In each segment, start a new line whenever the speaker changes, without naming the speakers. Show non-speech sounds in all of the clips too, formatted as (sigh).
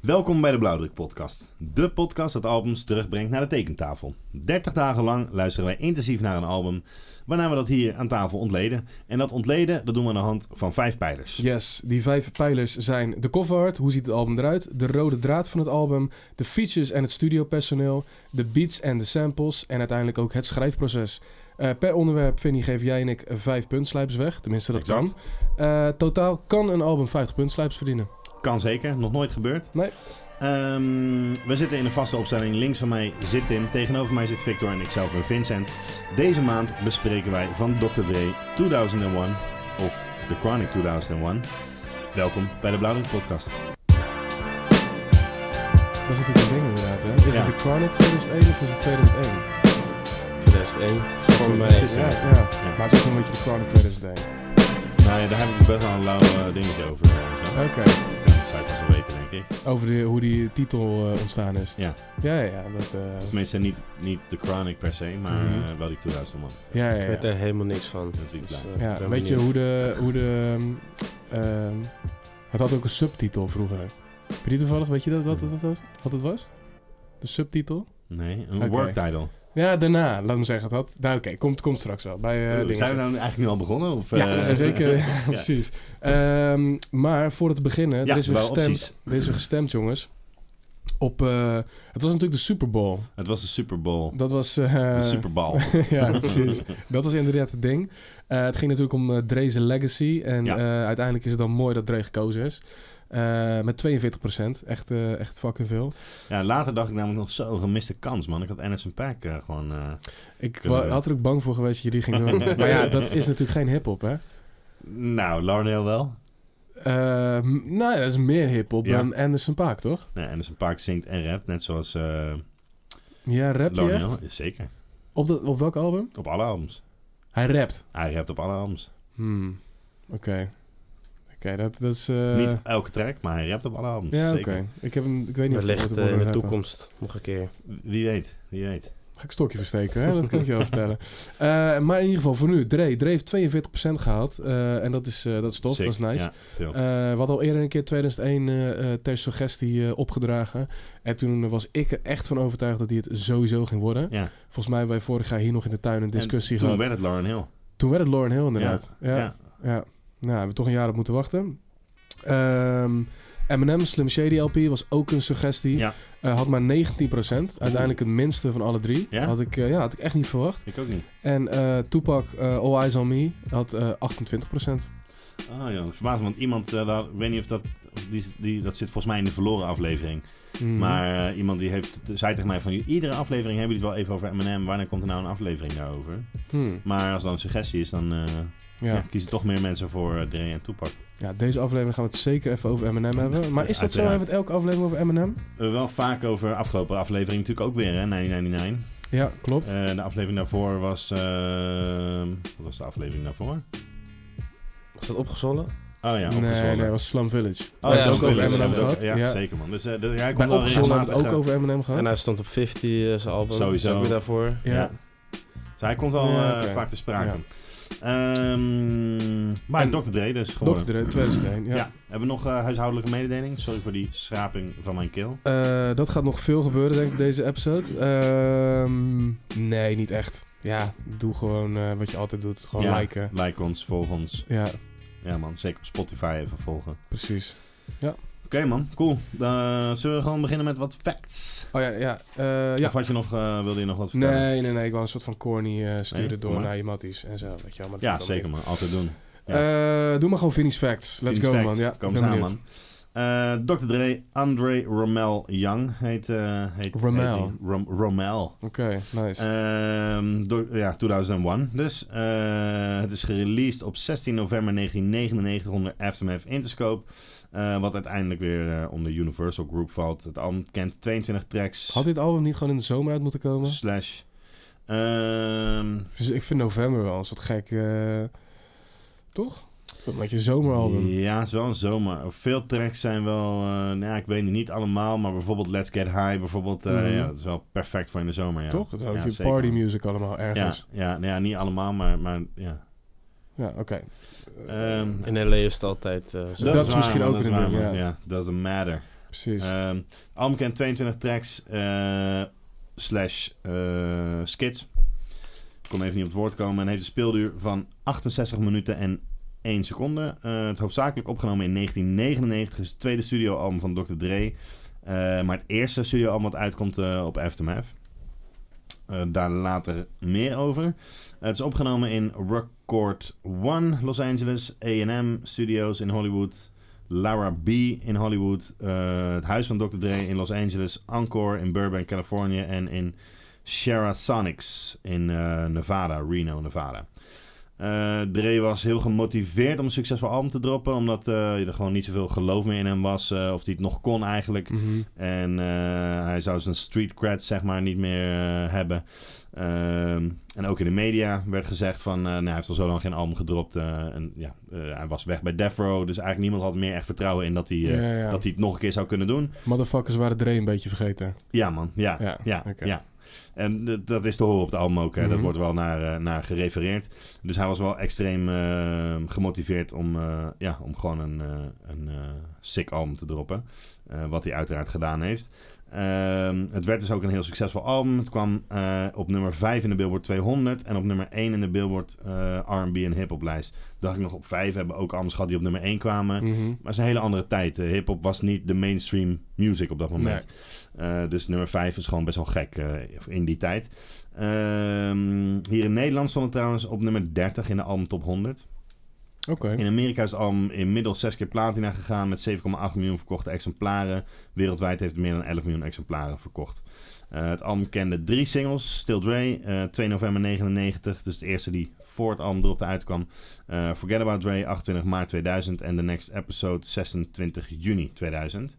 Welkom bij de Blauwdruk Podcast. De podcast dat albums terugbrengt naar de tekentafel. 30 dagen lang luisteren wij intensief naar een album, waarna we dat hier aan tafel ontleden. En dat ontleden, dat doen we aan de hand van vijf pijlers.
Yes, die vijf pijlers zijn de cover art, hoe ziet het album eruit, de rode draad van het album, de features en het studiopersoneel, de beats en de samples en uiteindelijk ook het schrijfproces. Eh, per onderwerp, Vinnie, geef jij en ik eh, vijf puntslijpers weg, tenminste dat
Exact.
kan. Eh, totaal kan een album 50 puntslijpers verdienen.
Kan zeker, nog nooit gebeurd.
Nee.
Ehm, we zitten in een vaste opstelling. Links van mij zit Tim, tegenover mij zit Victor en ikzelf ben Vincent. Deze maand bespreken wij van Dr. Dre 2001 of The Chronic 2001. Welkom bij de Blauwdruk Podcast.
Dat is natuurlijk een ding inderdaad, hè. Is
Ja.
het de Chronic 2001 of is het 2001?
2001. Het is gewoon
Het
mij.
is, ja, ja.
Ja.
Maar het is ook een beetje de Chronic 2001.
Nou ja, daar heb ik dus best wel een lauw eh, dingetje over. eh, zo.
Oké,
Dat zou je vast wel weten, denk ik.
over de, hoe die titel eh, ontstaan is.
Ja.
Ja, ja, ja, dat... eh,
Tenminste, niet, niet The Chronic per se, maar
Mhm.
eh, wel die 2001.
ja, ja,
Ik
ja.
weet er helemaal niks van.
Dat vind ik
Dus,
blij.
eh, ik
Ja,
ben
weet je
benieuwd.
hoe de. Hoe de ehm, ehm, het had ook een subtitel vroeger. Heb je die toevallig, weet je dat, wat, dat was? wat het was? De subtitel?
Nee, een
Oké.
work title.
Ja, daarna, laat me zeggen. Het had, nou, oké, komt, komt straks wel. Bij, eh,
Oeh,
dingen.
zijn we nou eigenlijk nu al begonnen? Of,
ja,
eh,
we zijn (laughs)
(laughs)
(laughs)
zeker.
ja,
precies. Ehm, maar voor het beginnen,
Ja,
er, is weer
wel
gestemd,
opties.
er is weer gestemd, jongens. Op, eh, het was natuurlijk de Super Bowl.
Het was de Super Bowl.
Dat was. eh,
de Super Bowl.
(laughs)
(laughs)
ja, precies. Dat was inderdaad het ding. Eh, het ging natuurlijk om eh Dre's legacy. En
Ja.
eh, uiteindelijk is het dan mooi dat Dre gekozen is. Eh, met 42%. Echt, eh, echt fucking veel.
Ja, later dacht ik namelijk nog zo, gemiste kans, man. Ik had Anderson Pack eh, gewoon... eh,
Ik
Kunnen
wa-
we.
had er ook bang voor geweest dat je die ging doen.
(laughs)
maar ja, dat is natuurlijk geen hip-hop, hè?
nou, Larnell wel.
Eh, m- nou, ja, dat is meer hip-hop
Ja.
dan Anderson Paak, toch?
Nee, Anderson Paak zingt en rapt, net zoals eh
Ja, rapt hij echt?
Larnell. Zeker.
Op, dat- op welk album?
Op alle albums.
Hij rapt.
Hij rapt op alle albums.
Hmm. Oké. Oké, dat, dat is... eh,
Niet elke track, maar hij rapt op alle albums.
ja, oké.
zeker.
Ik, heb hem- ik weet niet of ik ooit
Wellicht
heb
eh,
horen
in de
rappen.
toekomst nog een keer.
Wie weet, wie weet.
Ga ik een stokje versteken, hè? dat kan ik je wel vertellen. (laughs) Eh, maar in ieder geval voor nu, Dre. Dre heeft 42% gehaald. eh, en dat is, eh, dat is tof,
Sick.
dat is nice.
Ja, veel.
Eh, we hadden al eerder een keer 2001 eh, eh, ter suggestie eh, opgedragen. En toen was ik er echt van overtuigd dat hij het sowieso ging worden.
ja.
Volgens mij hebben wij vorig jaar hier nog in de tuin een discussie
En toen
gehad.
werd het Lauren Hill.
Toen werd het Lauren Hill inderdaad. Ja,
Ja.
ja. Nou, hebben we toch een jaar op moeten wachten. Ehm Eminem Slim Shady LP was ook een suggestie.
Ja.
Eh, had maar 19%. Uiteindelijk het minste van alle drie.
Ja?
Had ik, eh, ja, had ik echt niet verwacht.
ik ook niet.
En eh Tupac eh, All Eyes On Me had eh 28%.
Oh ja, dat verbaast me, want iemand, eh, daar- ik weet niet of dat, of die, die, dat zit volgens mij in de verloren aflevering.
Mm.
Maar eh, iemand die heeft, zei tegen mij van, iedere aflevering hebben jullie het wel even over M&M, wanneer komt er nou een aflevering daarover?
Hmm.
Maar als dat een suggestie is, dan eh,
Ja.
ja,
Ja.
kiezen toch meer mensen voor eh Dre en Toepak.
deze aflevering gaan we het zeker even over Eminem hebben. Maar is dat zo?
Uiteraard.
Hebben we het elke aflevering over Eminem?
We hebben wel vaak over afgelopen aflevering natuurlijk ook weer, hè, 1999.
Ja, klopt.
Eh, de aflevering daarvoor was, eh, wat was de aflevering daarvoor?
Was dat opgezwollen?
Oh ja,
nee, nee,
opgezwollen.
dat was Slum Village.
Oh,
Ja,
dat is ook
Slim
over
Village
M&M
hebben we
gehad.
gehad.
Ja,
Ja.
zeker man. Dus eh, dat- jij
Bij
komt wel
Opgezwollen hebben we
regelmatig.
het ook over Eminem gehad.
En hij stond op 50 eh, zijn album.
Sowieso.
Dus ook weer daarvoor.
ja.
ja. Dus hij komt wel
Ja,
eh,
oké.
vaak te sprake. Ehm, maar
En-
Dr. Dre dus gewoon.
Dr. Dre, 2001.
Ja.
ja.
Hebben we nog eh, huishoudelijke mededeling? Sorry voor die schraping van mijn keel.
Eh, dat gaat nog veel gebeuren, denk ik, deze episode. Ehm, nee, niet echt. Ja, doe gewoon eh, wat je altijd doet. Gewoon
Ja.
liken.
Like ons, volg ons.
Ja,
Ja man, zeker op Spotify even volgen.
precies.
Oké man, cool. Dan Eh, zullen we gewoon beginnen met wat facts?
Oh ja, ja. eh, ja.
Of had je nog, eh, wilde je nog wat vertellen?
Nee, nee, nee. Ik wou een soort van corny eh, sturen
Nee, kom
door
maar.
naar je matties en zo. Weet je wel, maar dat
Ja,
hoeft allemaal
zeker man. Altijd doen.
niet. Eh, doe maar gewoon Vinnie's Facts. Let's
Finish
go,
facts.
man. Ja,
Kom
ik
eens
ben
aan
benieuwd.
man. Eh, Dr. Dre, Andre Rommel Young heet... eh heet
Rommel.
heet hij. Rom- Rommel.
Oké, nice.
Ehm, door, ja, 2001 dus. Eh, het is gereleased op 16 november 1999 onder Aftermath Interscope. eh, wat uiteindelijk weer eh, onder Universal Group valt. Het album kent 22 tracks.
Had dit album niet gewoon in de zomer uit moeten komen?
Slash. Ehm,
Dus ik vind november wel een soort gek... eh, toch? Een beetje zomeralbum.
ja, het is wel een zomer. Veel tracks zijn wel, eh, nou ja, ik weet niet, niet allemaal, maar bijvoorbeeld Let's Get High, bijvoorbeeld, eh,
Mhm.
ja, dat is wel perfect voor in de zomer. Ja.
Toch? Ook
Ja,
je
zeker.
party music allemaal
Ja,
ergens.
ja, nou ja, niet allemaal, maar, maar ja.
Ja, oké.
Ehm,
In LA is het altijd eh, zo.
Dat- is
waar,
misschien
man,
ook
dat is
een
waar,
ding,
man.
ja.
Ja, doesn't matter.
Precies.
Ehm, het album kent 22 tracks eh, slash eh, skits. Ik kon even niet op het woord komen. En heeft een speelduur van 68 minuten en 1 seconde. Eh, het hoofdzakelijk opgenomen in 1999. is het tweede studioalbum van Dr. Dre. Eh, maar het eerste studioalbum wat uitkomt eh, op Aftermath. Eh, daar later meer over. Eh, het is opgenomen in Record One, Los Angeles, AM Studios in Hollywood. Lara B. in Hollywood, eh, het huis van Dr. Dre in Los Angeles, Encore in Burbank, Californië en in Sonics in eh, Nevada, Reno, Nevada. Eh, Dre was heel gemotiveerd om een succesvol album te droppen, omdat eh, er gewoon niet zoveel geloof meer in hem was, eh, of hij het nog kon eigenlijk.
Mhm.
En eh, hij zou zijn street cred, zeg maar, niet meer eh, hebben. Ehm, en ook in de media werd gezegd van... eh, nou, hij heeft al zo lang geen album gedropt. eh, en ja, eh, hij was weg bij Death Row. Dus eigenlijk niemand had meer echt vertrouwen in dat hij, eh,
Ja, ja.
dat hij het nog een keer zou kunnen doen.
Motherfuckers waren Dre een beetje vergeten.
Ja, man. Ja,
Ja,
ja,
oké.
ja. En d- dat is te horen op het album ook. Hè. Dat
Mhm.
wordt wel naar, eh, naar gerefereerd. Dus hij was wel extreem eh, gemotiveerd om, eh, ja, om gewoon een, eh, een eh, sick album te droppen. Eh, wat hij uiteraard gedaan heeft. Ehm, het werd dus ook een heel succesvol album. Het kwam eh, op nummer 5 in de Billboard 200 en op nummer 1 in de Billboard eh, R&B en hip-hop lijst. Dacht ik nog op 5 hebben ook albums gehad die op nummer 1 kwamen.
Mhm.
Maar het is een hele andere tijd. Eh, Hip-hop was niet de mainstream music op dat moment. Eh, dus nummer 5 is gewoon best wel gek eh, in die tijd. Ehm, hier in Nederland stond het trouwens op nummer 30 in de album top 100.
Oké.
In Amerika is het album inmiddels 6 keer platina gegaan met 7,8 miljoen verkochte exemplaren. Wereldwijd heeft het meer dan 11 miljoen exemplaren verkocht. Eh, het album kende drie singles. Still Dre, eh, 2 november 99, dus de eerste die voor het album erop uitkwam. Eh, Forget About Dre, 28 maart 2000. En The Next Episode, 26 juni 2000.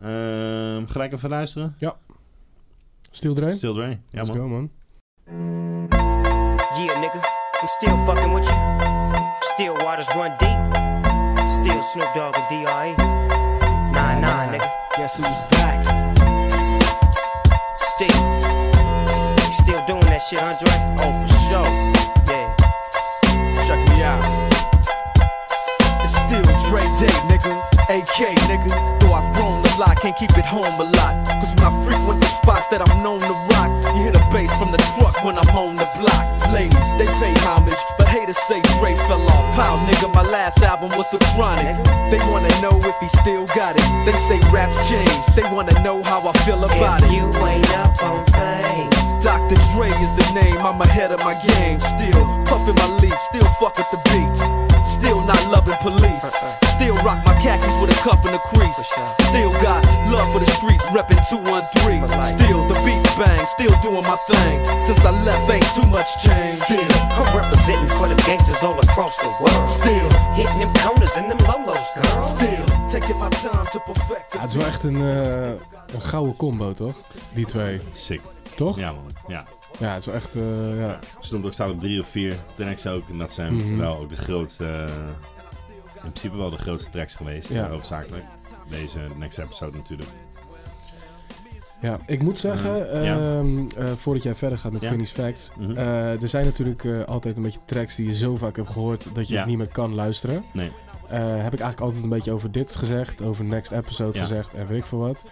Ehm, gelijk even luisteren.
Still Dre?
Still Dre, ja
Let's
man.
go, man.
Yeah, nigga, I'm still fucking with you. Still waters run deep. Still Snoop Dogg and DRE. Nah, nah, nigga.
Guess who's back?
Still. Still doing that shit, Andre.
Oh, for sure.
Yeah.
Check me out. It's still Dre Day, nigga. AK, nigga. Though I've grown a lot, can't keep it home a lot. Cause when I frequent the spots that I'm known to rock, you hear the bass from the truck when I'm on the block. Ladies, they pay homage, but haters say Dre fell off. How, nigga, my last album was The Chronic. They wanna know if he still got it. They say raps change, they wanna know how I feel about it.
If you ain't up on things.
Dr. Dre is the name, I'm ahead of my game. Still puffin' my leaf, still fuck with the beats. Still not loving police. Still rock my khakis with a cuff and a crease. Still got love for the streets, reppin' 213. Still the beats bang, still doing my thing. Since I left, ain't too much change. Still,
I'm representing for them gangsters all across the world.
still,
Hitting them corners and them lolos, girl.
still taking my time to perfect the
Ja, het is wel echt een, eh, een gouden combo, toch? Die twee,
Sick.
toch? Ja,
Ja man, ja.
het is wel echt... eh, ja.
Stond ook staan op drie of vier tracks ook. En dat zijn
Mhm.
wel ook de grootste... eh, in principe wel de grootste tracks geweest,
Ja.
eh, hoofdzakelijk. Deze next episode natuurlijk.
ja, ik moet zeggen,
Eh, ja.
ehm, eh, voordat jij verder gaat met
Ja.
Finish Facts...
Mhm.
eh, er zijn natuurlijk eh, altijd een beetje tracks die je zo vaak hebt gehoord dat je
Ja.
het niet meer kan luisteren.
Nee.
Eh, heb ik eigenlijk altijd een beetje over dit gezegd, over next episode
Ja.
gezegd en weet ik veel wat.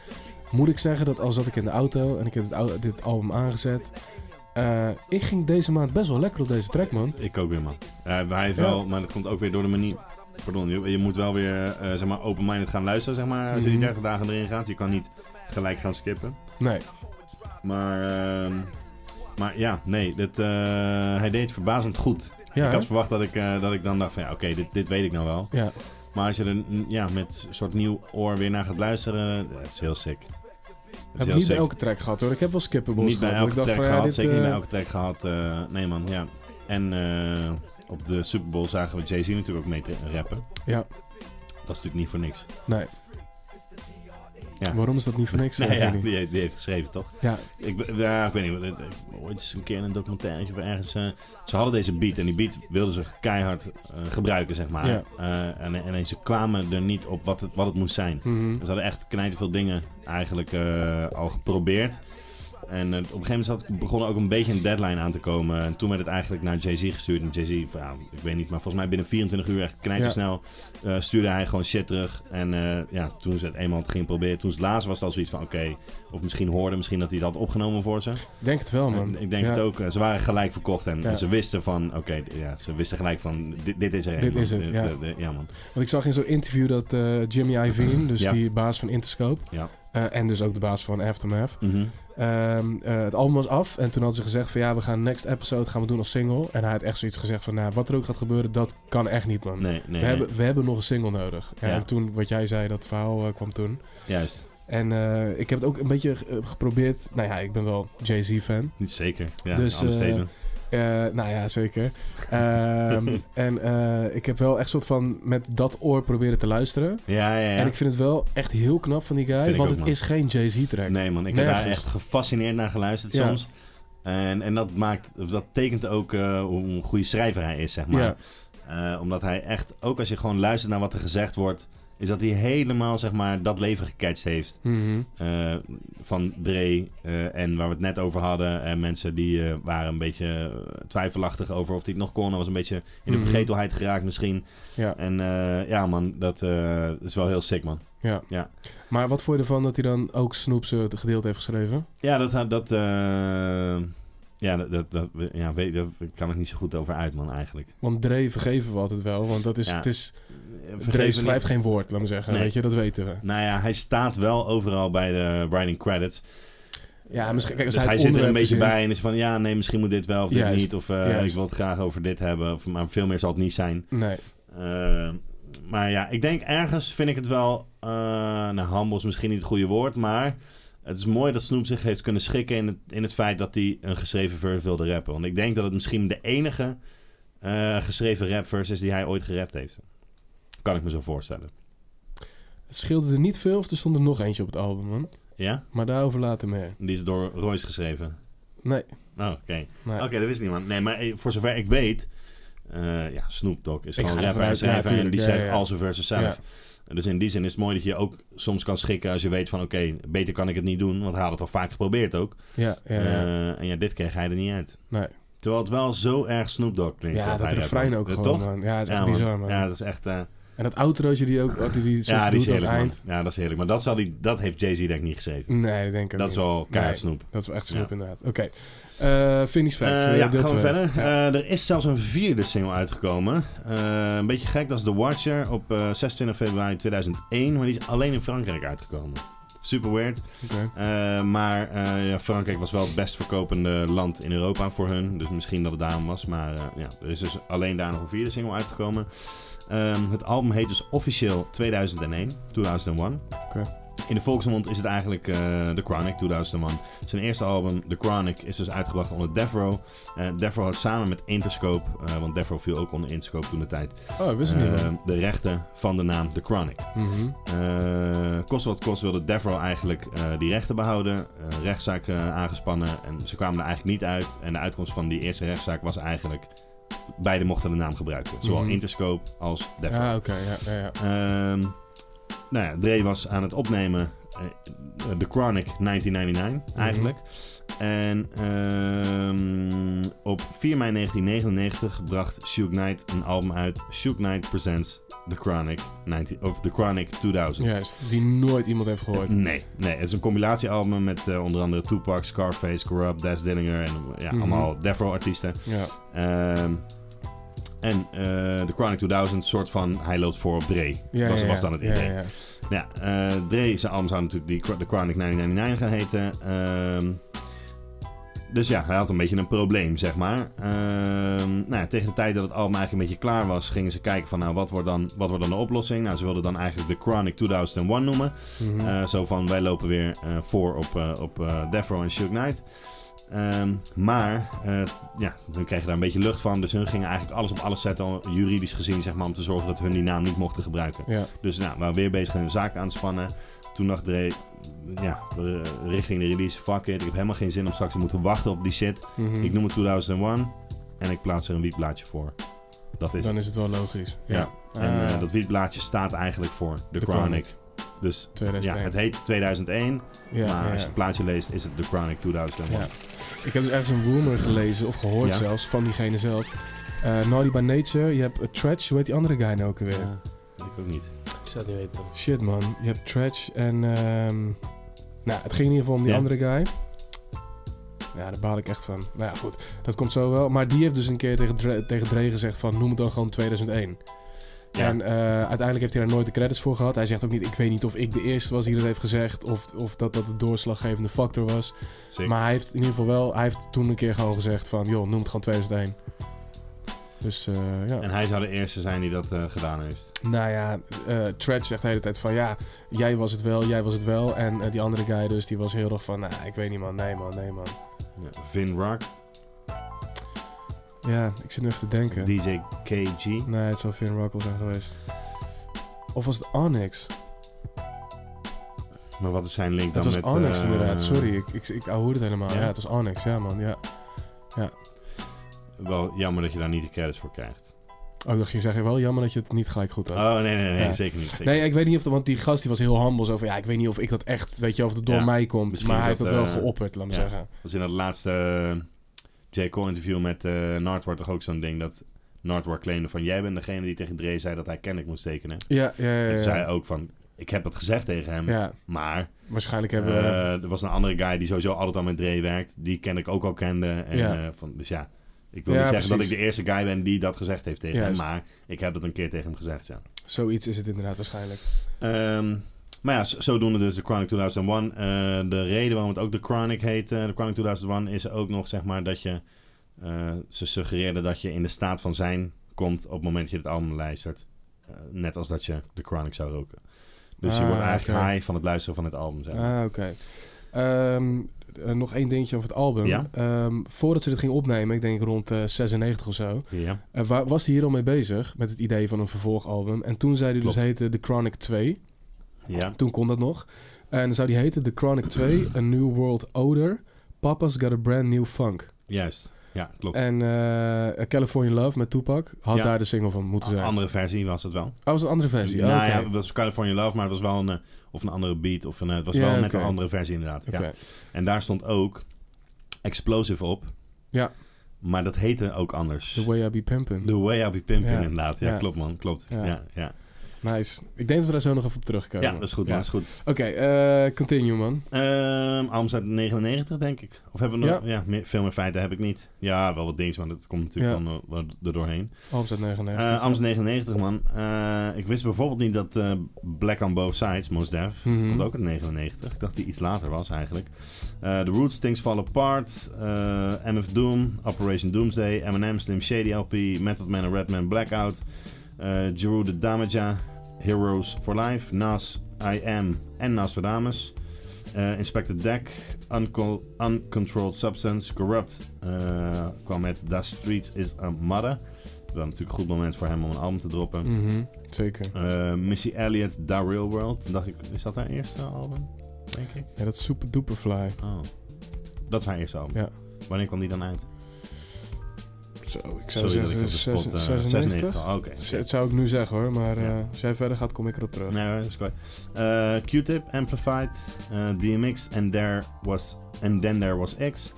Moet ik zeggen dat al zat ik in de auto en ik heb het au- dit album aangezet... eh, ik ging deze maand best wel lekker op deze track, man.
Ik ook weer, man. Ja, hij heeft wel, maar dat komt ook weer door de manier. Pardon, je, je moet wel weer eh, zeg maar open-minded gaan luisteren, zeg maar. Als je die
Mhm.
30 dagen erin gaat. Je kan niet gelijk gaan skippen.
Nee,
Maar, ehm, maar ja, nee. Dit, eh, hij deed het verbazend goed.
ja,
ik
hè?
had verwacht dat ik, eh, dat ik dan dacht van ja, oké, dit, dit weet ik nou wel.
ja.
Maar als je er mm, ja, met een soort nieuw oor weer naar gaat luisteren, eh, het is heel sick. Het is
Heb ik
heel
niet
sick.
bij elke track gehad hoor. Ik heb wel skippables
Niet bij
gehad.
elke
dat
track
ik dacht van,
gehad,
ja, dit,
zeker niet bij
eh,
elke track gehad. eh, nee man, ja. En eh, op de Super Bowl zagen we Jay-Z natuurlijk ook mee te rappen.
Ja.
Dat is natuurlijk niet voor niks.
Nee.
Ja.
Waarom is dat niet voor niks?
Nee,
weet
(laughs) ja,
ik niet.
die, die heeft geschreven toch?
ja.
Ik, be- ja, ik weet niet, het- ik- ooit eens een keer in een documentaire of ergens. eh, ze hadden deze beat en die beat wilden ze keihard eh, gebruiken, zeg maar.
Ja.
Eh, en, en, en ze kwamen er niet op wat het, wat het moest zijn.
Mhm.
Ze hadden echt knijten veel dingen eigenlijk eh, al geprobeerd. En eh, op een gegeven moment zat, begon er ook een beetje een deadline aan te komen. En toen werd het eigenlijk naar Jay-Z gestuurd. En Jay-Z, van, ja, ik weet niet, maar volgens mij binnen 24 uur, echt knijtersnel, snel stuurde hij gewoon shit terug. En eh, ja, toen ze het eenmaal ging proberen, toen ze het laatst was het al zoiets van, oké, of misschien hoorde, misschien dat hij het had opgenomen voor ze.
Denk het wel, man.
En ik denk
Ja,
het ook. eh, Ze waren gelijk verkocht en,
Ja.
en ze wisten van, oké, ja, ze wisten gelijk van, dit, dit is er een,
Dit
man.
is het, ja.
de- de- ja, man.
Want ik zag in zo'n interview dat eh, Jimmy Iovine, dus
Ja.
die baas van Interscope...
Ja.
eh, en dus ook de baas van Aftermath...
Mhm.
Ehm, eh, het album was af en toen hadden ze gezegd van ja, we gaan next episode gaan we doen als single. En hij had echt zoiets gezegd van nou, wat er ook gaat gebeuren, dat kan echt niet man.
Nee, nee,
we,
nee.
Hebben, we hebben nog een single nodig. Ja,
Ja.
En toen, wat jij zei, dat verhaal eh, kwam toen.
Juist.
En eh, ik heb het ook een beetje eh, geprobeerd. Nou ja, ik ben wel Jay-Z fan.
Niet zeker. Ja,
Dus,
dus,
eh, Eh, nou ja, zeker.
(laughs)
Ehm, en eh, ik heb wel echt soort van met dat oor proberen te luisteren.
ja, ja, ja.
En ik vind het wel echt heel knap van die guy,
Vind ik
want
ook,
het
man.
is geen Jay-Z track.
Nee man, ik heb daar
Nergens.
echt gefascineerd naar geluisterd
Ja.
soms. En, en dat, maakt, of dat tekent ook eh, hoe een goede schrijver hij is, zeg maar.
Ja.
Eh, omdat hij echt, ook als je gewoon luistert naar wat er gezegd wordt... is dat hij helemaal, zeg maar, dat leven gecatcht heeft.
Mhm.
eh, van Dre eh, en waar we het net over hadden. En mensen die eh, waren een beetje eh, twijfelachtig over of hij het nog kon. Hij was een beetje in de
Mhm.
vergetelheid geraakt misschien.
Ja.
En eh, ja man, dat eh, is wel heel sick man.
Ja.
Ja.
Maar wat vond je ervan dat hij dan ook Snoop zijn gedeelte heeft geschreven?
Ja, dat... dat eh, ja, dat, dat, dat- ja weet, daar kan ik niet zo goed over uit, man, eigenlijk.
Want Dre vergeven we altijd wel, want dat is,
Ja, Eh,
het is, Dre
Vergeef me
schrijft
niet.
geen woord, laat me zeggen.
Nee.
Weet je, dat weten we.
Nou ja, hij staat wel overal bij de writing credits.
Ja, misschien, kijk, als
dus
hij, het
hij zit er een
onderwerp
beetje
verzint-
bij en is van... Ja, nee, misschien moet dit wel of dit
Juist,
niet. Of eh, ik
juist.
wil het graag over dit hebben. Of, maar veel meer zal het niet zijn.
Nee,
Eh, maar ja, ik denk ergens vind ik het wel... eh nou, humble is misschien niet het goede woord, maar... Het is mooi dat Snoep zich heeft kunnen schikken in het, in het feit dat hij een geschreven verse wilde rappen. Want ik denk dat het misschien de enige eh, geschreven rapverse is die hij ooit gerapt heeft. Kan ik me zo voorstellen.
het scheelde er niet veel of er stond er nog eentje op het album, man.
Ja?
Maar daarover later meer.
Die is door Royce geschreven.
Nee,
Oh, oké.
nee.
Oké, dat wist niemand. Nee, maar eh, voor zover ik weet... eh, ja, Snoop Dogg is
Ik
gewoon
ga ervan
rapper en
uit, ja,
schrijver en
tuurlijk.
die
Ja,
schrijft
ja, ja.
al zijn verses zelf. Dus in die zin is het mooi dat je ook soms kan schikken als je weet van... oké, beter kan ik het niet doen, want hij had het al vaak geprobeerd ook.
Ja, ja, ja.
Eh, en ja, dit kreeg hij er niet uit.
Nee.
Terwijl het wel zo erg Snoop Dogg klinkt.
ja
wat
dat
hij
refrein
rapt.
ook
Eh,
gewoon,
Toch?
man. Ja, dat is
ja,
echt
man.
bizar, man.
Ja, dat is echt... eh,
En dat outrootje die ook, wat hij die soort
ja, die is
doet aan het
heerlijk, man.
eind.
Ja, dat is heerlijk. Maar dat, zal die, dat heeft Jay-Z denk ik niet geschreven.
Nee, dat denk ik ook
dat is
niet.
wel
Nee.
keihard Snoep.
Dat is wel echt
Ja.
Snoop, inderdaad. Oké, Eh finish facts.
Eh,
eh,
ja,
deel
gaan we
twee.
verder.
Ja.
Eh, er is zelfs een vierde single uitgekomen. Eh, een beetje gek, dat is The Watcher op eh, 26 februari 2001. Maar die is alleen in Frankrijk uitgekomen. Super weird.
Oké.
Eh, maar eh, ja, Frankrijk was wel het best verkopende land in Europa voor hun. Dus misschien dat het daarom was. Maar eh, ja, er is dus alleen daar nog een vierde single uitgekomen. Ehm, het album heet dus officieel 2001. 2001.
Oké.
In de volksmond is het eigenlijk eh, The Chronic 2001. Zijn eerste album, The Chronic, is dus uitgebracht onder Defro. Eh Defro had samen met Interscope, eh, want Defro viel ook onder Interscope toen de tijd,
Oh, ik wist het niet,
eh,
man.
de rechten van de naam The Chronic.
Mhm.
Eh, kost wat kost wilde Devro eigenlijk eh, die rechten behouden. Eh, rechtszaak eh, aangespannen en ze kwamen er eigenlijk niet uit. En de uitkomst van die eerste rechtszaak was eigenlijk... Beide mochten de naam gebruiken. Zowel
Mhm.
Interscope als Devro.
Ah, oké. Ja, ja, ja.
Ehm, nou ja, Dre was aan het opnemen eh, The Chronic 1999
Mhm.
eigenlijk. En ehm, op 4 mei 1999 bracht Suge Knight een album uit. Suge Knight presents The Chronic, 19, of The Chronic 2000.
Juist, die nooit iemand heeft gehoord.
Eh, (laughs) Nee, nee, het is een compilatiealbum met eh, onder andere Tupac, Scarface, Corrupt, Des Dillinger en eh, ja,
Mhm.
allemaal Defro-artiesten.
Ja.
Ehm, en eh The Chronic 2000, soort van hij loopt voor op Dre.
Ja,
dat
ja,
was dan
ja.
het idee.
Ja, ja, ja.
Nou ja, eh, Dre, zijn album zou natuurlijk die, The Chronic 1999 gaan heten. Ehm, dus ja, hij had een beetje een probleem, zeg maar. Ehm, nou ja, tegen de tijd dat het album eigenlijk een beetje klaar was, gingen ze kijken van, nou, wat wordt dan, wat wordt dan de oplossing? Nou, ze wilden dan eigenlijk The Chronic 2001 noemen.
Mhm.
Eh, zo van, wij lopen weer eh, voor op, eh op eh, Defro en Suge Knight. Ehm, maar, eh, ja, hun kregen daar een beetje lucht van. Dus hun gingen eigenlijk alles op alles zetten, juridisch gezien, zeg maar, om te zorgen dat hun die naam niet mochten gebruiken.
ja.
Dus nou, we waren weer bezig een zaak aan te spannen. Toen dacht Dre, ja, eh, richting de release, fuck it. Ik heb helemaal geen zin om straks te moeten wachten op die shit.
Mhm.
Ik noem het 2001 en ik plaats er een wietblaadje voor. Dat is
Dan
het.
is het wel logisch.
Ja.
Ja.
En
Ah.
eh, dat wietblaadje staat eigenlijk voor The,
The
Chronic.
Chronic.
Dus ja,
2001.
het heet 2001,
Ja,
maar
ja,
als je
ja.
het plaatje leest is het The Chronic 2001.
Ja. Ik heb dus ergens een rumor gelezen, of gehoord
Ja.
zelfs, van diegene zelf. Eh Naughty by Nature, je hebt eh, Tretch, hoe heet die andere guy nou ook weer?
Ja, weet ik ook niet.
Ik zou het niet weten.
Shit man, je hebt Tretch en... ehm, nou, het ging in ieder geval om die
Ja.
andere guy. Ja, daar baal ik echt van. Nou ja, goed, dat komt zo wel. Maar die heeft dus een keer tegen Dre, tegen Dre gezegd van, noem het dan gewoon 2001.
Ja.
En eh, uiteindelijk heeft hij daar nooit de credits voor gehad. Hij zegt ook niet, ik weet niet of ik de eerste was die dat heeft gezegd... of, of dat dat de doorslaggevende factor was.
Sick.
Maar hij heeft in ieder geval wel, hij heeft toen een keer gewoon gezegd van, joh, noem het gewoon 2001. Dus eh, ja.
En hij zou de eerste zijn die dat eh, gedaan heeft.
Nou ja, eh Tred zegt de hele tijd van, ja, jij was het wel, jij was het wel. En eh, die andere guy dus, die was heel erg van, nou, ik weet niet man, nee man, nee man.
Ja. Vin Rock,
Ja, ik zit nu even te denken.
DJ KG.
Nee, het zou Finn Rockwell zijn geweest. Of was het Onyx?
Maar wat is zijn link
Het
dan
was
met...
Onyx
eh,
inderdaad, sorry, ik, ik, ik ouwe het helemaal.
Ja?
Ja, het was Onyx, ja man, ja.
Wel jammer dat je daar niet de credits voor krijgt.
Oh, ik dacht, je zegt wel jammer dat je het niet gelijk goed had.
Oh, nee, nee, nee,
Ja.
zeker niet. Zeker.
Nee, ik weet niet of dat, want die gast die was heel humble. Zo van, ja, ik weet niet of ik dat echt, weet je, of het door
Ja,
mij komt.
misschien
maar
is
hij heeft
dat,
dat wel
eh,
geopperd, laat me
ja.
zeggen.
was in dat laatste eh, J. Cole interview met eh Nardwar toch ook zo'n ding dat Nardwar claimde van jij bent degene die tegen Dre zei dat hij Kendrick moest tekenen.
Ja, ja, ja.
En
ja,
toen zei hij
ja.
ook van ik heb dat gezegd tegen hem,
Ja,
maar
waarschijnlijk hebben we...
eh, er was een andere guy die sowieso altijd al met Dre werkt, die Kendrick ook al kende. En,
Ja.
eh, van, dus ja, ik wil
Ja,
niet zeggen dat
precies.
ik de eerste guy ben die dat gezegd heeft tegen
Juist.
hem, maar ik heb dat een keer tegen hem gezegd, ja.
Zoiets is het inderdaad waarschijnlijk.
Ehm, maar ja, z- zodoende dus de Chronic 2001. Eh, de reden waarom het ook de Chronic heet, eh, de Chronic 2001, is ook nog zeg maar dat je... eh, ze suggereerden dat je in de staat van zijn komt op het moment dat je het album luistert. Eh, net als dat je de Chronic zou roken. Dus je
Ah,
wordt eigenlijk
oké.
high van het luisteren van het album. Zeg maar.
Ah, oké. Ehm, eh, nog één dingetje over het album.
Ja.
Ehm, voordat ze dit ging opnemen, ik denk rond eh, 96 of zo,
ja.
eh, wa- was hij hier al mee bezig met het idee van een vervolgalbum. En toen zei hij dus
Klopt.
heette The Chronic 2.
ja.
Toen kon dat nog. En dan zou die heten The Chronic
(clears throat)
2, A New World Odor, Papa's Got a Brand New Funk.
Juist. Ja, klopt.
En eh, California Love met Tupac had
Ja.
daar de single van moeten
Een
zijn.
andere versie was het wel.
Oh, was een andere versie.
nou
Oh, oké.
ja, het was California Love, maar het was wel een, eh, of een andere beat. Of een, eh, het was
Ja,
wel met
oké.
een andere versie inderdaad. Ja.
Oké.
En daar stond ook Explosive op.
Ja.
Maar dat heette ook anders.
The Way I Be Pimpin'.
The Way I Be Pimpin',
Ja.
inderdaad. Ja,
Ja.
klopt man, klopt. Ja,
Ja.
ja, ja.
Nice. Ik denk dat we daar zo nog even op terugkomen.
dat is goed man, dat is goed.
Oké, eh, continue man.
Ehm albums uit 99 denk ik. Of hebben we nog... Ja, meer- veel meer feiten heb ik niet. Ja, wel wat dingetjes, maar dat komt natuurlijk
Ja.
dan eh, wel er doorheen.
Albums uit 99.
Eh Amst 99 man. Eh, ik wist bijvoorbeeld niet dat eh, Black on Both Sides, Mos Def,
Mhm.
komt ook uit 99. Ik dacht die iets later was eigenlijk. Eh The Roots, Things Fall Apart, eh, MF Doom, Operation Doomsday, Eminem, Slim Shady LP, Method Man en Redman Blackout, eh Jeru the Damager, Heroes for Life, Nas, I Am en Nostradamus. Eh Inspector Deck, Unco- Uncontrolled Substance, Corrupt eh, kwam met The Street is a Mother. Wel natuurlijk een goed moment voor hem om een album te droppen.
Mhm, Zeker.
Eh, Missy Elliott, The Real World. Toen dacht ik, is dat haar eerste album? Denk ik.
Ja, dat is super duper fly.
Oh. Dat is haar eerste album.
Ja.
Wanneer kwam die dan uit?
Zo, ik zou
Sorry dat ik op
zeggen
de spot... eh,
96.
96. Oh, Oké.
Z- Het zou ik nu zeggen hoor, maar eh,
Ja.
als jij verder gaat kom ik erop terug.
Nee, dat is kwijt. Eh, Q-Tip, Amplified, eh, DMX, and, there was, and Then There Was X.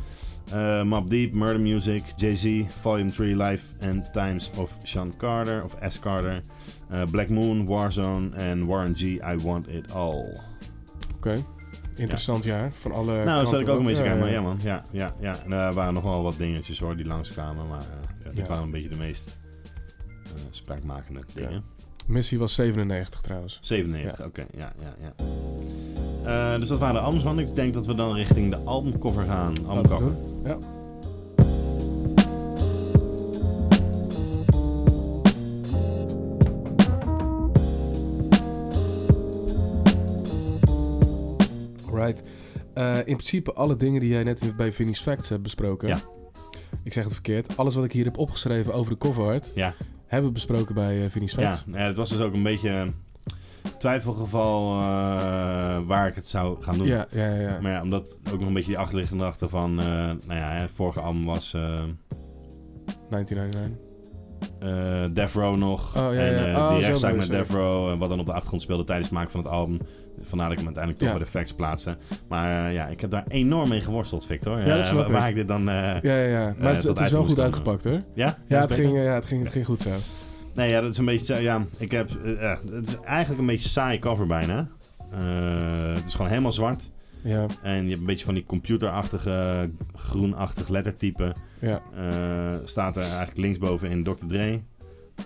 Eh Mob Deep, Murder Music, Jay-Z, Volume 3, Life and Times of Sean Carter, of S. Carter. Eh, Black Moon, Warzone en Warren G, I Want It All.
Oké. Interessant jaar van alle
nou, dat zat ik ook een beetje
ja,
kijken, maar ja
ja.
man. Ja, ja, ja. En er waren nog wel wat dingetjes hoor, die langskwamen, maar eh, ja, dit
Ja.
waren een beetje de meest eh, spraakmakende dingen.
Missie was 97 trouwens.
97, oké. Ja, ja, ja. Eh, dus dat waren de albums, man. Ik denk dat we dan richting de albumcover gaan.
Laten we het
Albumcover.
doen. Right. Eh, in principe alle dingen die jij net bij Vinnie's Facts hebt besproken.
Ja.
Ik zeg het verkeerd. Alles wat ik hier heb opgeschreven over de cover art...
Ja.
hebben we besproken bij eh, Vinnie's
Ja,
Facts.
ja, het was dus ook een beetje eh, twijfelgeval eh, waar ik het zou gaan doen.
Ja, ja, ja. ja.
Maar ja, omdat ook nog een beetje die achterliggende achter van... eh, nou ja, hè, vorige album was... eh,
1999.
eh Death Row nog.
Oh, ja, ja.
En eh,
Oh, zo
die rechtszaak
bedoel
met
je,
Death Row, eh, wat dan op de achtergrond speelde tijdens het maken van het album. Vandaar dat ik hem uiteindelijk toch
Ja.
bij de facts plaatste. Maar eh, ja, ik heb daar enorm mee geworsteld, Victor.
Ja, dat
Eh,
snap
wa- waar
ik.
ik dit dan... eh, ja?
Ja, ja, ja. Maar het,
Eh, tot
het is wel goed
uitkomst komen.
uitgepakt hoor. Ja,
Is
het
beter?
ging, eh, ja, het ging, het ging goed zo.
Nee, ja, dat is een beetje... zo- Ja, ik heb... eh, ja, het is eigenlijk een beetje een saaie cover bijna. Eh, het is gewoon helemaal zwart.
Ja,
En je hebt een beetje van die computerachtige, groenachtig lettertype.
ja.
Eh, staat er eigenlijk linksboven in Dr. Dre.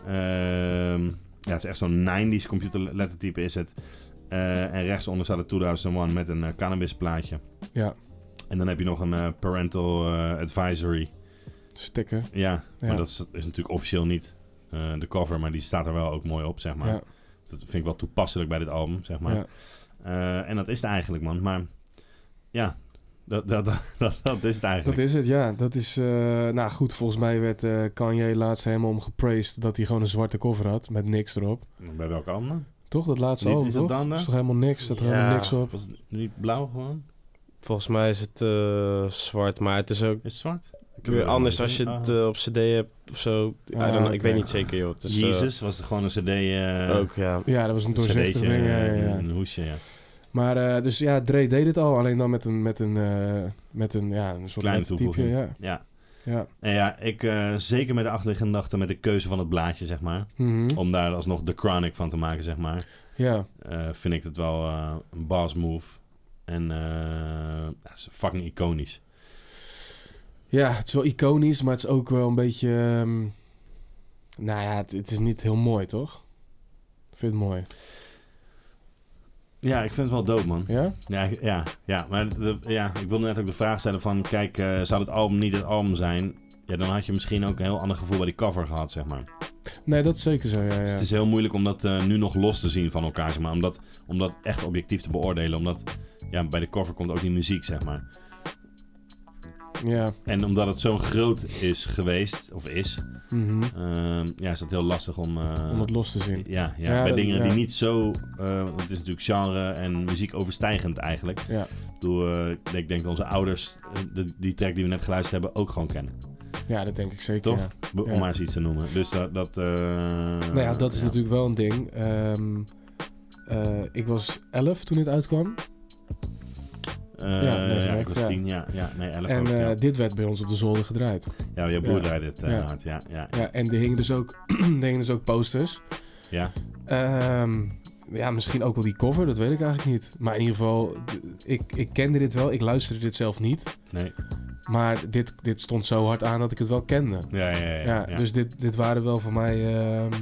Ehm, ja, het is echt zo'n 90s computerlettertype is het. Eh, en rechtsonder staat het 2001 met een eh, cannabisplaatje.
Ja.
En dan heb je nog een eh, parental eh, advisory.
Sticker.
Ja,
Ja.
maar dat is, is natuurlijk officieel niet eh, de cover, maar die staat er wel ook mooi op, zeg maar. Dus
Ja,
Dat vind ik wel toepasselijk bij dit album, zeg maar.
ja.
Eh, en dat is het eigenlijk, man. Maar ja, dat, dat, (laughs) dat, dat, is het eigenlijk.
Dat is het, ja. Dat is, eh, nou goed, volgens mij werd eh, Kanye laatst helemaal om gepraised dat hij gewoon een zwarte cover had met niks erop.
Bij welke album dan?
Toch? Dat laatste
Niet-
album,
is dat
toch?
dan, hè?
is toch helemaal niks? Dat er helemaal
Ja.
niks op.
Was het niet blauw gewoon?
Volgens mij is het eh, zwart, maar het is ook
Is het zwart? Ik
weer anders als je het eh, op cd hebt of zo. I don't know,
Ah, oké.
Ik weet niet zeker, joh. Dus,
Jezus was gewoon een cd... eh
ook, ja.
Ja, dat was een
een cd'tje,
doorzichtig ding. ja, ja,
eh,
ja.
Een hoesje, ja.
Maar eh, dus ja, Dre deed het al, alleen dan met een, met een, eh, met een, ja, een soort
Kleine
lettertype,
toevoeging.
Ja,
ja.
ja.
En ja, ik, eh, zeker met de achterliggende gedachte, met de keuze van het blaadje, zeg maar.
Mhm.
Om daar alsnog de chronic van te maken, zeg maar.
ja.
eh, vind ik het wel eh, een boss move. En eh, ja, het is fucking iconisch.
Ja, het is wel iconisch, maar het is ook wel een beetje. ehm, nou ja, het, het is niet heel mooi, toch? Ik vind het mooi.
Ja, ik vind het wel dood, man.
Ja?
Ja, ik- ja, ja maar de- ja, ik wilde net ook de vraag stellen van... Kijk, eh, zou het album niet het album zijn? Ja, dan had je misschien ook een heel ander gevoel bij die cover gehad, zeg maar.
Nee, dat is zeker zo. Ja,
Dus
ja.
het is heel moeilijk om dat eh, nu nog los te zien van elkaar, zeg maar. Om dat, om dat echt objectief te beoordelen. Omdat ja, bij de cover komt ook die muziek, zeg maar.
ja.
En omdat het zo groot is geweest, of is...
mhm,
ehm, ja, is dat heel lastig om... eh,
Om het los te zien.
ja, ja,
Ja,
bij
dat-
dingen
ja.
die niet zo... eh, want het is natuurlijk genre en muziek overstijgend eigenlijk.
Ja.
Ik bedoel, eh, ik denk- ik denk dat onze ouders eh, de- die track die we net geluisterd hebben ook gewoon kennen.
ja, dat denk ik zeker.
Toch?
ja.
Be- Om
Ja.
maar eens iets te noemen. Dus dat... dat eh,
Nou ja, dat is natuurlijk wel een ding. Ehm, eh, ik was 11 toen dit uitkwam.
Eh,
Ja, nee,
ja, ik was
ja.
tien, ja. Ja, nee, elf
en
ook, ja.
eh, dit werd bij ons op de zolder gedraaid.
Ja, jouw broer
Ja.
draaide het eh,
Ja.
hard. Ja, ja,
Ja, en er hingen dus ook, (clears throat) er hingen dus ook posters.
ja.
Ehm, ja, misschien ook wel die cover, dat weet ik eigenlijk niet. Maar in ieder geval, d- ik, ik kende dit wel, ik luisterde dit zelf niet.
Nee.
Maar dit, dit stond zo hard aan dat ik het wel kende.
Ja, ja, ja.
Ja,
ja, ja.
Dus dit, dit waren wel voor mij, ehm,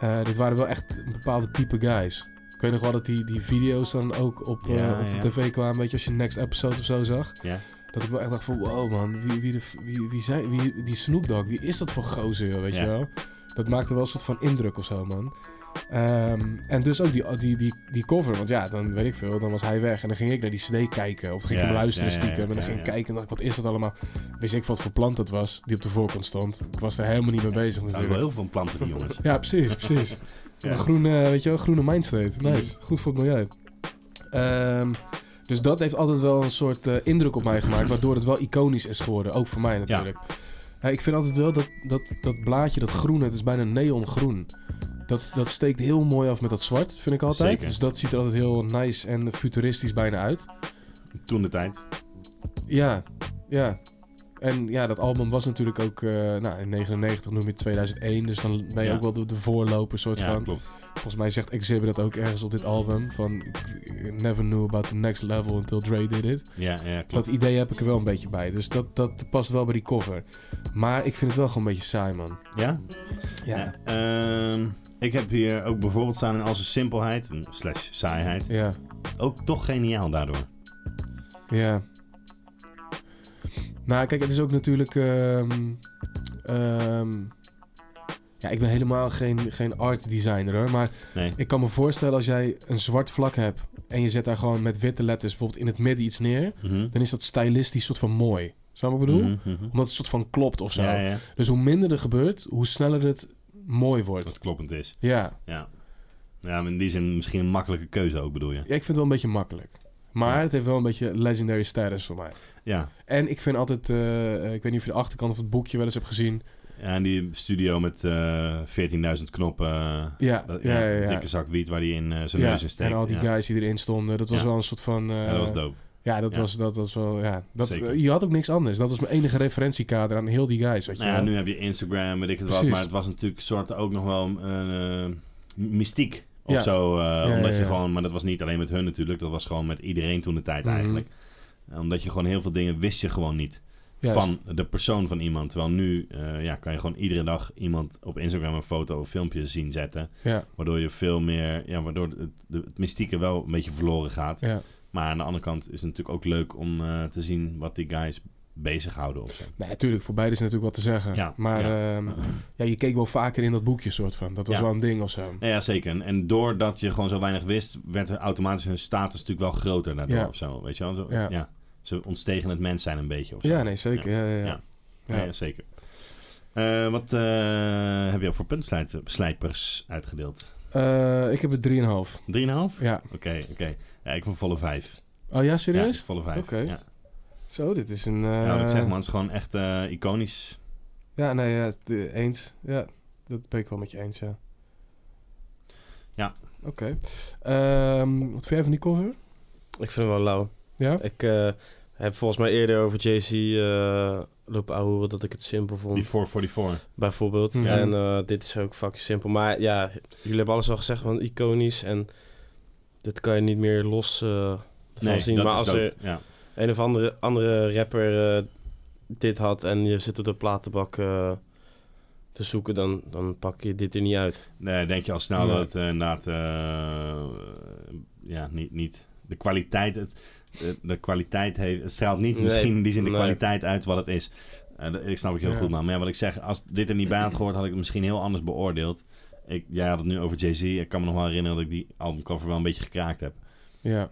eh, dit waren wel echt een bepaalde type guys. Ik weet nog wel dat die, die video's dan ook op, eh,
Ja,
op de
ja.
tv kwamen, weet je, als je next episode of zo zag.
Ja.
Dat ik wel echt dacht van, wow man, wie, wie, de, f- wie, wie, zijn, wie die Snoop Dogg, wie is dat voor gozer, joh, weet
Ja.
je wel? Dat maakte wel een soort van indruk of zo, man. Ehm, en dus ook die, die, die, die cover, want ja, dan weet ik veel, dan was hij weg. En dan ging ik naar die cd kijken, of dan ging ik
Juist,
hem luisteren
ja, ja, ja,
stiekem. en dan
ja,
ging ik
ja.
kijken en dacht ik, wat is dat allemaal? Wist ik wat voor plant het was, die op de voorkant stond. Ik was er helemaal niet mee bezig
Er zijn wel
natuurlijk.
heel veel planten, die jongens.
Ja,
(laughs)
precies, precies.
Ja. Mhm.
Een groene, weet je wel, groene mindstate. Nice. Goed voor het milieu. Ehm, dus dat heeft altijd wel een soort eh, indruk op mij gemaakt, waardoor het wel iconisch is geworden. Ook voor mij natuurlijk. Ja, ik vind altijd wel dat, dat, dat blaadje, dat groene, het is bijna neongroen. Dat, dat steekt heel mooi af met dat zwart, vind ik altijd.
Zeker.
Dus dat ziet er altijd heel nice en futuristisch bijna uit.
Toen de tijd.
Ja, ja. En ja, dat album was natuurlijk ook eh, nou, in 99 noem je het 2001. Dus dan ben je
Ja.
ook wel de, de voorloper soort
Ja,
van.
klopt.
Volgens mij zegt Exhibit dat ook ergens op dit album. Van ik- I never knew about the next level until Dre did it.
Ja, ja, klopt.
Dat idee heb ik er wel een beetje bij. Dus dat, dat past wel bij die cover. Maar ik vind het wel gewoon een beetje saai, man.
Ja?
Ja.
Ehm, ik heb hier ook bijvoorbeeld staan in al zijn simpelheid, mm, slash saaiheid,
Ja.
ook toch geniaal daardoor.
Ja. Nou, kijk, het is ook natuurlijk. ehm, ehm, ja, ik ben helemaal geen, geen art designer hoor. Maar
Nee.
ik kan me voorstellen als jij een zwart vlak hebt. en je zet daar gewoon met witte letters bijvoorbeeld in het midden iets neer.
Mhm.
dan is dat stylistisch soort van mooi. Zou je wat ik bedoel?
Mhm, mhm.
Omdat het soort van klopt of zo.
Ja, ja.
Dus hoe minder er gebeurt, hoe sneller het mooi wordt.
Dat kloppend is.
Ja.
Ja. Ja, maar in die zin misschien een makkelijke keuze ook, bedoel je?
ja, ik vind het wel een beetje makkelijk. Maar
Ja.
het heeft wel een beetje legendary status voor mij.
Ja.
eh, En ik vind altijd, eh, ik weet niet of je de achterkant of het boekje wel eens hebt gezien.
En die studio met eh 14.000 knoppen. eh,
Ja,
dat-
ja, ja, ja.
Dikke zak wiet waar hij in eh, zijn
Ja,
neus in steekt.
en al die
ja.
guys die erin stonden. Dat was
Ja.
wel een soort van... eh,
Ja, dat was dope.
Ja, dat
Ja.
was dat was wel. Ja, dat, eh,
Zeker.
je had ook niks anders. Dat was mijn enige referentiekader aan heel die guys. Weet je
Nou ja,
wel.
nu heb je Instagram, weet ik het wat.
Precies.
Maar het was natuurlijk soort ook nog wel een mystiek of
Ja.
zo. eh,
ja,
omdat je
ja.
gewoon... Maar dat was niet alleen met hun natuurlijk. Dat was gewoon met iedereen toen de tijd
Mhm.
eigenlijk. Eh, Omdat je gewoon heel veel dingen wist je gewoon niet.
Juist.
Van de persoon van iemand. Terwijl nu eh, ja, kan je gewoon iedere dag iemand op Instagram een foto of filmpje zien zetten.
Ja,
Waardoor je veel meer... Ja, waardoor het, de- het mystieke wel een beetje verloren gaat.
ja.
Maar aan de andere kant is het natuurlijk ook leuk om eh, te zien wat die guys bezighouden of zo.
Nee, natuurlijk, Nou voor beide is natuurlijk wat te zeggen.
Ja,
maar
ja.
ehm, ja, je keek wel vaker in dat boekje, soort van. Dat was
Ja.
wel een ding of zo.
Ja, ja, zeker. En, en doordat je gewoon zo weinig wist, werd er automatisch hun status natuurlijk wel groter daardoor
Ja.
of zo. Weet je wel? Zo- ja.
Ja.
Ze ontstegen het mens zijn een beetje of zo.
Ja, nee, zeker. Ja, ja, ja.
Ja.
Ja.
Ja, ja, zeker. Eh, wat eh, heb je ook voor puntslijt- slijpers uitgedeeld? 3,5?
Eh, ik heb er 3,5.
Oké,
Ja.
oké. Ja, ik vond volle vijf.
Oh ja,
Ja,
serieus?
ik volle vijf.
Oké.
Ja.
Zo, dit is een.
ja, wat ik
eh,
zeg man, het is gewoon echt eh, iconisch.
Ja, nee, ja, het, eh, eens. Ja, dat ben ik wel met je eens, ja.
Ja.
Oké. Ehm, wat vind jij van die cover?
Ik vind hem wel lauw.
Ja?
Ik eh, heb volgens mij eerder over Jay-Z eh, lopen ahoeren dat ik het simpel vond.
Die 444.
bijvoorbeeld.
Mhm.
En eh, dit is ook fucking simpel. Maar ja, jullie hebben alles al gezegd van iconisch. En dit kan je niet meer los eh van
Nee,
zien.
dat
Maar
is
als
het
er
ook. Ja.
een of andere, andere rapper eh, dit had en je zit op de platenbak eh, te zoeken, dan, dan pak je dit er niet uit.
Nee, denk je al snel
Nee.
dat het eh, inderdaad... eh, ja, niet, niet... De kwaliteit... Het, de- de kwaliteit heeft, het straalt niet
Nee,
misschien in die zin de
nee.
kwaliteit uit wat het is. Eh, dat- ik snap het heel
Ja.
goed, man. Maar ja, wat ik zeg, als dit er niet bij had gehoord... had ik het misschien heel anders beoordeeld. Ik, jij had het nu over Jay-Z. Ik kan me nog wel herinneren dat ik die albumcover wel een beetje gekraakt heb.
Ja.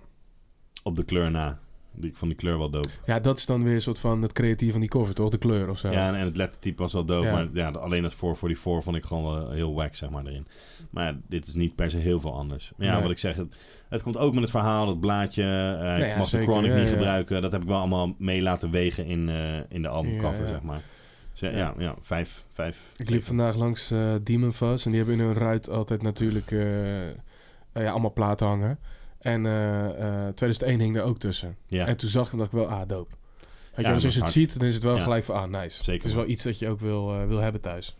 Op de kleur na. Die- Ik vond die kleur wel dope.
Ja, dat is dan weer een soort van het creatief van die cover, toch? De kleur of zo.
Ja, en, en het lettertype was wel dope.
Ja.
Maar ja, alleen dat 444 vond ik gewoon wel heel wack, zeg maar, erin. Maar ja, dit is niet per se heel veel anders. Maar ja,
Nee.
wat ik zeg, het, het komt ook met het verhaal, dat blaadje. eh, ik
ja,
mag
zeker.
de Chronic
Ja,
niet
ja.
gebruiken. Dat heb ik wel allemaal mee laten wegen in, eh, in de albumcover,
Ja, ja.
zeg maar. Dus ja, ja, ja, vijf, vijf.
Ik liep vandaag langs eh, Demon Fuzz en die hebben in hun ruit altijd natuurlijk eh, eh, ja, allemaal platen hangen. En eh, eh, 2001 hing daar ook tussen.
Ja,
En toen zag ik hem, dacht ik wel, ah, dope. Weet je
dat
wel, dus
is
als je het
hard.
ziet, dan is het wel
Ja.
gelijk van, ah, nice.
Zeker,
Het is wel iets dat je ook wil, eh, wil hebben thuis.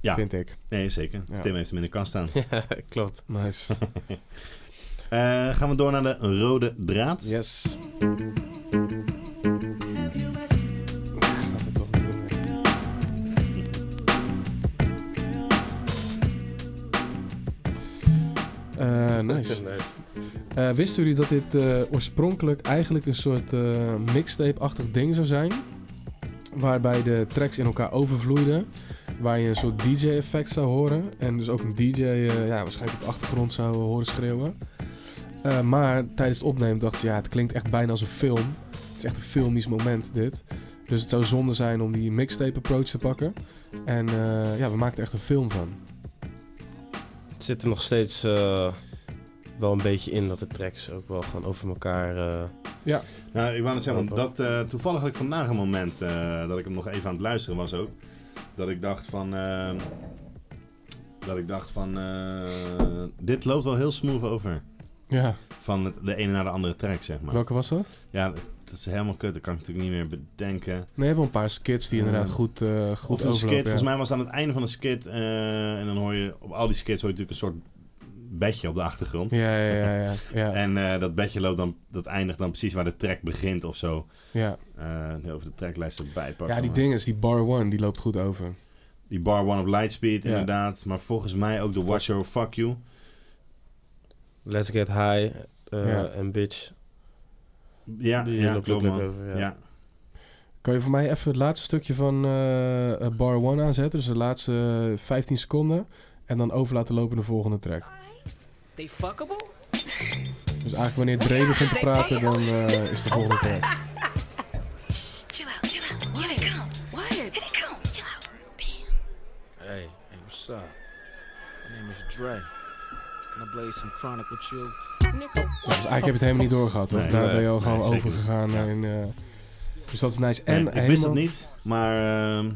Ja.
Vind ik.
nee, zeker.
Ja.
Tim heeft hem in de kast
(laughs)
staan.
ja, klopt.
Nice.
(laughs) Eh, gaan we door naar de rode draad.
Yes. Eh, nice. Eh, wisten jullie dat dit eh, oorspronkelijk eigenlijk een soort eh, mixtape-achtig ding zou zijn? Waarbij de tracks in elkaar overvloeiden. Waar je een soort DJ-effect zou horen. En dus ook een DJ eh, ja, waarschijnlijk op de achtergrond zou horen schreeuwen. Eh, maar tijdens het opnemen dacht ze, ja, het klinkt echt bijna als een film. Het is echt een filmisch moment dit. Dus het zou zonde zijn om die mixtape-approach te pakken. En eh, ja, we maakten er echt een film van.
Het zit er nog steeds eh, wel een beetje in dat de tracks ook wel gaan over elkaar. eh,
Nou, ik wou net zeggen, want dat, eh, toevallig had ik vandaag een moment eh, dat ik hem nog even aan het luisteren was ook. Dat ik dacht van. eh, dat ik dacht van. eh, dit loopt wel heel smooth over.
Ja,
Van het, de ene naar de andere track, zeg maar.
welke was dat?
Ja, dat is helemaal kut. Dat kan ik natuurlijk niet meer bedenken.
Nee, we hebben een paar skits die inderdaad
Ja.
goed, eh
Of
goed
een skit.
overlopen. ja.
Volgens mij was het aan het einde van een skit. eh, en dan hoor je op al die skits hoor je natuurlijk een soort bedje op de achtergrond.
Ja, ja, ja. ja, ja, ja.
En eh, dat bedje loopt dan, dat eindigt dan precies waar de track begint of zo. Eh, heel even de tracklijst erbij pakken.
Ja, die
maar-
ding is, die bar one, die loopt goed over.
Die Bar One op Lightspeed,
Ja.
inderdaad. Maar volgens mij ook de Watcher of Fuck You.
Let's Get High eh,
Ja.
en Bitch.
Ja,
Die
ja
loopt
klopt
ook
man.
over,
Ja.
ja.
Kan je voor mij even het laatste stukje van eh, eh, bar one aanzetten? Dus de laatste 15 seconden. En dan over laten lopen de volgende track.
They fuckable?
Dus eigenlijk wanneer Dre begint te praten, dan eh, is de volgende track.
Chill out, chill out. Here they come. What? Here they come. Chill out. Bam.
Hey, hey, what's up? My name is Dre. Can I blaze some chronic with you?
Dus eigenlijk heb je het helemaal niet doorgehad, hoor.
Nee,
Daar
nee,
ben je al
nee,
gewoon
zeker
over gegaan.
niet. Ja.
En, eh, dus dat is nice.
Nee,
En
ik
helemaal...
wist het niet, maar ehm,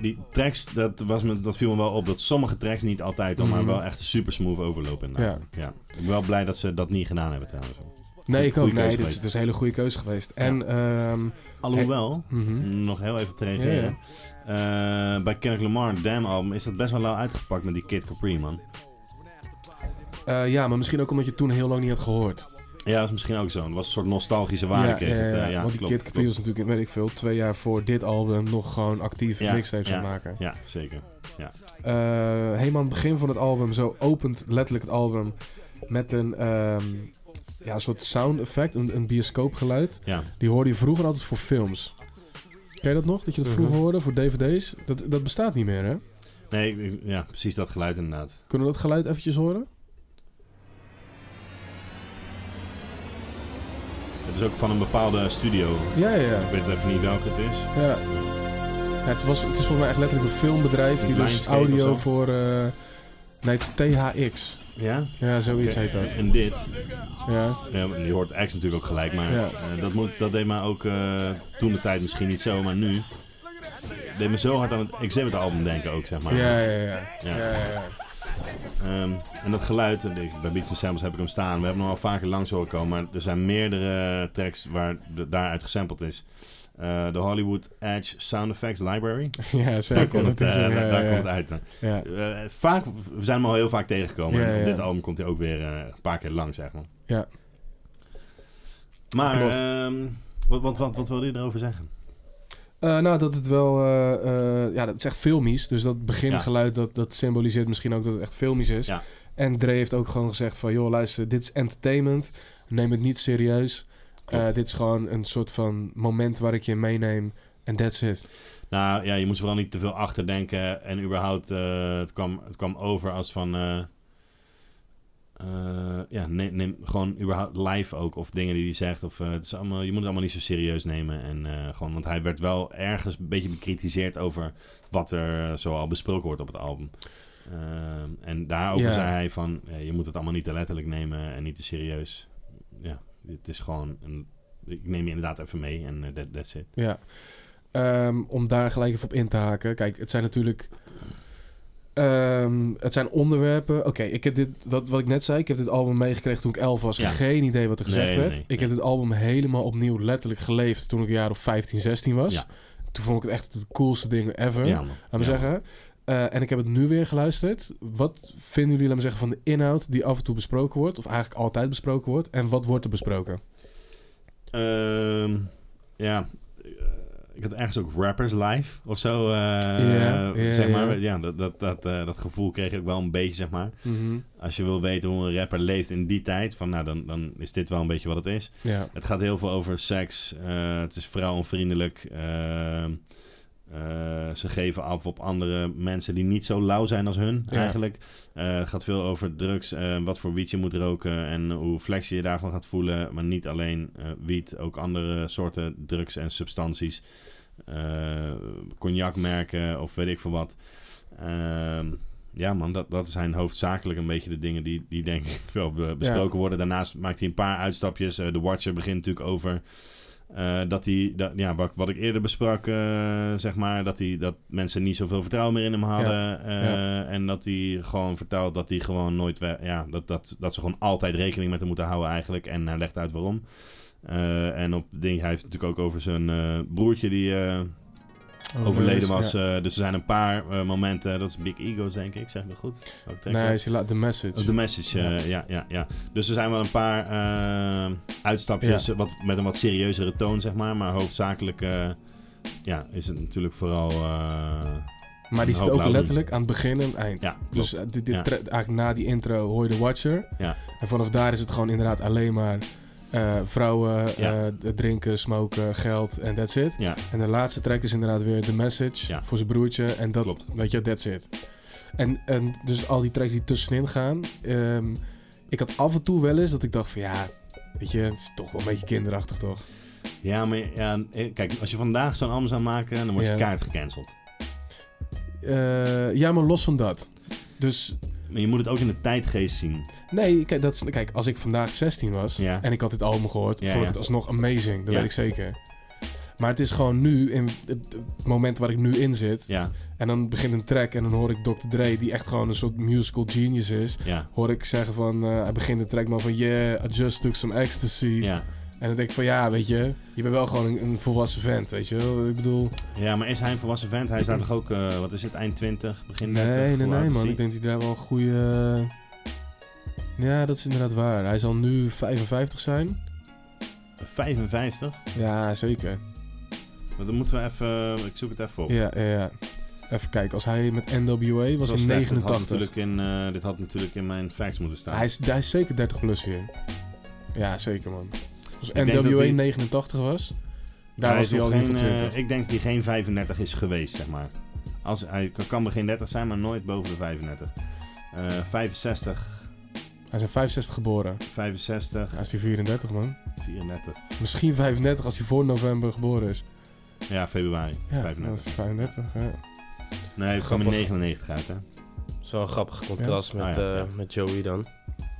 die tracks, dat, was me, dat viel me wel op. Dat sommige tracks niet altijd, hoor,
Mhm.
maar wel echt super smooth overlopen. inderdaad. Ja. Ik ben wel blij dat ze dat niet gedaan hebben trouwens.
Nee, ik ook.
Goeie keuze
Nee, dit is
geweest.
dus een hele goede keuze geweest. En, ehm,
Alhoewel,
mhm.
nog heel even te reageren.
Ja,
Eh, bij Kendrick Lamar, Damn album, is dat best wel lauw uitgepakt met die Kid Capri, man.
Eh, ja, maar misschien ook omdat je het toen heel lang niet had gehoord.
Ja, dat is misschien ook zo. Het was een soort nostalgische waarde.
ja,
kreeg
ja,
het, eh,
ja,
ja,
want die
klopt,
Kid Capri
klopt.
was natuurlijk, weet ik veel, twee jaar voor dit album nog gewoon actief
Ja,
mixtapes
ja.
aan het maken.
Ja, zeker.
Eh, helemaal aan het begin van het album, zo opent letterlijk het album met een ehm, ja, soort sound effect, een, een bioscoopgeluid.
Ja.
Die hoorde je vroeger altijd voor films. Ken je dat nog? Dat je dat vroeger
Mhm.
hoorde voor dvd's? Dat, dat bestaat niet meer, hè?
Nee, ik- ik- ja, precies dat geluid inderdaad.
Kunnen we dat geluid eventjes horen?
Het is ook van een bepaalde studio.
Ja, ja, ja.
Ik weet even niet welke het is.
Ja. Ja, het, was, het is volgens mij echt letterlijk een filmbedrijf die dus
Lionsgate of
audio
zo?
voor. eh, nee, het is THX.
Ja?
Ja, zoiets heet dat.
En dit.
Ja.
Ja, maar die hoort X natuurlijk ook gelijk, maar
Ja.
eh, dat, moet, dat deed me ook eh, toen de tijd misschien niet zo, maar nu. Deed me zo hard aan het Exhibit album denken ook, zeg maar.
Ja, ja, ja. ja.
Ja.
ja, ja.
Ehm, en dat geluid, eh, ik- bij Beats Samples heb ik hem staan. We hebben hem al vaker langs horen komen, maar er zijn meerdere tracks waar de, daaruit gesampled is. Eh, De Hollywood Edge Sound Effects Library.
(laughs) Ja,
Daar
zeker.
komt het,
Dat is
eh,
hem, ja,
daar- daar
ja,
komt het
ja.
uit. hè.
Ja.
Eh, vaak, we zijn hem al heel vaak tegengekomen.
Ja,
En
ja.
op dit album komt hij ook weer eh, een paar keer langs, zeg maar.
Ja.
Maar,
Klopt.
ehm, wat, wat, wat, wat wilde je erover zeggen?
Eh, nou, dat het wel... eh, eh, ja, dat is echt filmisch. Dus dat begingeluid, dat, dat symboliseert misschien ook dat het echt filmisch is.
Ja.
En Dre heeft ook gewoon gezegd van... joh, luister, dit is entertainment. Neem het niet serieus. Eh,
Klopt.
dit is gewoon een soort van moment waar ik je meeneem. En that's it.
Nou ja, je moest vooral niet te veel achterdenken. En überhaupt, eh, het, kwam, het kwam over als van. eh, eh, ja, neem, neem gewoon überhaupt live ook. Of dingen die hij zegt. Of, eh, het is allemaal, je moet het allemaal niet zo serieus nemen. En, eh, gewoon, want hij werd wel ergens een beetje bekritiseerd over wat er eh, zoal besproken wordt op het album. Ehm, en daarover
Ja.
zei hij van, eh, je moet het allemaal niet te letterlijk nemen en niet te serieus. Ja, het is gewoon, een, ik neem je inderdaad even mee en eh, that, that's it.
Ja. Ehm, om daar gelijk even op in te haken. Kijk, het zijn natuurlijk... ehm, het zijn onderwerpen. Oké, ik heb dit, dat, wat ik net zei, ik heb dit album meegekregen toen ik 11 was.
Ja.
Geen idee wat er gezegd
Nee, nee,
werd.
nee,
ik heb dit album helemaal opnieuw letterlijk geleefd toen ik een jaar of 15, 16 was.
Ja.
Toen vond ik het echt het coolste ding ever.
Ja, man.
Laat me
Ja.
zeggen. Eh, en ik heb het nu weer geluisterd. Wat vinden jullie, laat me zeggen, van de inhoud die af en toe besproken wordt? Of eigenlijk altijd besproken wordt? En wat wordt er besproken?
Ehm, ja. Eh, Ik had ergens ook Rappers Live of zo. eh,
Ja, ja,
zeg maar.
ja.
Ja, dat, dat, dat, eh, dat gevoel kreeg ik ook wel een beetje, zeg maar.
Mhm.
Als je wil weten hoe een rapper leeft in die tijd, van, nou, dan, dan is dit wel een beetje wat het is.
Ja.
Het gaat heel veel over seks. eh, het is vrouwonvriendelijk. ehm, eh, ze geven af op andere mensen die niet zo lauw zijn als hun,
Ja.
eigenlijk. Eh, het gaat veel over drugs, eh, wat voor wiet je moet roken en hoe flex je je daarvan gaat voelen. Maar niet alleen eh, wiet, ook andere soorten drugs en substanties. Eh, cognacmerken of weet ik veel wat. Ehm, ja man, dat, dat zijn hoofdzakelijk een beetje de dingen die, die denk ik wel be- besproken worden. Daarnaast maakt hij een paar uitstapjes. Eh, de Watcher begint natuurlijk over eh, dat hij, dat, ja, wat, wat ik eerder besprak, eh, zeg maar, dat, hij, dat mensen niet zoveel vertrouwen meer in hem hadden. Eh,
ja.
En dat hij gewoon vertelt dat hij gewoon nooit, we- ja, dat, dat, dat ze gewoon altijd rekening met hem moeten houden eigenlijk. En hij legt uit waarom. Eh, en op ding, hij heeft het natuurlijk ook over zijn eh, broertje die eh, overleden was.
Ja.
Eh, dus er zijn een paar eh, momenten, dat is Big Egos denk ik, zeg ik dat goed? Ook tekst, hè?
Nee, ze laat de message.
Of de message, eh, ja. ja, ja. Dus er zijn wel een paar eh, uitstapjes eh, wat, met een wat serieuzere toon, zeg maar. Maar hoofdzakelijk eh, ja, is het natuurlijk vooral... eh,
Maar die
Een
zit
hoop
ook
lauwe
letterlijk aan het begin en het eind.
ja,
dus
klopt.
eh, dit, dit
Ja.
tra- eigenlijk na die intro hoor je de Watcher.
Ja.
En vanaf daar is het gewoon inderdaad alleen maar eh, vrouwen,
Ja.
eh, drinken, smoken, geld en that's it.
ja,
En de laatste track is inderdaad weer The Message
Ja.
voor zijn broertje. En dat,
Klopt.
weet je, that's it. En, en dus al die tracks die tussenin gaan. ehm, ik had af en toe wel eens dat ik dacht van ja, weet je, het is toch wel een beetje kinderachtig toch?
ja, maar ja, eh, kijk, als je vandaag zo'n album zou maken, dan wordt
Ja.
je kaart gecanceld.
Eh, ja, maar los van dat. Dus
Maar je moet het ook in de tijdgeest zien.
Nee, kijk, dat, is- kijk, als ik vandaag 16 was
Ja.
en ik had dit album gehoord,
Ja,
vond ik
ja.
het alsnog amazing. Dat
Ja.
weet ik zeker. Maar het is gewoon nu, in het, het moment waar ik nu in zit.
Ja,
En dan begint een track en dan hoor ik Dr. Dre, die echt gewoon een soort musical genius is.
ja,
Hoor ik zeggen van, eh, hij begint een track maar van yeah, I just took some ecstasy.
ja.
En dan denk ik van, ja, weet je, je bent wel gewoon een, een volwassen vent, weet je wel. Ik bedoel,
Ja, maar is hij een volwassen vent? Hij is daar toch ook, eh, wat is het, eind 20, begin 30?
nee, nee,
Hoe oud
nee,
is
man.
hij?
Ik denk dat hij daar wel een goede... eh, Ja, dat is inderdaad waar. Hij zal nu 55 zijn.
55?
Ja, zeker.
Maar dan moeten we even, ik zoek het even op.
Ja, ja, ja. Even kijken, als hij met NWA was
Zo
in
slecht, dit
89.
had natuurlijk in, eh, dit had natuurlijk in mijn facts moeten staan.
Hij is, hij is zeker 30 plus hier. Ja, zeker man. Als
denk dat
NWA
hij-
89 was, daar
Hij
was
is
hij
nog
al in
geen,
ieder geval
eh,
20.
ik denk dat hij geen 35 is geweest, zeg maar. Als, hij kan- kan begin 30 zijn, maar nooit boven de 35. Eh, 65,
Hij is in 65 geboren.
65,
Hij is die 34 man.
34.
Misschien 35 als hij voor november geboren is.
Ja, februari.
Ja,
35.
dan is hij 35. Ja.
Nee, hij kwam in
Grappig.
99 uit, hè?
Zo'n grappig contrast
Ja.
met,
Ah, ja,
eh, met Joey dan.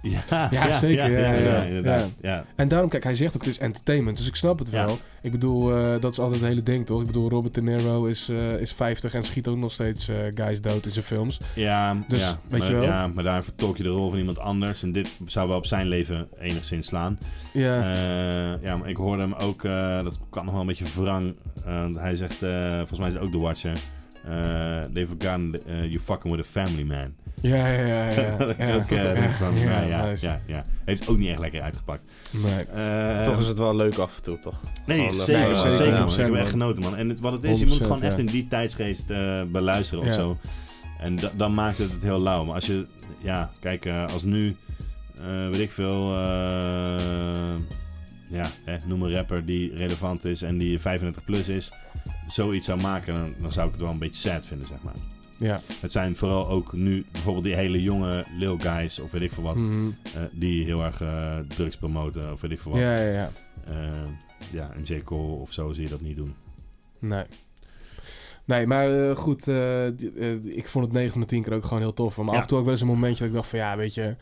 (laughs) Ja,
zeker, ja, ja, ja.
inderdaad. Ja.
En daarom, kijk, hij zegt ook, het is entertainment, dus ik snap het
Ja.
wel. Ik bedoel, eh, dat is altijd het hele ding, toch? Ik bedoel, Robert De Niro is, eh, is 50 en schiet ook nog steeds eh, guys dood in zijn films.
Ja,
Dus,
ja,
weet
maar,
je wel.
ja, maar daar vertolk je de rol van iemand anders. En dit zou wel op zijn leven enigszins slaan.
Ja,
Eh, ja, maar ik hoorde hem ook, eh, dat kan nog wel een beetje wrang. eh, want hij zegt, eh, volgens mij is het ook The Watcher. eh they've forgotten eh, you fucking with a family man.
ja, ja, ja. ja,
(laughs) Dat ik
ja.
ook, eh, denk van,
Ja,
ja, ja,
nice.
ja, ja. Heeft ook niet echt lekker uitgepakt.
Nee.
Eh,
toch is het wel leuk af en toe, toch?
Nee,
Gewoon, eh,
zeker,
nee,
man.
zeker,
zeker man. Ik
100%,
heb echt
man.
genoten, man. En het, wat het is, je moet het
100%,
gewoon echt
ja.
in die tijdsgeest eh, beluisteren of
Ja.
zo. En da- dan maakt het het heel lauw. Maar als je, ja, kijk, eh, als nu, eh, weet ik veel, eh, ja, hè, noem een rapper die relevant is en die 35 plus is, zoiets zou maken, dan, dan zou ik het wel een beetje sad vinden, zeg maar.
Ja.
Het zijn vooral ook nu bijvoorbeeld die hele jonge Lil Guys of weet ik veel wat,
Mhm.
eh, die heel erg eh, drugs promoten of weet ik veel wat.
ja, ja, ja.
Eh, ja, een J. Cole of zo zie je dat niet doen.
Nee. Nee, maar eh, goed, eh, d- eh, ik vond het 9 van de 10 keer ook gewoon heel tof. Maar
Ja.
af en toe ook wel eens een momentje dat ik dacht van ja, weet je, je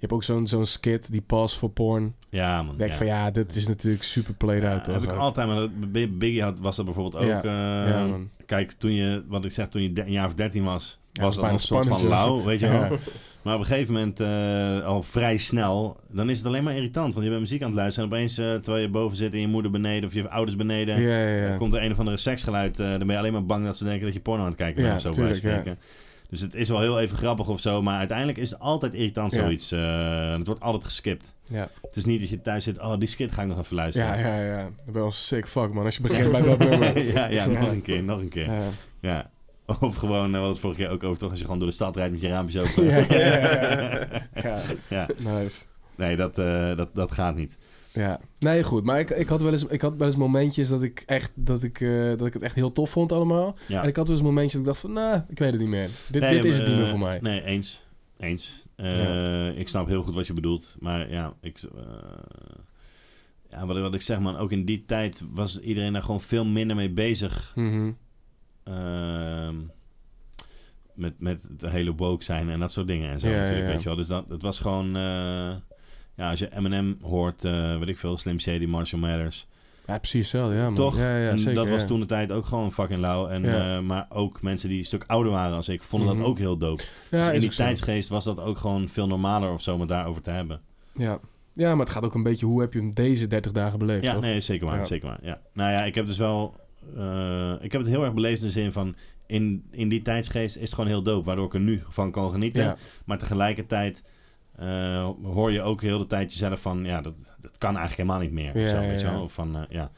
hebt ook zo'n zo'n skit die pas voor porn.
Ja, man.
Ik denk
ja.
van ja, dit is natuurlijk super played out.
Ja,
toch?
heb ik
ook.
altijd, maar dat- bij Biggie had, was dat bijvoorbeeld ook.
Ja,
eh,
ja, man.
kijk, toen je, wat ik zeg, toen je de- een jaar of 13 was,
Ja,
was dat
bijna
nog een soort van
spannend, joh.
lauw, weet je
Ja.
wel. Maar op een gegeven moment, eh, al vrij snel, dan is het alleen maar irritant. Want je bent muziek aan het luisteren en opeens, eh, terwijl je boven zit en je moeder beneden of je ouders beneden,
Ja, ja, ja.
dan komt er een of andere seksgeluid. eh, dan ben je alleen maar bang dat ze denken dat je porno aan het kijken bent
Ja,
of zo,
tuurlijk,
bij wijze van spreken. Dus het is wel heel even grappig of zo, maar uiteindelijk is het altijd irritant
Ja.
zoiets. eh, en het wordt altijd geskipt.
Ja.
Het is niet dat je thuis zit, oh, die skit ga ik nog even luisteren.
ja, ja, ja. Dat ben je wel een sick fuck, man. Als je begint bij
(laughs)
dat nummer.
ja, ja,
Ja.
nog een keer, nog een keer.
Ja.
Ja. Of gewoon, eh, we hadden het vorige keer ook over, toch? Als je gewoon door de stad rijdt met je raampjes open.
ja, ja,
(laughs)
ja, ja.
Ja.
Ja, nice.
Nee, dat, eh, dat, dat gaat niet.
Ja. Nee, goed. Maar ik, ik, had wel eens, ik had wel eens momentjes dat ik, echt, dat, ik, eh, dat ik het echt heel tof vond allemaal.
Ja.
En ik had wel eens momentjes dat ik dacht van, nou, ik weet het niet meer. Dit,
Nee,
dit is
maar,
het niet meer
eh,
voor mij.
Nee, eens. Eens. Eh, Ik snap heel goed wat je bedoelt. Maar ja, ik... eh, ja, wat, wat ik zeg, man. Ook in die tijd was iedereen daar gewoon veel minder mee bezig.
Mhm.
Ehm, met, met het hele woke zijn en dat soort dingen en zo
Ja,
natuurlijk,
ja, ja.
weet je wel. Dus dat, dat was gewoon... eh, ja, als je Eminem hoort, eh, weet ik veel, Slim Shady, Marshall Mathers.
Ja, precies hetzelfde, ja man.
Toch?
Ja, ja,
en
zeker,
dat was
ja.
toen de tijd ook gewoon fucking lauw. En,
Ja.
eh, maar ook mensen die een stuk ouder waren als ik, vonden
Mhm.
dat ook heel dope.
Ja,
dus in
is
die
ook zo.
tijdsgeest was dat ook gewoon veel normaler of zo om het daarover te hebben.
Ja. ja, maar het gaat ook een beetje hoe heb je hem deze 30 dagen beleefd,
Ja,
toch?
nee, zeker waar.
Ja.
Zeker waar ja. Nou ja, ik heb dus wel. eh, ik heb het heel erg beleefd in de zin van. In, in die tijdsgeest is het gewoon heel dope, waardoor ik er nu van kan genieten.
Ja,
Maar tegelijkertijd eh, hoor je ook heel de tijd jezelf van... ja, dat, dat kan eigenlijk helemaal niet meer.
Ja,
of zo,
ja,
weet je
ja.
wel? Of van, eh, ja.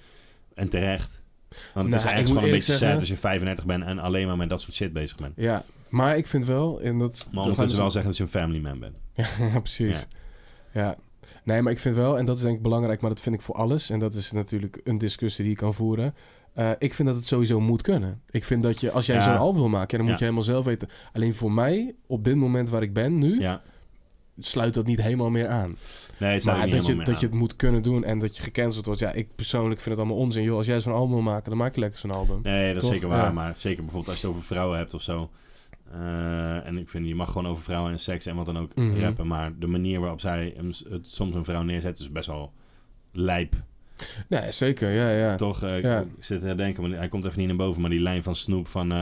En terecht. Want het
Nou,
is
ik moet
eigenlijk gewoon een
eerlijk
beetje
zeggen-
sad als je 35 bent... en alleen maar met dat soort shit bezig bent.
ja. maar ik vind wel... En dat,
Maar
dat gaan dus- we-
ondertussen wel zeggen dat je een family man bent.
(laughs) Ja, precies. Ja. Nee, maar ik vind wel, en dat is denk ik belangrijk, maar dat vind ik voor alles. En dat is natuurlijk een discussie die je kan voeren. Eh, ik vind dat het sowieso moet kunnen. Ik vind dat je, als jij
Ja.
zo'n album wil maken, ja, dan
Ja.
moet je helemaal zelf weten. Alleen voor mij, op dit moment waar ik ben nu,
Ja.
sluit dat niet helemaal meer aan.
Nee, het staat er
Maar
niet
dat je,
helemaal
dat je
mee
het moet kunnen doen en dat je gecanceld wordt. Ja, ik persoonlijk vind het allemaal onzin. Joh, als jij zo'n album wil maken, dan maak je lekker zo'n album.
aan. Nee, dat is
Toch?
zeker waar.
Ja.
Maar zeker bijvoorbeeld als je het over vrouwen hebt of zo... Eh, en ik vind, je mag gewoon over vrouwen en seks en wat dan ook
Mhm.
rappen. Maar de manier waarop zij hem, het, soms een vrouw neerzet is best wel lijp.
Nee, zeker. Ja, ja.
Toch, eh, ik
Ja.
ik zit te denken, maar hij komt even niet naar boven. Maar die lijn van Snoep van... eh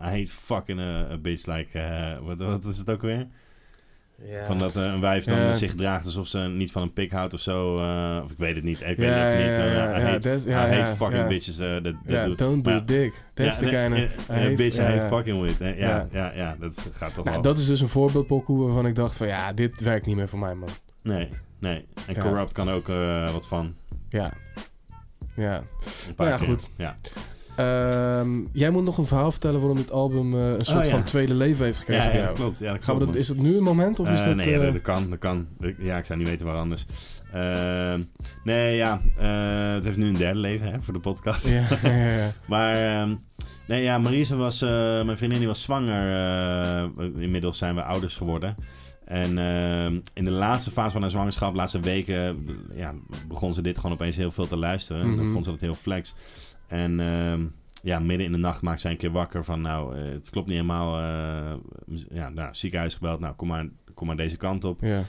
I hate fucking eh, a bitch like... eh, wat, wat is het ook weer?
Ja.
Van dat eh, een wijf dan
Ja.
zich draagt alsof ze niet van een pik houdt of zo. eh, of ik weet het niet. Ik weet
Ja,
het even
ja,
niet.
ja,
Eh,
ja,
I
ja,
hate,
dat- ja,
I hate
ja,
fucking
ja.
bitches. eh, dat dat
Ja,
doet-
don't be
ja.
a dick. That's
Ja,
the
nee,
kind of...
ja, ja,
Hij
bitch, I
heeft-
hate
ja.
fucking with. Eh, Ja, ja.
Ja.
Ja, dat gaat toch
Nou,
wel.
dat is dus een voorbeeldpokoe waarvan ik dacht van ja, dit werkt niet meer voor mij man.
Nee, nee. En
Ja.
Corrupt kan ook eh, wat van.
Ja. Ja. Nou
Een paar
Ja,
keer.
goed.
Ja.
Ehm, jij moet nog een verhaal vertellen waarom dit album eh, een soort
Oh, ja.
van tweede leven heeft
Ja,
gekregen
ja,
bij jou.
klopt. Ja, dat
Gaan we
klopt,
dat,
man.
is dat nu een moment of is
Eh,
dat...
nee, ja,
eh,
dat, dat kan, dat kan. Ik- Ja, ik zou niet weten waar anders. Ehm, nee, ja, eh, het heeft nu een derde leven hè, voor de podcast.
ja, ja, ja, ja.
(laughs) Maar, ehm, nee, ja, Marise was, eh, mijn vriendin die was zwanger. eh, inmiddels zijn we ouders geworden. En ehm, in de laatste fase van haar zwangerschap, de laatste weken, ja, begon ze dit gewoon opeens heel veel te luisteren. En dan
Mhm.
vond ze dat heel flex. En ehm, ja, midden in de nacht maakt zij een keer wakker van, nou, eh, het klopt niet helemaal. eh, ja, nou, ziekenhuis gebeld, nou, kom maar, kom maar deze kant op.
Ja.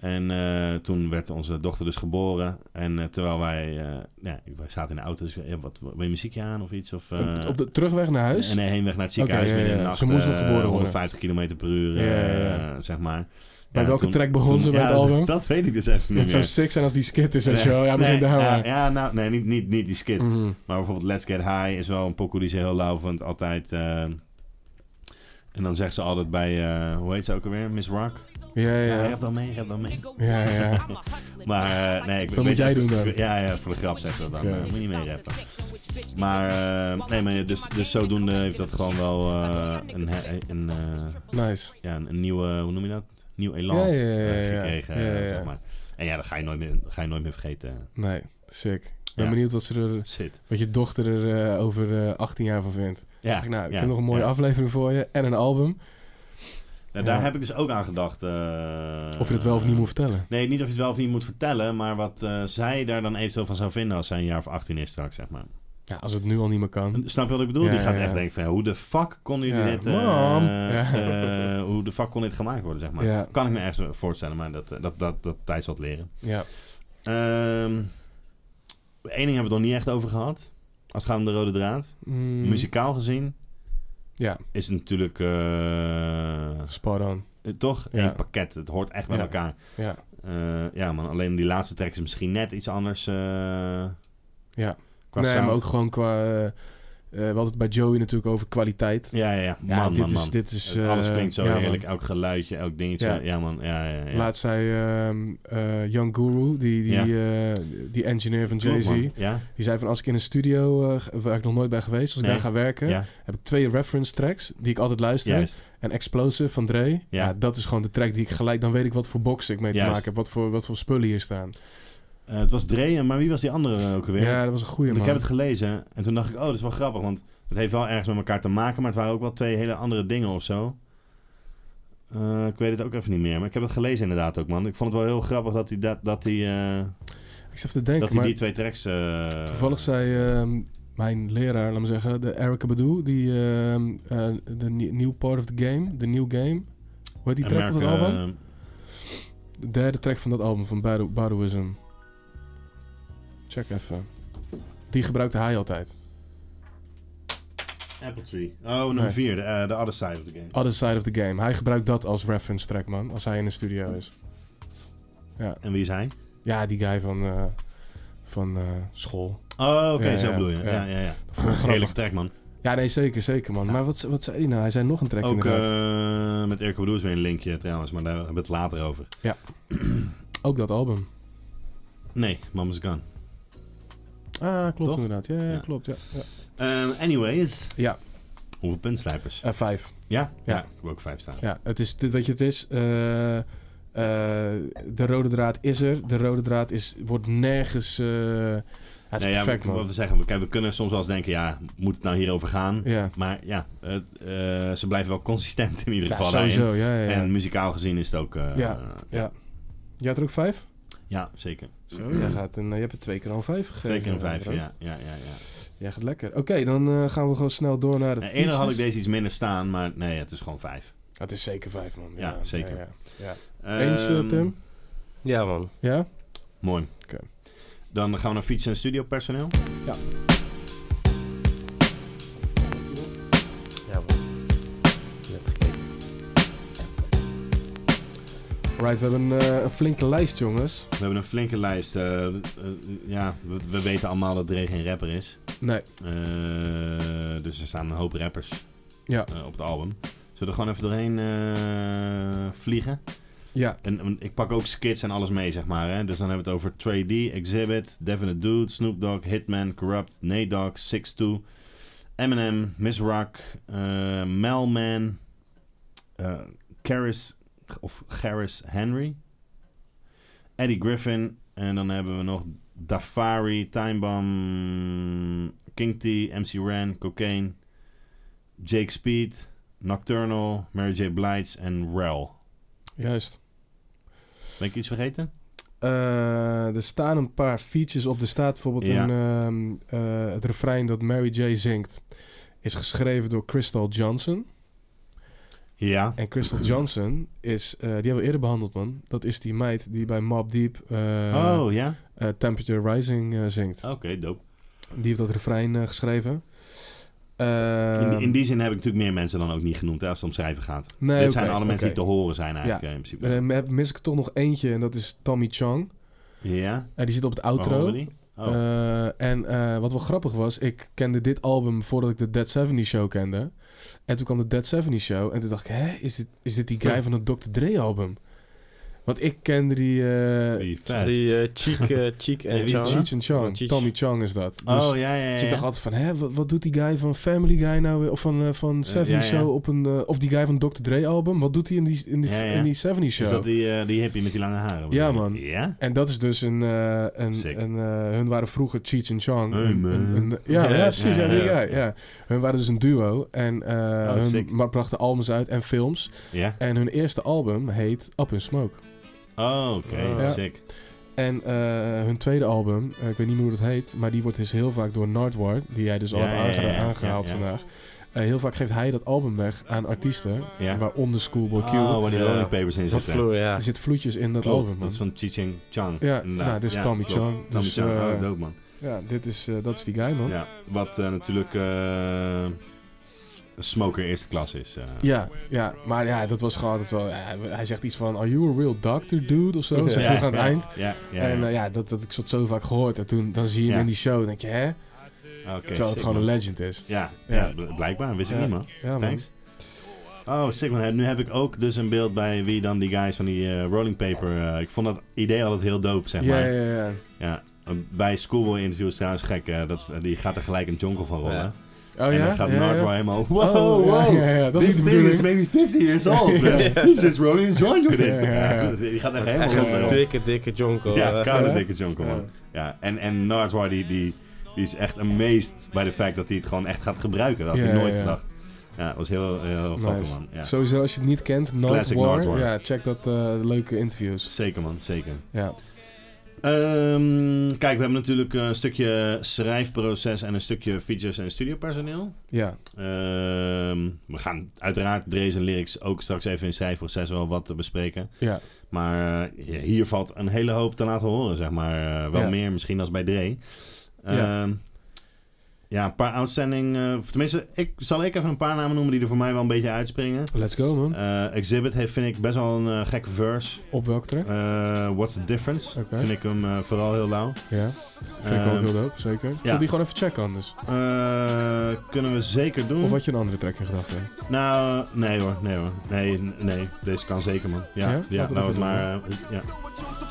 En eh, toen werd onze dochter dus geboren. En eh, terwijl wij, eh, ja, wij zaten in de auto, dus eh, wat, wil je muziekje aan of iets? Of, eh,
Op- op de terugweg naar huis?
en nee, heenweg naar het ziekenhuis
Oké, ja,
midden in de
ja,
nacht.
ze moest nog
eh,
geboren worden.
150 km per uur,
Ja, ja,
eh,
ja.
zeg maar.
Bij
Ja,
welke
toen-
track begon ze
toen-
bij
ja,
het album?
(laughs) Dat weet ik dus even
Het
niet
zou
meer.
sick zijn als die skit is en zo. Ja,
nee,
begin daar
ja,
maar.
ja, nou, nee, niet, niet, niet die skit.
Mhm.
Maar bijvoorbeeld Let's Get High is wel een pokoe die ze heel lauw vond, altijd. eh, en dan zegt ze altijd bij, eh, hoe heet ze ook alweer? Miss Rock?
Ja,
Ja,
ja.
heb dan mee, heb dan mee.
Ja,
(laughs)
ja.
Maar eh, nee, ik
Dat
weet
moet jij
even-
doen dan.
ik- Ja, ja, voor de grap zeg dat dan.
Ja.
eh, moet je niet mee rappen. Maar eh, nee, maar dus, dus zodoende heeft dat gewoon wel eh, een, he- een, eh,
Nice.
ja, een, een nieuwe, hoe noem je dat? Nieuw elan
Ja, ja, ja,
eh,
ja, ja.
gekregen,
Ja, ja,
eh,
ja.
zeg maar. En ja, dat ga je nooit meer, dat ga je nooit meer vergeten.
Nee, sick. Ik ben
Ja.
benieuwd wat, ze er,
Zit.
wat je dochter er eh, over eh, 18 jaar van vindt.
Ja,
Nou, ik
ja,
heb nog een mooie
ja.
aflevering voor je en een album.
Nou, daar
Ja.
heb ik dus ook aan gedacht. eh,
Of je het wel of niet moet vertellen.
Nee, niet of je het wel of niet moet vertellen, maar wat eh, zij daar dan eventueel van zou vinden als zij een jaar of 18 is straks, zeg maar.
Ja, als het nu al niet meer kan.
Snap je wat ik bedoel?
Ja,
die gaat
ja,
echt
ja.
denken van, ja, hoe de fuck kon jullie
Ja.
dit... eh,
Mam.
eh,
Ja.
eh, hoe de fuck kon dit gemaakt worden, zeg maar.
Ja.
Kan ik me ergens voorstellen, maar dat, eh, dat, dat, dat Thijs wat leren.
Ja.
Ehm Eén ding hebben we het nog niet echt over gehad. Als het gaat om de rode draad.
Mm,
Muzikaal gezien
Ja,
is het natuurlijk... eh,
spot on.
eh, toch?
Ja.
Eén pakket. Het hoort echt bij
Ja.
elkaar.
Ja.
Eh, ja, man. Alleen die laatste track is misschien net iets anders... eh, Qua
nee,
sound.
maar ook gewoon qua... eh, eh, we hadden het bij Joey natuurlijk over kwaliteit.
Ja, ja, ja. Man,
Ja, dit
man,
is,
man.
Dit is, eh,
Alles klinkt zo
ja, man.
heerlijk. Elk geluidje, elk dingetje. Ja,
Ja.
man. Ja, ja, ja.
Laatst zei ehm eh, Young Guru, die, die,
Ja.
eh, die engineer van
Klopt,
Jay-Z...
man. Ja,
Die zei van als ik in een studio, eh, waar ik nog nooit ben geweest, als ik
Nee.
daar ga werken,
ja,
heb ik twee reference tracks die ik altijd luister.
juist.
En Explosive van Dre, ja. dat is gewoon de track die ik gelijk, dan weet ik wat voor box ik mee te
Juist.
maken heb, wat voor, wat voor spullen hier staan.
Eh, het was Dre, maar wie was die andere eh, ook alweer?
Ja, dat was een goede
Want
man.
ik heb het gelezen en toen dacht ik, oh, dat is wel grappig, want het heeft wel ergens met elkaar te maken, maar het waren ook wel twee hele andere dingen of zo. Eh, ik weet het ook even niet meer, maar ik heb het gelezen inderdaad ook, man. Ik vond het wel heel grappig dat hij, dat, dat hij, eh,
ik zat te
dat
denken,
hij
maar
die twee tracks... eh,
toevallig zei ehm, mijn leraar, laat me zeggen, de Erica Badu, die ehm, eh, de nie- New Part of the Game, de New Game, hoe heet die track op dat
America- ehm,
album? De derde track van dat album van Badu- Baduism. Check even. Die gebruikte hij altijd.
Apple Tree. Oh, nummer
Nee.
vier, de eh, The Other Side of the Game.
Other Side of the Game. Hij gebruikt dat als reference track, man. Als hij in de studio is.
En wie is hij?
Ja, die guy van, eh, van eh, school.
Oh, oké,
Ja,
zo
ja,
bedoel je.
ja.
Ja, ja, ja.
grappig.
Heerlijke track, man.
Ja, nee, zeker, zeker, man. Maar wat, wat zei hij nou? Hij zei nog een track
Ook
inderdaad.
eh, met Erko Bedoel is weer een linkje trouwens, maar daar hebben we het later over. (clears throat)
Ook dat album.
Nee, Mama's Gone.
Ah, klopt
Toch?
inderdaad. Ja, ja,
Ja.
klopt. Ja, ja.
Ehm, anyways.
Ja.
Hoeveel puntslijpers?
Eh, vijf.
ja?
ja.
Ik heb ook vijf staan.
Ja, het is, dit- weet je, het is... eh, eh, de rode draad is er. De rode draad is, wordt nergens... eh, het is
Nee, Nou ja,
perfect,
wat
man.
we zeggen, kijk, we kunnen soms wel eens denken, ja, moet het nou hierover gaan?
Ja,
Maar ja, het, eh, ze blijven wel consistent in ieder
ja
geval. daarin.
sowieso. Ja, ja, ja.
En muzikaal gezien is het ook... eh,
Ja.
ja.
ja. Jij had er ook vijf?
Ja, zeker.
Zo, jij gaat een, eh, je hebt er twee keer al een vijf gegeven.
Zeker een vijf,
Andro.
ja. ja, ja, ja.
Jij gaat lekker. Oké, dan eh, gaan we gewoon snel door naar de
Eh, eerder had ik
features.
deze iets minder staan, maar nee, het is gewoon vijf.
Het is zeker vijf, man.
Ja, zeker.
ja. Eens, eh,
Ehm,
Tim?
Ja, man.
Ja?
Mooi.
Oké.
Dan gaan we naar fiets- en studiopersoneel.
Ja, man. Je hebt gekeken.
Right, we hebben een, eh, een flinke lijst, jongens.
We hebben een flinke lijst. eh, eh, ja, we, we weten allemaal dat Dre geen rapper is.
Nee,
Eh, dus er staan een hoop rappers
Ja.
eh, op het album. Zullen we er gewoon even doorheen eh, vliegen?
ja.
En, en ik pak ook skits en alles mee, zeg maar. Hè? Dus dan hebben we het over Trey D, Exhibit, Definite Dude, Snoop Dogg, Hitman, Corrupt, Nate Dogg, 6-2, Eminem, Miss Rock, eh, Melman, eh Karis, of Garris Henry, Eddie Griffin. En dan hebben we nog Dafari, Time Bomb, King T, MC Ren, Cocaine, Jake Speed, Nocturnal, Mary J. Blige en Rel.
juist.
Ben ik iets vergeten?
Eh, er staan een paar features op. Er staat bijvoorbeeld
Ja.
een, ehm, eh, het refrein dat Mary J. zingt. Is geschreven door Crystal Johnson.
Ja.
En Crystal Johnson is, eh, die hebben we eerder behandeld, man. Dat is die meid die bij Mob Deep eh,
oh, ja?
eh, Temperature Rising eh, zingt.
Oké, dope.
Die heeft dat refrein eh, geschreven. Eh,
In, in die zin heb ik natuurlijk meer mensen dan ook niet genoemd, hè, als het om schrijven gaat.
nee,
Dit
oké,
zijn alle mensen
oké.
die te horen zijn eigenlijk, eh, in principe.
Eh, heb- mis ik er toch nog eentje en dat is Tommy Chong.
ja?
Eh, die zit op het
Waar
outro.
horen we die? Oh,
Eh, en eh, wat wel grappig was, ik kende dit album voordat ik de Dead 70 Show kende. En toen kwam de Dead 70 Show en toen dacht ik, hè, is dit, is dit die guy van het Dr. Dre album? Want ik kende die... eh,
die vet.
Die eh, Cheek, eh, cheek en
En wie is
Chana.
Cheech and Chong.
Oh, Cheech.
Tommy Chong is dat. Dus,
oh, ja, ja, ja.
dus ik dacht altijd van, hè, wat, wat doet die guy van Family Guy nou weer? Of van, eh, van 70
ja, ja.
Show op een... eh, of die guy van Dr. Dre album? Wat doet hij in die, in die,
Ja, ja.
In die 70 Show?
Is dat die, eh, die hippie met die lange haren?
Ja, man.
Ja?
En dat is dus een... eh,
Sick.
een, een eh, hun waren vroeger Cheech and Chong.
Hey,
een,
man.
een- een- ja, ja,
Ja,
precies. Ja,
ja,
die
ja. Oh,
guy, ja. Hun waren dus een duo. En eh hun
sick.
ma- brachten albums uit en films.
Ja?
En hun eerste album heet Up in Smoke. Ah.
Oh, oké.
Oh.
Ja.
Sick.
En eh, hun tweede album, eh, ik weet niet meer hoe dat heet, maar die wordt dus heel vaak door Nardwar, die jij dus al
Ja,
hebt
ja, ja,
aange-
ja,
aangehaald
ja, ja.
vandaag. eh, heel vaak geeft hij dat album weg aan artiesten,
Ja.
waaronder Schoolboy Q.
Oh, waar die
Ja.
rolling papers in
Wat
zitten.
vloer, ja.
Er zit vloedjes in dat
Klopt,
album.
dat
man.
is van Chicheng Chang.
Ja,
inderdaad.
nou, dit is Tommy
klopt.
Chang,
Tommy
dus,
Chang,
eh,
oh, dope man.
Ja, dit is, eh, dat is die guy, man. Ja,
Ja, wat eh, natuurlijk eh, een smoker eerste klas is. eh.
ja, maar ja, dat was gewoon altijd wel... ja, hij- hij zegt iets van, are you a real doctor, dude? Of zo, zegt hij aan het
ja,
eind.
Ja, ja,
en
ja.
eh, ja, dat, dat, ik zat zo vaak gehoord. En toen dan zie je hem
Ja.
in die show, dan denk je, hè?
Ah,
Terwijl
Oké,
het
sick,
gewoon
man.
een legend is.
Ja,
Ja.
ja. bl- blijkbaar. Wist ik
Ja.
niet, man.
Ja, man.
Thanks. Oh, sick man. Nu heb ik ook dus een beeld bij wie dan die guys van die eh, rolling paper. eh, ik vond dat idee altijd heel dope, zeg
Ja,
maar.
ja,
Ja.
ja. ja.
Bij Schoolboy interviews trouwens gek. eh, dat, die gaat er gelijk een jonkel van rollen.
Ja.
Oh
en
ja?
dan gaat
ja, ja.
Nardwar helemaal...
Oh,
Wow, wow.
Ja, ja, ja, dat is
This
de
thing is
bedoeling.
maybe 50 years old.
(laughs) Ja.
man. He's just rolling a joint with it.
Ja, ja, ja.
Ja, (laughs) Die gaat echt helemaal
Echt
los.
een
erop.
dikke, dikke jonko.
Ja,
eh.
koude
Ja.
dikke jonkel,
Ja.
man. Ja, en, en Nardwar die, die, die is echt amazed bij de fact dat hij het gewoon echt gaat gebruiken. Dat had
Ja,
hij nooit
ja.
gedacht. Ja, dat was heel, heel fattig,
Nice.
man. Ja.
Sowieso als je het niet kent, North
Classic
War,
North War.
Ja, check dat eh, leuke interviews.
Zeker, man. Zeker.
Ja.
Ehm, kijk, we hebben natuurlijk een stukje schrijfproces en een stukje features en studiopersoneel.
Ja.
Ehm, we gaan uiteraard Drees en Lyrics ook straks even in het schrijfproces wel wat bespreken.
Ja.
Maar eh, ja, hier valt een hele hoop te laten horen, zeg maar. Eh, wel
Ja.
meer misschien dan bij Dre.
Ja.
Ehm, ja, een paar outstanding... eh, of tenminste, ik, zal ik even een paar namen noemen die er voor mij wel een beetje uitspringen.
Let's go, man.
Eh, Exhibit heeft, vind ik, best wel een eh, gekke verse.
Op welke track?
Eh, What's the Difference?
Oké.
Vind ik hem eh, vooral heel lauw.
Ja. Vind ik ook
Ehm,
heel dope, zeker. Zal die gewoon even checken anders?
Eh, kunnen we zeker doen.
Of had je een andere track in gedachten?
Nou, nee hoor, nee hoor. Nee, n- nee, deze kan zeker man.
Ja?
Ja, ja,
Laten we dat
nou het
even
maar. eh, ja.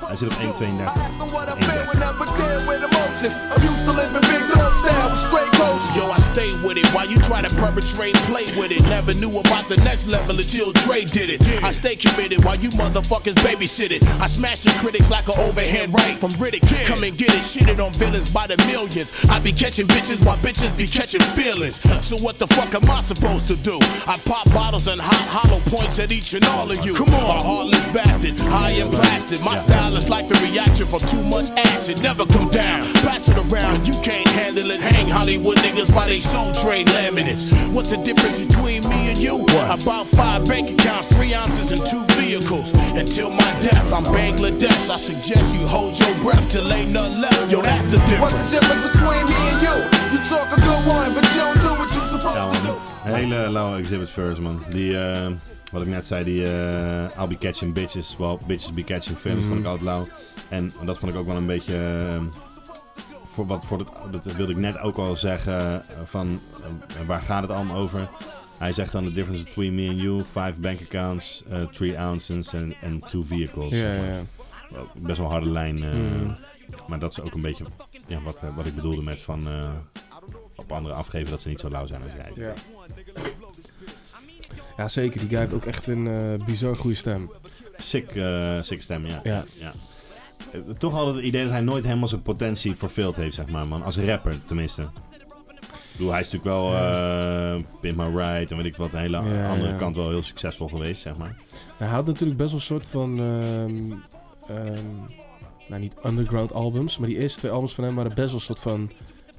Hij zit op 1,32.
I act on what I feel when I'm dead with emotions. I'm used to living big dog style with straight goals.
Yo, I stay with it while you try to perpetrate, play with it. Never knew about the next level until Dre did it. I stay committed while you motherfuckers babysit it. I smash the critics like an overhand right from Riddick. Come and get it, shitted on villains by the millions. I be catching bitches while bitches be catching feelings. So what the fuck am I supposed to do? I pop bottles and hot hollow points at each and all of you. Come on, a heartless bastard, high and blasted. My style is like the reaction from too much acid. Never come down, pass it around, you can't handle it. Hang Hollywood niggas by they soul trade laminates. What's the difference between me and you? About five bank accounts, three ounces, and two vehicles. Until my death, I'm Bangladesh. I suggest you hold your breath till ain't nothing left. Yo, that's the difference.
What's the difference between me and you? You talk a good one, but you don't do what you're
Ja,
supposed
man.
to do.
Een hele lauwe exhibit first, man. Die, eh, wat ik net zei, die eh, I'll be catching bitches, well, bitches be catching films, vond ik
Mhm.
altijd lauw. En dat vond ik ook wel een beetje... eh, voor wat, voor dat, dat wilde ik net ook al zeggen, eh, van eh, waar gaat het allemaal over? Hij zegt dan the difference between me and you, five bank accounts, eh, three ounces and, and two vehicles.
Ja,
zeg
ja,
maar.
ja.
Wel, Best wel een harde lijn. eh,
Mm.
Maar dat is ook een beetje ja, wat, eh, wat ik bedoelde met van eh, op anderen afgeven dat ze niet zo lauw zijn als jij.
Ja. ja, zeker. Die guy heeft ook echt een eh, bizar goede stem.
Sick, eh, sick stem, ja.
Ja.
Eh, Toch altijd het idee dat hij nooit helemaal zijn potentie verveeld heeft, zeg maar, man. Als rapper, tenminste. Ik bedoel, hij is natuurlijk wel eh Pimp My Ride en weet ik wat, een hele
Ja,
andere
ja.
kant wel heel succesvol geweest, zeg maar.
Hij had natuurlijk best wel een soort van... ehm, ehm, nou, niet underground albums, maar die eerste twee albums van hem waren best wel een soort van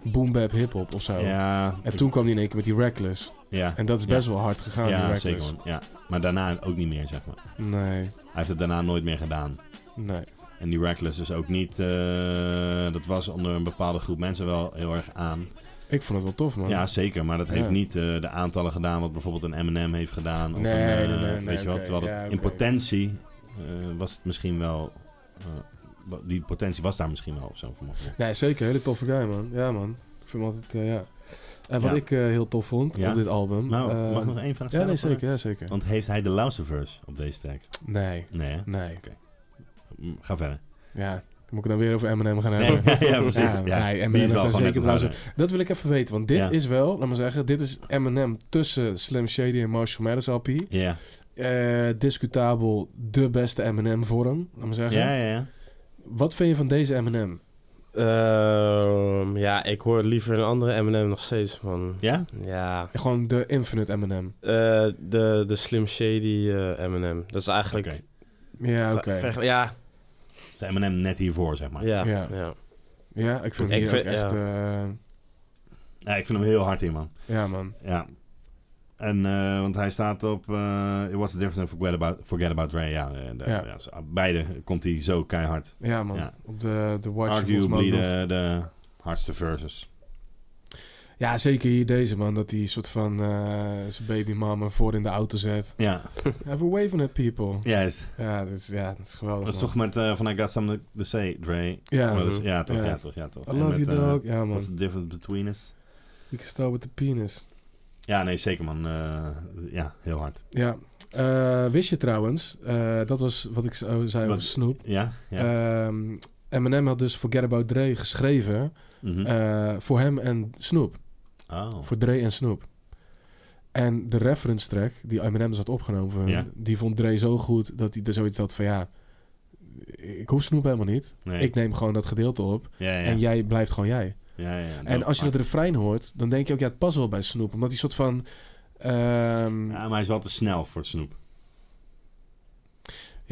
boom bap hip-hop of zo.
Ja,
En toen kwam hij in één keer met die Reckless.
ja,
En dat is best wel hard gegaan, die
ja
Reckless.
zeker, man. Ja. Maar daarna ook niet meer, zeg maar.
Nee,
Hij heeft het daarna nooit meer gedaan.
nee.
En die Reckless is ook niet... eh, dat was onder een bepaalde groep mensen wel heel erg aan.
Ik vond het wel tof, man.
Ja, zeker. Maar dat heeft
Ja.
niet eh, de aantallen gedaan wat bijvoorbeeld een Eminem heeft gedaan. Of
Nee,
een, eh,
nee, nee, nee,
weet je wel,
oké.
terwijl het
Ja,
in
oké.
potentie eh, was het misschien wel... eh, wa- die potentie was daar misschien wel of zo. voor mijn gevoel.
Nee, zeker. Hele toffe guy, man. Ja, man. Ik vind hem altijd, eh, ja. En wat
Ja.
ik eh, heel tof vond
Ja.
op dit album...
Nou,
eh,
mag ik nog één vraag
Ja,
stellen?
nee,
Of, eh,
zeker. Ja, zeker.
Want heeft hij de lauwste verse op deze track?
Nee,
Nee, hè?
nee.
Hm, Ga verder.
Ja, dan moet ik dan weer over Eminem gaan
Nee, (laughs)
hebben.
ja, precies. Ja,
Ja, nee, Eminem
die
heeft
is wel
daar
gewoon net
zeker
een
blauw
harde.
Dat wil ik even weten, want dit
Ja.
is wel, laat maar zeggen, dit is Eminem tussen Slim Shady en Marshall Mathers LP.
Ja,
Eh, discutabel de beste Eminem vorm, laat maar zeggen.
ja, ja. ja.
Wat vind je van deze M&M? Eminem?
Ehm, ja, ik hoor liever een andere M&M nog steeds, man.
Ja?
Ja.
Gewoon de infinite M&M. Eminem.
Eh, de, de Slim Shady eh M&M. Dat is eigenlijk...
Oké.
Ja,
ver-
oké.
vergel- ja,
Is Eminem net hiervoor, zeg maar.
ja,
Ja.
ja,
Ja, ik vind
Ik
die ook
vind-
echt... eh,
Ja, ik vind hem heel hard hier, man.
ja, man.
Ja. En, eh, want hij staat op eh It Was The Difference and Forget About, forget about Ray. Ja, eh, de-
Ja.
ja, zo- beide komt hij zo keihard.
Ja, man.
Ja.
Op de, de White Chick volgens mij ook
Arguably
nog.
de, de hardste verses.
Ja, zeker hier deze, man. Dat hij soort van eh, zijn babymama voor in de auto zet.
Ja,
Have a wave on it, people.
juist.
Ja, dat is, ja, dat is geweldig,
Dat is
man.
toch met eh, van I Got Something To Say, Dre.
Ja,
Maar dat is-
mhm.
ja, toch, ja.
Ja.
toch, ja, toch.
I
En
love
met,
you,
eh,
dog. ja, man.
What's the difference between us?
You can start with the penis.
Ja, nee, zeker man. Eh, ja, heel hard.
Ja. Eh, wist je trouwens, eh, dat was wat ik zo zei
Wat-
over Snoep.
Ja? Ja.
Ehm, Eminem had dus Forget About Dre geschreven
Mhm.
eh, voor hem en Snoep.
oh.
Voor Dre en Snoep. En de reference track die Eminem dus had opgenomen, voor hem,
Ja.
die vond Dre zo goed dat hij er zoiets had van ja, ik hoef Snoep helemaal niet.
Nee.
Ik neem gewoon dat gedeelte op
ja, ja, ja.
en jij blijft gewoon jij.
ja, ja, ja.
En als je dat refrein hoort, dan denk je ook, ja, het past wel bij Snoep. Omdat die soort van... ehm, ja.
Ja, maar hij is wel te snel voor het snoep.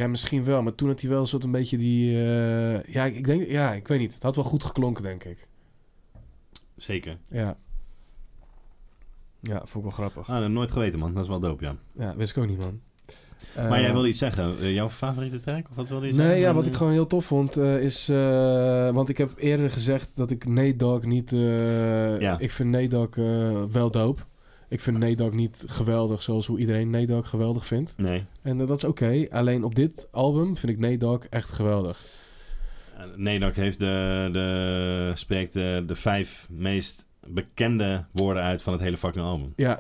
misschien wel. Maar toen had hij wel een soort een beetje die... eh, ja, ik denk... Ja, ik weet niet. Het had wel goed geklonken, denk ik.
Zeker.
Ja. Ja, vond ik wel grappig.
Ah, dat heb ik nooit geweten man. Dat is wel dope, ja.
Ja, wist ik ook niet, man.
Maar
Eh,
jij wilde iets zeggen. Eh, jouw favoriete track? Of wat wilde je zeggen?
Nee, ja,
En,
wat ik
eh,
gewoon heel tof vond eh, is... eh, want ik heb eerder gezegd dat ik Nate Dogg niet... eh,
Ja.
Ik vind Nate Dogg eh, wel dope. Ik vind Nate Dogg niet geweldig zoals hoe iedereen Nate Dogg geweldig vindt.
Nee.
En eh, dat is oké. Alleen op dit album vind ik Nate Dogg echt geweldig.
Eh, Nedok heeft de, de, spreekt de, de vijf meest bekende woorden uit van het hele fucking album.
Ja.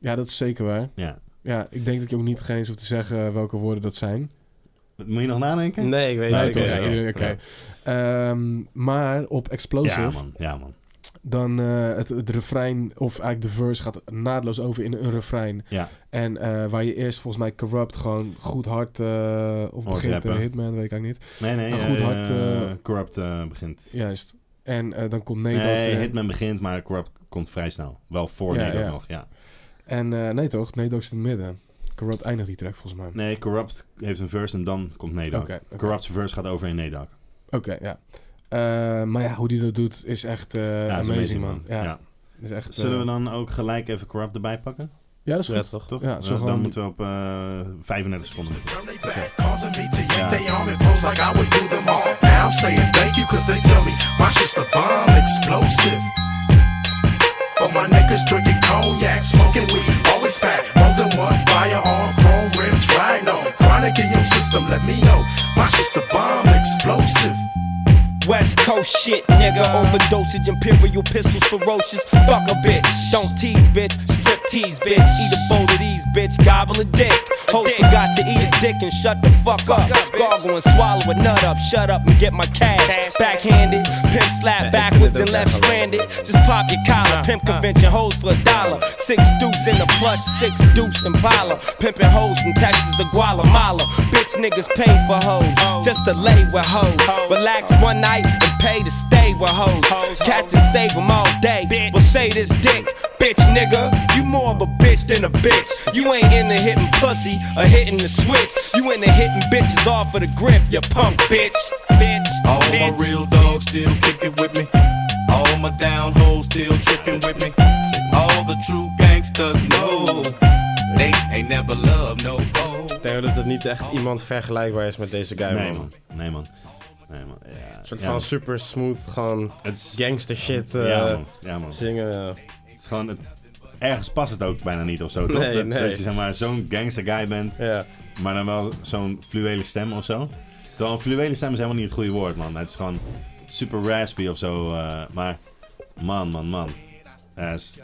ja, dat is zeker waar.
Ja.
Ja, ik denk dat je ook niet geen hoeft te zeggen welke woorden dat zijn.
Moet je nog nadenken?
Nee, ik weet
Nee,
het
toch,
niet.
ja,
Ja,
iedereen- oké. Ehm, maar op Explosive,
Ja, man. Ja, man.
dan eh, het, het refrein, of eigenlijk de verse, gaat naadloos over in een refrein.
Ja.
En eh, waar je eerst volgens mij Corrupt gewoon goed hard, eh, of
Hard
begint eh,
Oh, rappen.
Hitman, weet ik eigenlijk niet.
Nee, nee.
Een
eh,
goed hart, eh,
corrupt eh, begint.
Juist. En eh, dan komt Nate
Nee,
Dogg erin.
Hitman begint, maar Corrupt komt vrij snel. Wel voor
Ja,
Nedok
ja.
nog, ja.
En eh, nee toch, Nate Dogg is in het midden. Corrupt eindigt die track volgens mij.
Nee, Corrupt heeft een verse en dan komt Nedok.
Oké, oké.
Corrupt's verse gaat over in Nedok.
Oké, ja. Eh, maar ja, hoe die dat doet is echt eh,
dat
amazing,
is
man. Ja,
Ja.
Is echt,
Zullen
eh,
we dan ook gelijk even Corrupt erbij pakken?
ja, dat is goed.
prettig.
Toch?
Ja, zo
dan
gewoon-
moeten we op eh 35 seconden.
Turn they back, causing me to yank they arm and pose like I would do them all. Now I'm saying thank you cause they tell me my shit's the bomb explosive. For my niggas drinking cognac, smoking weed, always pack more than one firearm, chrome rims, rhino. Chronic in your system, let me know. My shit's the bomb explosive.
West Coast shit, nigga. Overdosage, imperial pistols, ferocious. Fuck a bitch. Don't tease, bitch. Strip tease, bitch. Eat a bowl of these, bitch. Gobble a dick. Host forgot to eat a dick and shut the fuck up. Gargle and swallow a nut up. Shut up and get my cash. Backhanded, pimp slap backwards and left stranded. Just pop your collar. Pimp convention hoes for a dollar. Six deuce in the plush, six deuce in Impala. Pimping hoes from Texas to Guatemala. Bitch niggas pay for hoes. Just to lay with hoes. Relax one night and pay to stay with hoes. Captain save 'em all day. Well, say this dick. Bitch nigga, you more of a bitch than a bitch. You ain't into hitting pussy or hitting the switch. You into hitting bitches off of the grip, you punk bitch. Bitch,
All my
bitch.
real dogs still kicking with me. All my down hoes still tricking with me. All the true gangsters know they ain't never loved no gold.
Ik denk dat het niet echt iemand vergelijkbaar is met deze guy,
Nee
man.
man, nee man. Nee man. Ja,
Een soort
ja,
van
man.
super smooth, gewoon
Het is-
gangster shit eh,
ja man, ja man.
zingen. ja.
Het is gewoon, het- ergens past het ook bijna niet of zo, toch?
Nee,
dat,
nee.
dat je zeg maar zo'n gangster guy bent,
Ja.
maar dan wel zo'n fluwele stem of zo. Terwijl een fluwele stem is helemaal niet het goede woord, man. Het is gewoon super raspy of zo, eh, maar man, man, man. Eh, is-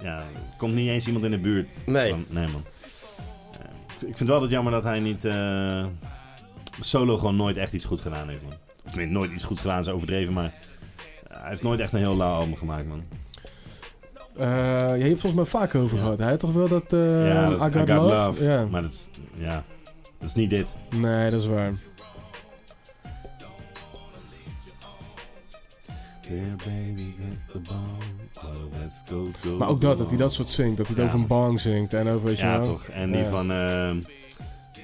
ja, er komt niet eens iemand in de buurt.
Nee.
van- nee man. Eh, ik vind het wel dat jammer dat hij niet eh, solo gewoon nooit echt iets goed gedaan heeft, man. Of tenminste, nooit iets goed gedaan is overdreven, maar hij heeft nooit echt een heel lauw album gemaakt, man.
Eh, ja, je hebt volgens mij vaker over gehad. Hij had toch wel dat, eh
Ja, dat-
I Got Love? Ja.
Maar dat is, ja, dat is niet dit.
Nee, dat is waar. Maar ook dat, dat hij dat soort zingt. Dat hij het
Ja.
over een bang zingt en over, weet je
Ja,
wel.
toch. En die
Ja.
van ehm,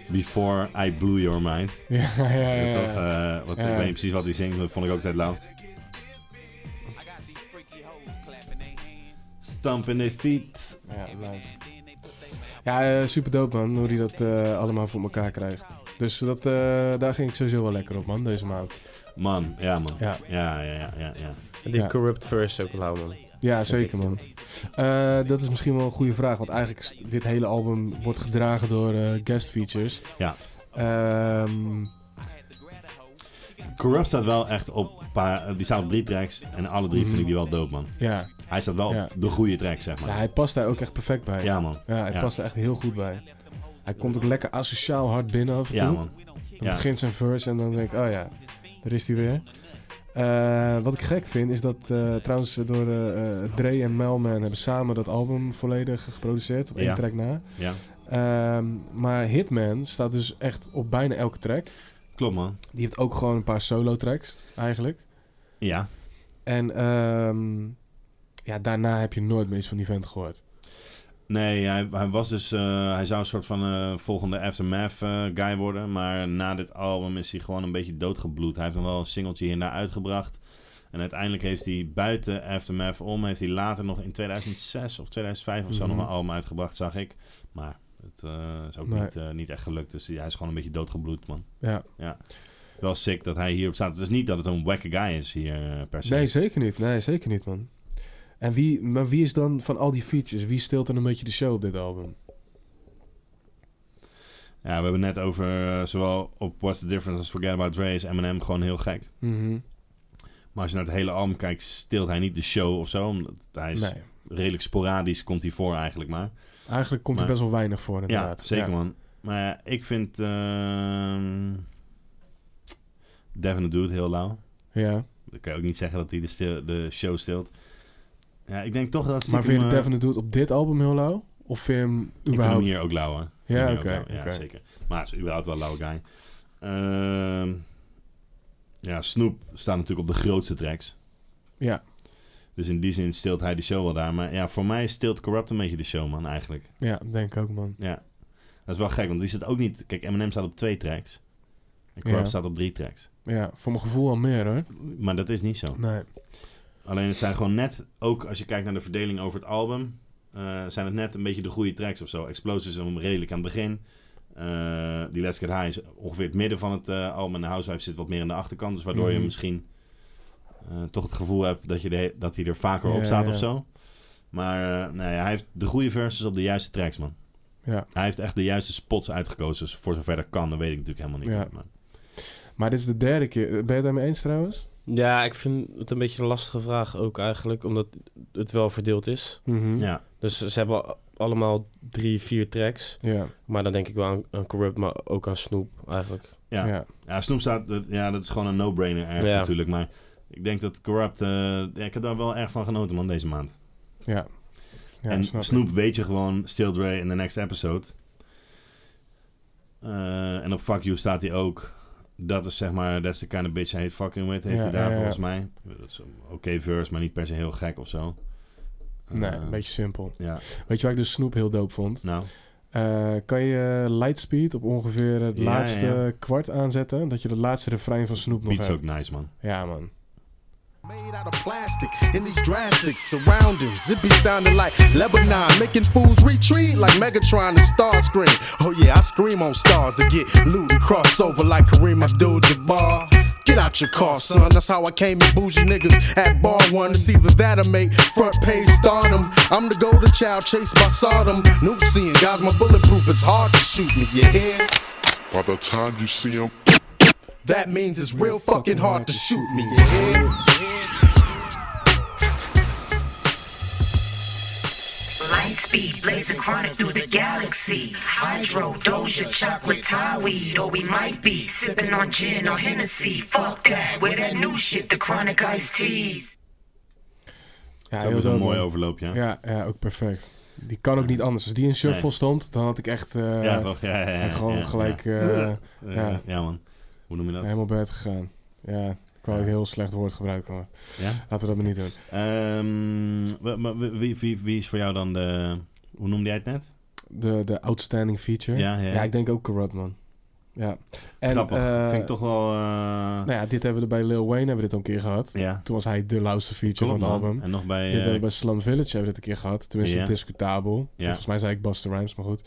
Before I Blew Your Mind.
(laughs) Ja, ja, ja. ja.
Toch, eh, wat,
Ja.
Ik weet niet precies wat hij zingt, maar dat vond ik ook net lauw. Stamp in their feet.
Ja, nice. Ja, super dope man, hoe die dat eh, allemaal voor elkaar krijgt. Dus dat, eh, daar ging ik sowieso wel lekker op man, deze maand.
Man, ja man.
Ja.
Ja, ja, ja, ja. ja.
En die
Ja.
corrupt verse ook lauw, man.
Ja, zeker man. Eh, dat is misschien wel een goede vraag, want eigenlijk is dit hele album wordt gedragen door eh, guest features.
Ja.
Ehm,
Corrupt staat wel echt op, een paar, die staat op drie tracks en alle drie vind ik die wel dope man.
Mhm. ja.
Hij staat wel
Ja.
op de goede track zeg
ja,
maar.
hij past daar ook echt perfect bij.
Ja man.
Ja, hij
Ja.
past er echt heel goed bij. Hij komt ook lekker asociaal hard binnen af en
Ja
toe.
man.
Dan
Ja.
begint zijn verse en dan denk ik, oh ja, daar is hij weer. Eh, wat ik gek vind is dat eh, trouwens door eh, eh, Dre en Melman hebben samen dat album volledig geproduceerd op één
Ja.
track na.
Ja.
Ehm, maar Hitman staat dus echt op bijna elke track.
Klopt man.
Die heeft ook gewoon een paar solo tracks eigenlijk.
Ja.
En ehm, ja, daarna heb je nooit meer iets van die vent gehoord.
Nee, hij, hij was dus. eh, hij zou een soort van eh, volgende Aftermath eh, guy worden. Maar na dit album is hij gewoon een beetje doodgebloed. Hij heeft nog wel een singeltje hier en daar uitgebracht. En uiteindelijk heeft hij buiten Aftermath om. Heeft hij later nog in 2006 of 2005 of zo
Mhm.
nog een album uitgebracht, zag ik. Maar het eh, is ook
Nee.
niet, eh, niet echt gelukt. Dus hij is gewoon een beetje doodgebloed, man.
Ja.
Wel sick dat hij hierop staat. Het is niet dat het een wacke guy is hier eh, per se.
Nee, zeker niet. Nee, zeker niet, man. En wie, maar wie is dan van al die features, wie steelt dan een beetje de show op dit album?
Ja, we hebben net over eh, zowel op What's the Difference als Forget About Dre is Eminem gewoon heel gek.
Mhm.
Maar als je naar het hele album kijkt, steelt hij niet de show of zo. Omdat hij is
Nee.
redelijk sporadisch, komt hij voor eigenlijk maar.
Eigenlijk komt er
Maar-
best wel weinig voor,
Ja,
inderdaad.
zeker man. Maar ja, ik vind ehm Devin the Dude heel lauw.
Ja,
Dan kan je ook niet zeggen dat hij de, stil- de show steelt. Ja, ik denk toch dat...
maar
stiekem,
vind je
eh,
de Devin doet op dit album heel lauw? Of vind je hem
Ik vind hem
überhaupt...
hier ook lauw, hè. Ik vind
Ja,
hem hier ook
oké,
lauw. Ja,
oké.
zeker. Maar het is überhaupt wel een lauwe guy. Ehm, ja, Snoop staat natuurlijk op de grootste tracks.
Ja.
Dus in die zin steelt hij de show wel daar. Maar ja, voor mij steelt Corrupt een beetje de show, man, eigenlijk.
ja, denk ik ook, man.
Ja. Dat is wel gek, want die zit ook niet... Kijk, Eminem staat op twee tracks. En Corrupt
Ja.
staat op drie tracks.
Ja, voor mijn gevoel al meer hoor.
Maar dat is niet zo.
Nee.
Alleen het zijn gewoon net, ook als je kijkt naar de verdeling over het album, eh, zijn het net een beetje de goede tracks of zo. Explosives is hem redelijk aan het begin. Eh, die Let's Get High is ongeveer het midden van het eh, album. En de Housewife zit wat meer aan de achterkant. Dus waardoor je
Mhm.
misschien eh, toch het gevoel hebt dat, je de he- dat hij er vaker op
Ja,
staat
ja.
of zo. Maar eh, nee, hij heeft de goede verses op de juiste tracks, man.
Ja.
Hij heeft echt de juiste spots uitgekozen. Dus voor zover dat kan, dat weet ik natuurlijk helemaal niet.
Ja.
Maar
Maar dit is de derde keer. Ben je het daarmee eens trouwens?
Ja, ik vind het een beetje een lastige vraag ook eigenlijk, omdat het wel verdeeld is.
Mhm.
ja,
Dus ze hebben a- allemaal drie, vier tracks.
Ja.
Maar dan denk ik wel aan, aan Corrupt, maar ook aan Snoop eigenlijk.
Ja.
ja.
Ja, Snoep staat, dat- ja, dat is gewoon een no-brainer ergens
Ja.
natuurlijk. Maar ik denk dat Corrupt, eh, ja, ik heb daar wel erg van genoten, man, deze maand.
Ja. Ja,
en
snap ik.
Snoep weet je gewoon, Still Dre in the next episode. Eh, en op Fuck You staat hij ook. Dat is zeg maar, that's the kind of bitch I hate fucking with, heeft
Ja,
hij daar
ja, ja.
volgens mij. Dat is een oké verse, maar niet per se heel gek of zo.
Nee,
Eh,
een beetje simpel.
Ja,
Weet je waar ik dus Snoep heel dope vond?
nou,
Eh, kan je eh, Lightspeed op ongeveer het
Ja,
laatste
ja,
kwart aanzetten? Dat je de laatste refrein van Snoep nog
beats
hebt.
ook nice, man.
Ja, man.
Made out of plastic in these drastic surroundings. It be sounding like Lebanon, making fools retreat like Megatron and Starscream. Oh yeah, I scream on stars to get loot and cross over like Kareem Abdul-Jabbar. Get out your car, son. That's how I came at bougie niggas at bar one. It's either that or make front page stardom. I'm the golden child chased by Sodom. Nuke seeing guys, my bulletproof is hard to shoot me. You hear?
By the time you see him,
That means it's real fucking hard to shoot me. You hear?
Lightspeed blazing chronic through the galaxy. Hydro, Doja, chocolate, tie weed, or we might be sipping on gin or Hennessy. Fuck that, with that new shit, the chronic iced teas.
Ja,
Dat
heel
is een
dope.
mooi
man.
overloop, ja.
Ja, ja, ook perfect. Die kan ook niet anders. Als die in shuffle
Nee.
stond, dan had ik echt eh,
ja, toch? Ja, ja, ja,
en gewoon
ja,
gelijk
(laughs) Ja.
eh,
Eh,
ja.
ja, man. Hoe noem je dat?
helemaal bed gegaan. Ja, ik wou
Ja.
ook heel slecht woord gebruiken, maar
Ja?
laten we dat maar niet doen.
Ehm, wa- maar wie, wie, wie, wie is voor jou dan de... Hoe noemde jij het net?
De, de outstanding feature.
Ja, ja.
Ja, ik denk ook corrupt, man. Ja. En,
Grappig.
eh,
Vind ik toch wel... eh,
Nou ja, dit hebben we er bij Lil Wayne hebben we dit al een keer gehad.
ja,
Toen was hij de lauwste feature
klopt
van het
man.
album.
En nog bij...
Dit
eh,
hebben we bij Slum Village hebben we dit een keer gehad. Tenminste,
Ja.
discutabel. Volgens mij zei ik Buster Rhymes, maar goed.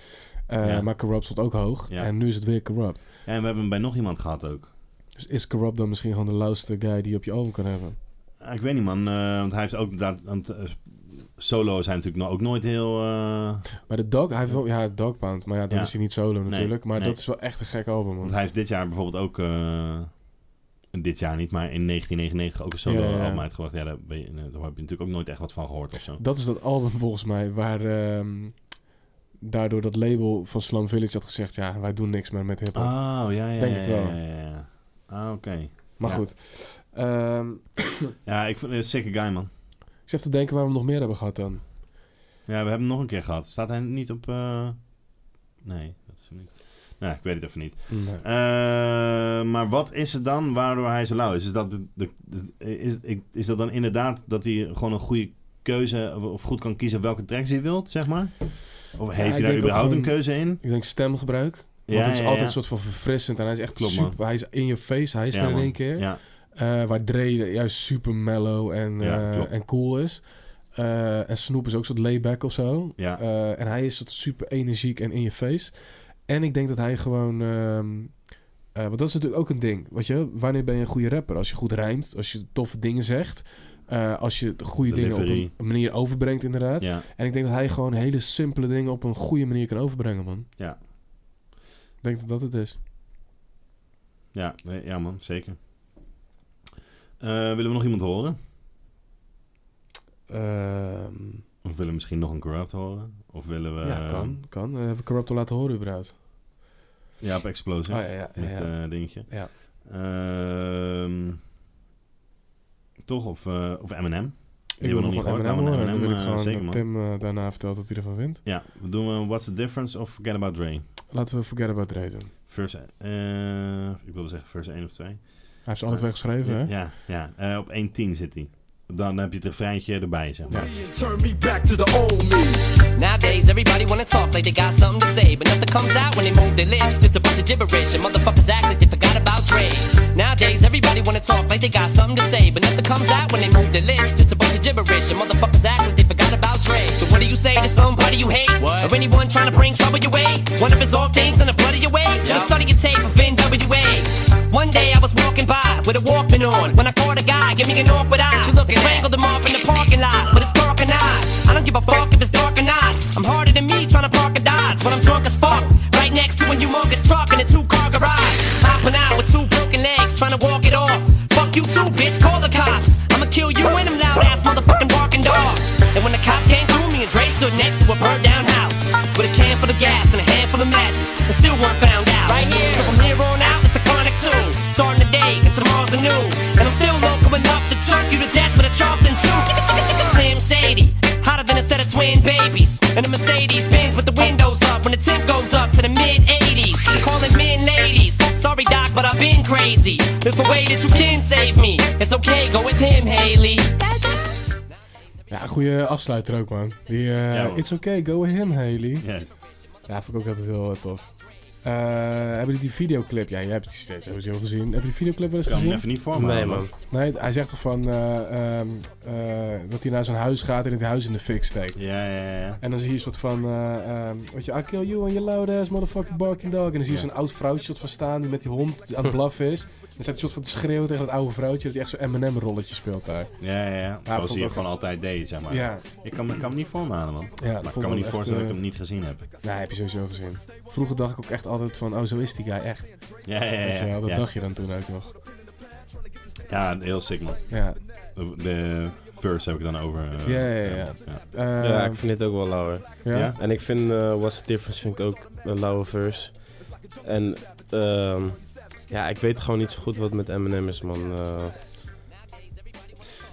Eh,
Ja.
Maar Corrupt stond ook hoog.
Ja.
En nu is het weer Corrupt.
en we hebben hem bij nog iemand gehad ook.
Dus is Corrupt dan misschien gewoon de lauwste guy die je op je album kan hebben?
Ah, ik weet niet man, eh, want hij heeft ook... Dat, want, eh, solo zijn natuurlijk no- ook nooit heel... eh,
Maar de Dog, hij heeft wel, ja, Dogbound. Maar ja, dan
Ja.
is hij niet solo natuurlijk. maar
nee.
dat is wel echt een gek album, man.
want hij heeft dit jaar bijvoorbeeld ook... eh, dit jaar niet, maar in 1999 ook een solo
Ja, ja.
album uitgebracht. Ja, daar, ben je- daar heb je natuurlijk ook nooit echt wat van gehoord of zo.
Dat is dat album volgens mij waar... ehm, daardoor dat label van Slum Village had gezegd... Ja, wij doen niks meer met hiphop.
Oh, ja, ja,
Denk
ja,
ik
ja,
wel.
ja, ja, ja. Ah, oké.
maar
ja.
goed. Ehm,
(coughs) Ja, ik vind het een sicker guy, man.
ik zit even te denken waar we hem nog meer hebben gehad dan.
Ja, we hebben hem nog een keer gehad. Staat hij niet op... eh, Nee, dat is hem niet. Nou, ik weet het even niet. Eh, maar wat is het dan waardoor hij zo lauw is? Is dat, de, de- de- is, ik- is dat dan inderdaad dat hij gewoon een goede keuze... of- of goed kan kiezen welke tracks hij wilt, zeg maar? Of
ik
heeft hij
denk
daar
ook
überhaupt een
gewoon-
keuze in?
Ik denk stemgebruik. Want
Ja,
het is
ja,
altijd
ja.
een soort van verfrissend. En hij is echt
Klopt, man.
super... Hij is in je face. Hij is
Ja,
er in
man.
één keer.
Ja,
Eh, waar Dre juist super mellow en,
Ja,
eh,
klopt.
en cool is. Eh, en Snoop is ook soort layback of zo.
ja.
Eh, en hij is soort super energiek en in je face. En ik denk dat hij gewoon... ehm, eh, want dat is natuurlijk ook een ding. Weet je, wanneer ben je een goede rapper? Als je goed rijmt, als je toffe dingen zegt... eh, als je de goede dingen
Delivery.
op een manier overbrengt, inderdaad.
ja.
En ik denk dat hij gewoon hele simpele dingen op een goede manier kan overbrengen, man.
Ja.
Ik denk dat dat het is.
Ja, nee, ja man, zeker. Eh, willen we nog iemand horen?
Ehm,
Of willen we misschien nog een Corrupt horen? Of willen we...
ja, kan. kan. Eh, heb ik Corrupt al laten horen, überhaupt?
Ja, op Explosive.
Oh, ja, ja, ja,
Met
ja.
eh, dingetje.
Ja.
Ehm, toch? Of, eh of M&M?
ik wil nog wat M&M horen. Dan wil ik
eh,
gewoon
zeker,
dat
man.
Tim eh, daarna vertelt wat hij ervan vindt.
Ja, we doen we What's the Difference of Forget About Dre.
Laten we Forget About Dre doen.
Vers, eh, ik wilde zeggen vers 1 of 2.
Hij heeft ze alle twee geschreven, hè?
Ja, ja. Eh, op 1.10 zit hij. dan heb je het refreintje erbij, zeg maar.
Turn me back to the old me.
Nowadays, everybody wanna talk like they got something to say, but nothing comes out when they move their lips. Just a bunch of gibberish, and motherfuckers act like they forgot about Dre. Nowadays, everybody wanna talk like they got something to say, but nothing comes out when they move their lips. Just a bunch of gibberish, and motherfuckers act like they forgot about Dre. So what do you say to somebody you hate, or anyone trying to bring trouble your way? One of his old things and a blood of your way. Just started your tape of NWA. One day I was walking by with a Walkman on when I caught a guy giving an awkward eye. You looking strangled him off in the parking lot, but it's dark and I. I don't give a fuck if it's dark or not. I'm harder than me trying to park a Dodge, but I'm drunk as fuck. Right next to a humongous truck in a two-car garage. Hopping out with two broken legs, trying to walk it off. Fuck you too, bitch. Call the cops. I'ma kill you and them loud-ass motherfucking barking dogs. And when the cops came through, me and Dre stood next to a burned-down house with a can full of gas and a handful of matches, and still weren't found out. Right here, so from here on out, it's the chronic too. Starting the day and tomorrow's the new, and I'm still local enough to choke you to death with a Charleston chew. Slim Shady, hotter than a set of twin babies, and a Mercedes Benz with the windows up when the temp goes up to the mid 80s. Calling men ladies, sorry doc, but I've been crazy. There's no way that you can save me. It's okay, go with him, Haley.
Ja, goede afsluiter ook, man. Die, eh,
Ja, man.
It's okay, go with him, Haley.
Yes.
Ja, vond ik ook altijd heel eh, tof. Eh, hebben jullie die videoclip? Ja, jij hebt die steeds sowieso gezien. Heb je die videoclip wel eens
Kan hem
gezien?
even niet voor me Nee, halen, man.
Nee, hij zegt toch van eh, ehm, eh, dat hij naar zo'n huis gaat en het huis in de fik steekt.
Ja, ja, ja.
En dan zie je een soort van, eh, ehm, weet je, I kill you and your loud ass motherfucking barking dog. En dan zie je zo'n oud vrouwtje soort van staan die met die hond aan het blaffen
(laughs)
is. En dan staat hij soort van te schreeuwen tegen dat oude vrouwtje dat hij echt zo'n M&M rolletje speelt daar.
Ja, ja, ja.
vond
Zoals
ik
hij
ook
gewoon
echt-
altijd deed, zeg maar.
Ja.
Ik kan, me- kan me niet voor me halen, man.
Ja, dat
maar ik
vond
kan
ik
me niet
echt,
voorstellen dat
eh,
ik hem niet gezien heb.
Nee, heb je sowieso gezien. Vroeger dacht ik ook echt altijd van, oh, zo is die guy echt.
Ja, ja, ja,
Weet je wel, dat
ja.
dacht je dan toen ook nog.
Ja, heel sick, man.
Ja.
De, de verse heb ik dan over. eh,
Ja, ja, ja. Eh,
ja, ik vind dit ook wel lauwer.
Ja? Ja?
En ik vind eh, What's the Difference vind ik ook een lauwe verse. En ehm, ja, ik weet gewoon niet zo goed wat met Eminem is, man. Eh,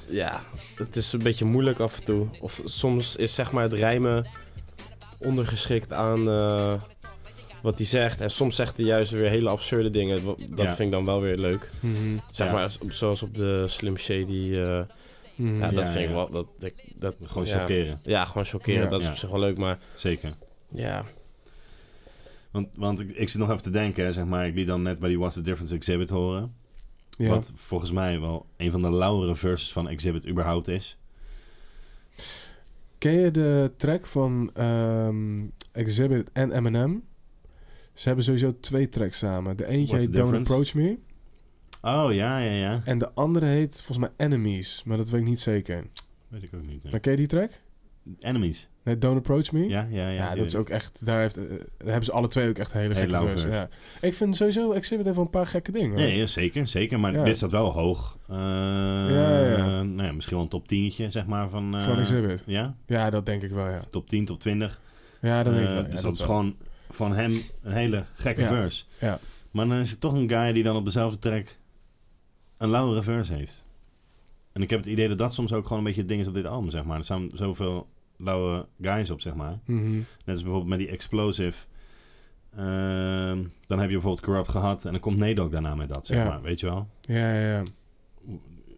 ja, het is een beetje moeilijk af en toe. Of soms is zeg maar het rijmen ondergeschikt aan eh, wat hij zegt. En soms zegt hij juist weer hele absurde dingen. Wa- Dat
Ja.
vind ik dan wel weer leuk.
Mhm.
Zeg
Ja.
maar, zo- zoals op de Slim Shady... eh,
Mhm.
Ja, dat
Ja,
vind ik
ja.
wel... Dat, dat, dat,
Gewoon
ja.
chockeren.
Ja, gewoon chockeren.
Ja.
Dat is
Ja.
op zich wel leuk, maar...
Zeker.
Ja.
Want, want ik, ik zit nog even te denken, hè, zeg maar. Ik liet dan net bij die What's the Difference Exhibit horen.
Ja.
Wat volgens mij wel een van de lauwere verses van Exhibit überhaupt is.
Ken je de track van ehm, Exhibit en Eminem? Ze hebben sowieso twee tracks samen. De eentje
What's
heet
the
Don't
difference?
Approach Me.
Oh, ja, ja, ja.
En de andere heet volgens mij Enemies. Maar dat weet ik niet zeker.
Weet ik ook niet. nee.
Maar ken je die track?
Enemies.
Nee, Don't Approach Me?
Ja, ja, ja.
Ja,
die
dat is
weet
ook echt... Daar, heeft, eh, daar hebben ze alle twee ook echt hele
Heel
gekke
lauw
verses,
vers.
ja. Ik vind sowieso Exhibit heeft wel een paar gekke dingen.
ik.
hoor.
Nee, ja, zeker, zeker. Maar
Ja.
dit staat wel hoog. Eh,
ja, ja.
nou ja, misschien wel een top 10'tje, zeg maar, van... eh,
Van Exhibit.
Ja?
Ja, dat denk ik wel, ja.
Top 10, top 20.
Ja, dat denk ik
Eh,
wel. Ja,
Dus
dat
dat is
wel.
gewoon van hem een hele gekke
Ja.
verse.
Ja.
Maar dan is het toch een guy die dan op dezelfde track een lauwe verse heeft. En ik heb het idee dat dat soms ook gewoon een beetje het ding is op dit album, zeg maar. Er staan zoveel lauwe guys op, zeg maar.
Mhm.
Net als bijvoorbeeld met die Explosive. Ehm, dan heb je bijvoorbeeld Corrupt gehad en dan komt Nedok daarna met dat, zeg
Ja.
maar. Weet je wel?
Ja, ja, ja.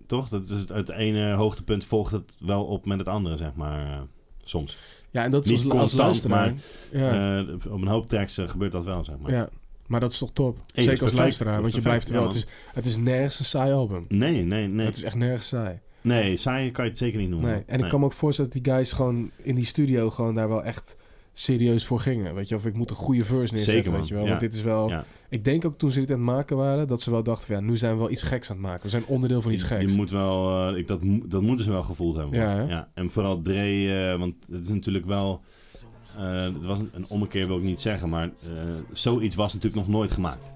Toch? Dat is het, het ene hoogtepunt volgt het wel op met het andere, zeg maar. eh, soms.
Ja, en dat is
Niet
als, als
constant,
luisteraar.
maar
ja.
eh, op een hoop tracks eh, gebeurt dat wel, zeg maar.
Ja, maar dat is toch top.
is
Zeker als
perfect.
luisteraar, want je
Perfect,
blijft er
ja,
wel. het, is, het is nergens een saai album.
Nee, nee, nee.
Het is echt nergens saai.
Nee, saai kan je het zeker niet noemen.
Nee. En ik kan me ook voorstellen dat die guys gewoon in die studio gewoon daar wel echt serieus voor gingen. Weet je, of ik moet een goede verse neerzetten,
Zeker, man.
weet je wel.
Ja.
Want dit is wel...
Ja.
Ik denk ook toen ze dit aan het maken waren, dat ze wel dachten van... Ja, nu zijn we wel iets geks aan het maken. We zijn onderdeel van iets
Je
geks.
moet wel, eh, ik, dat, mo- dat moeten ze wel gevoeld hebben.
Ja, hè?
En vooral Dre, eh, want het is natuurlijk wel, eh, het was een, een ommekeer wil ik niet zeggen, maar eh, zoiets was natuurlijk nog nooit gemaakt.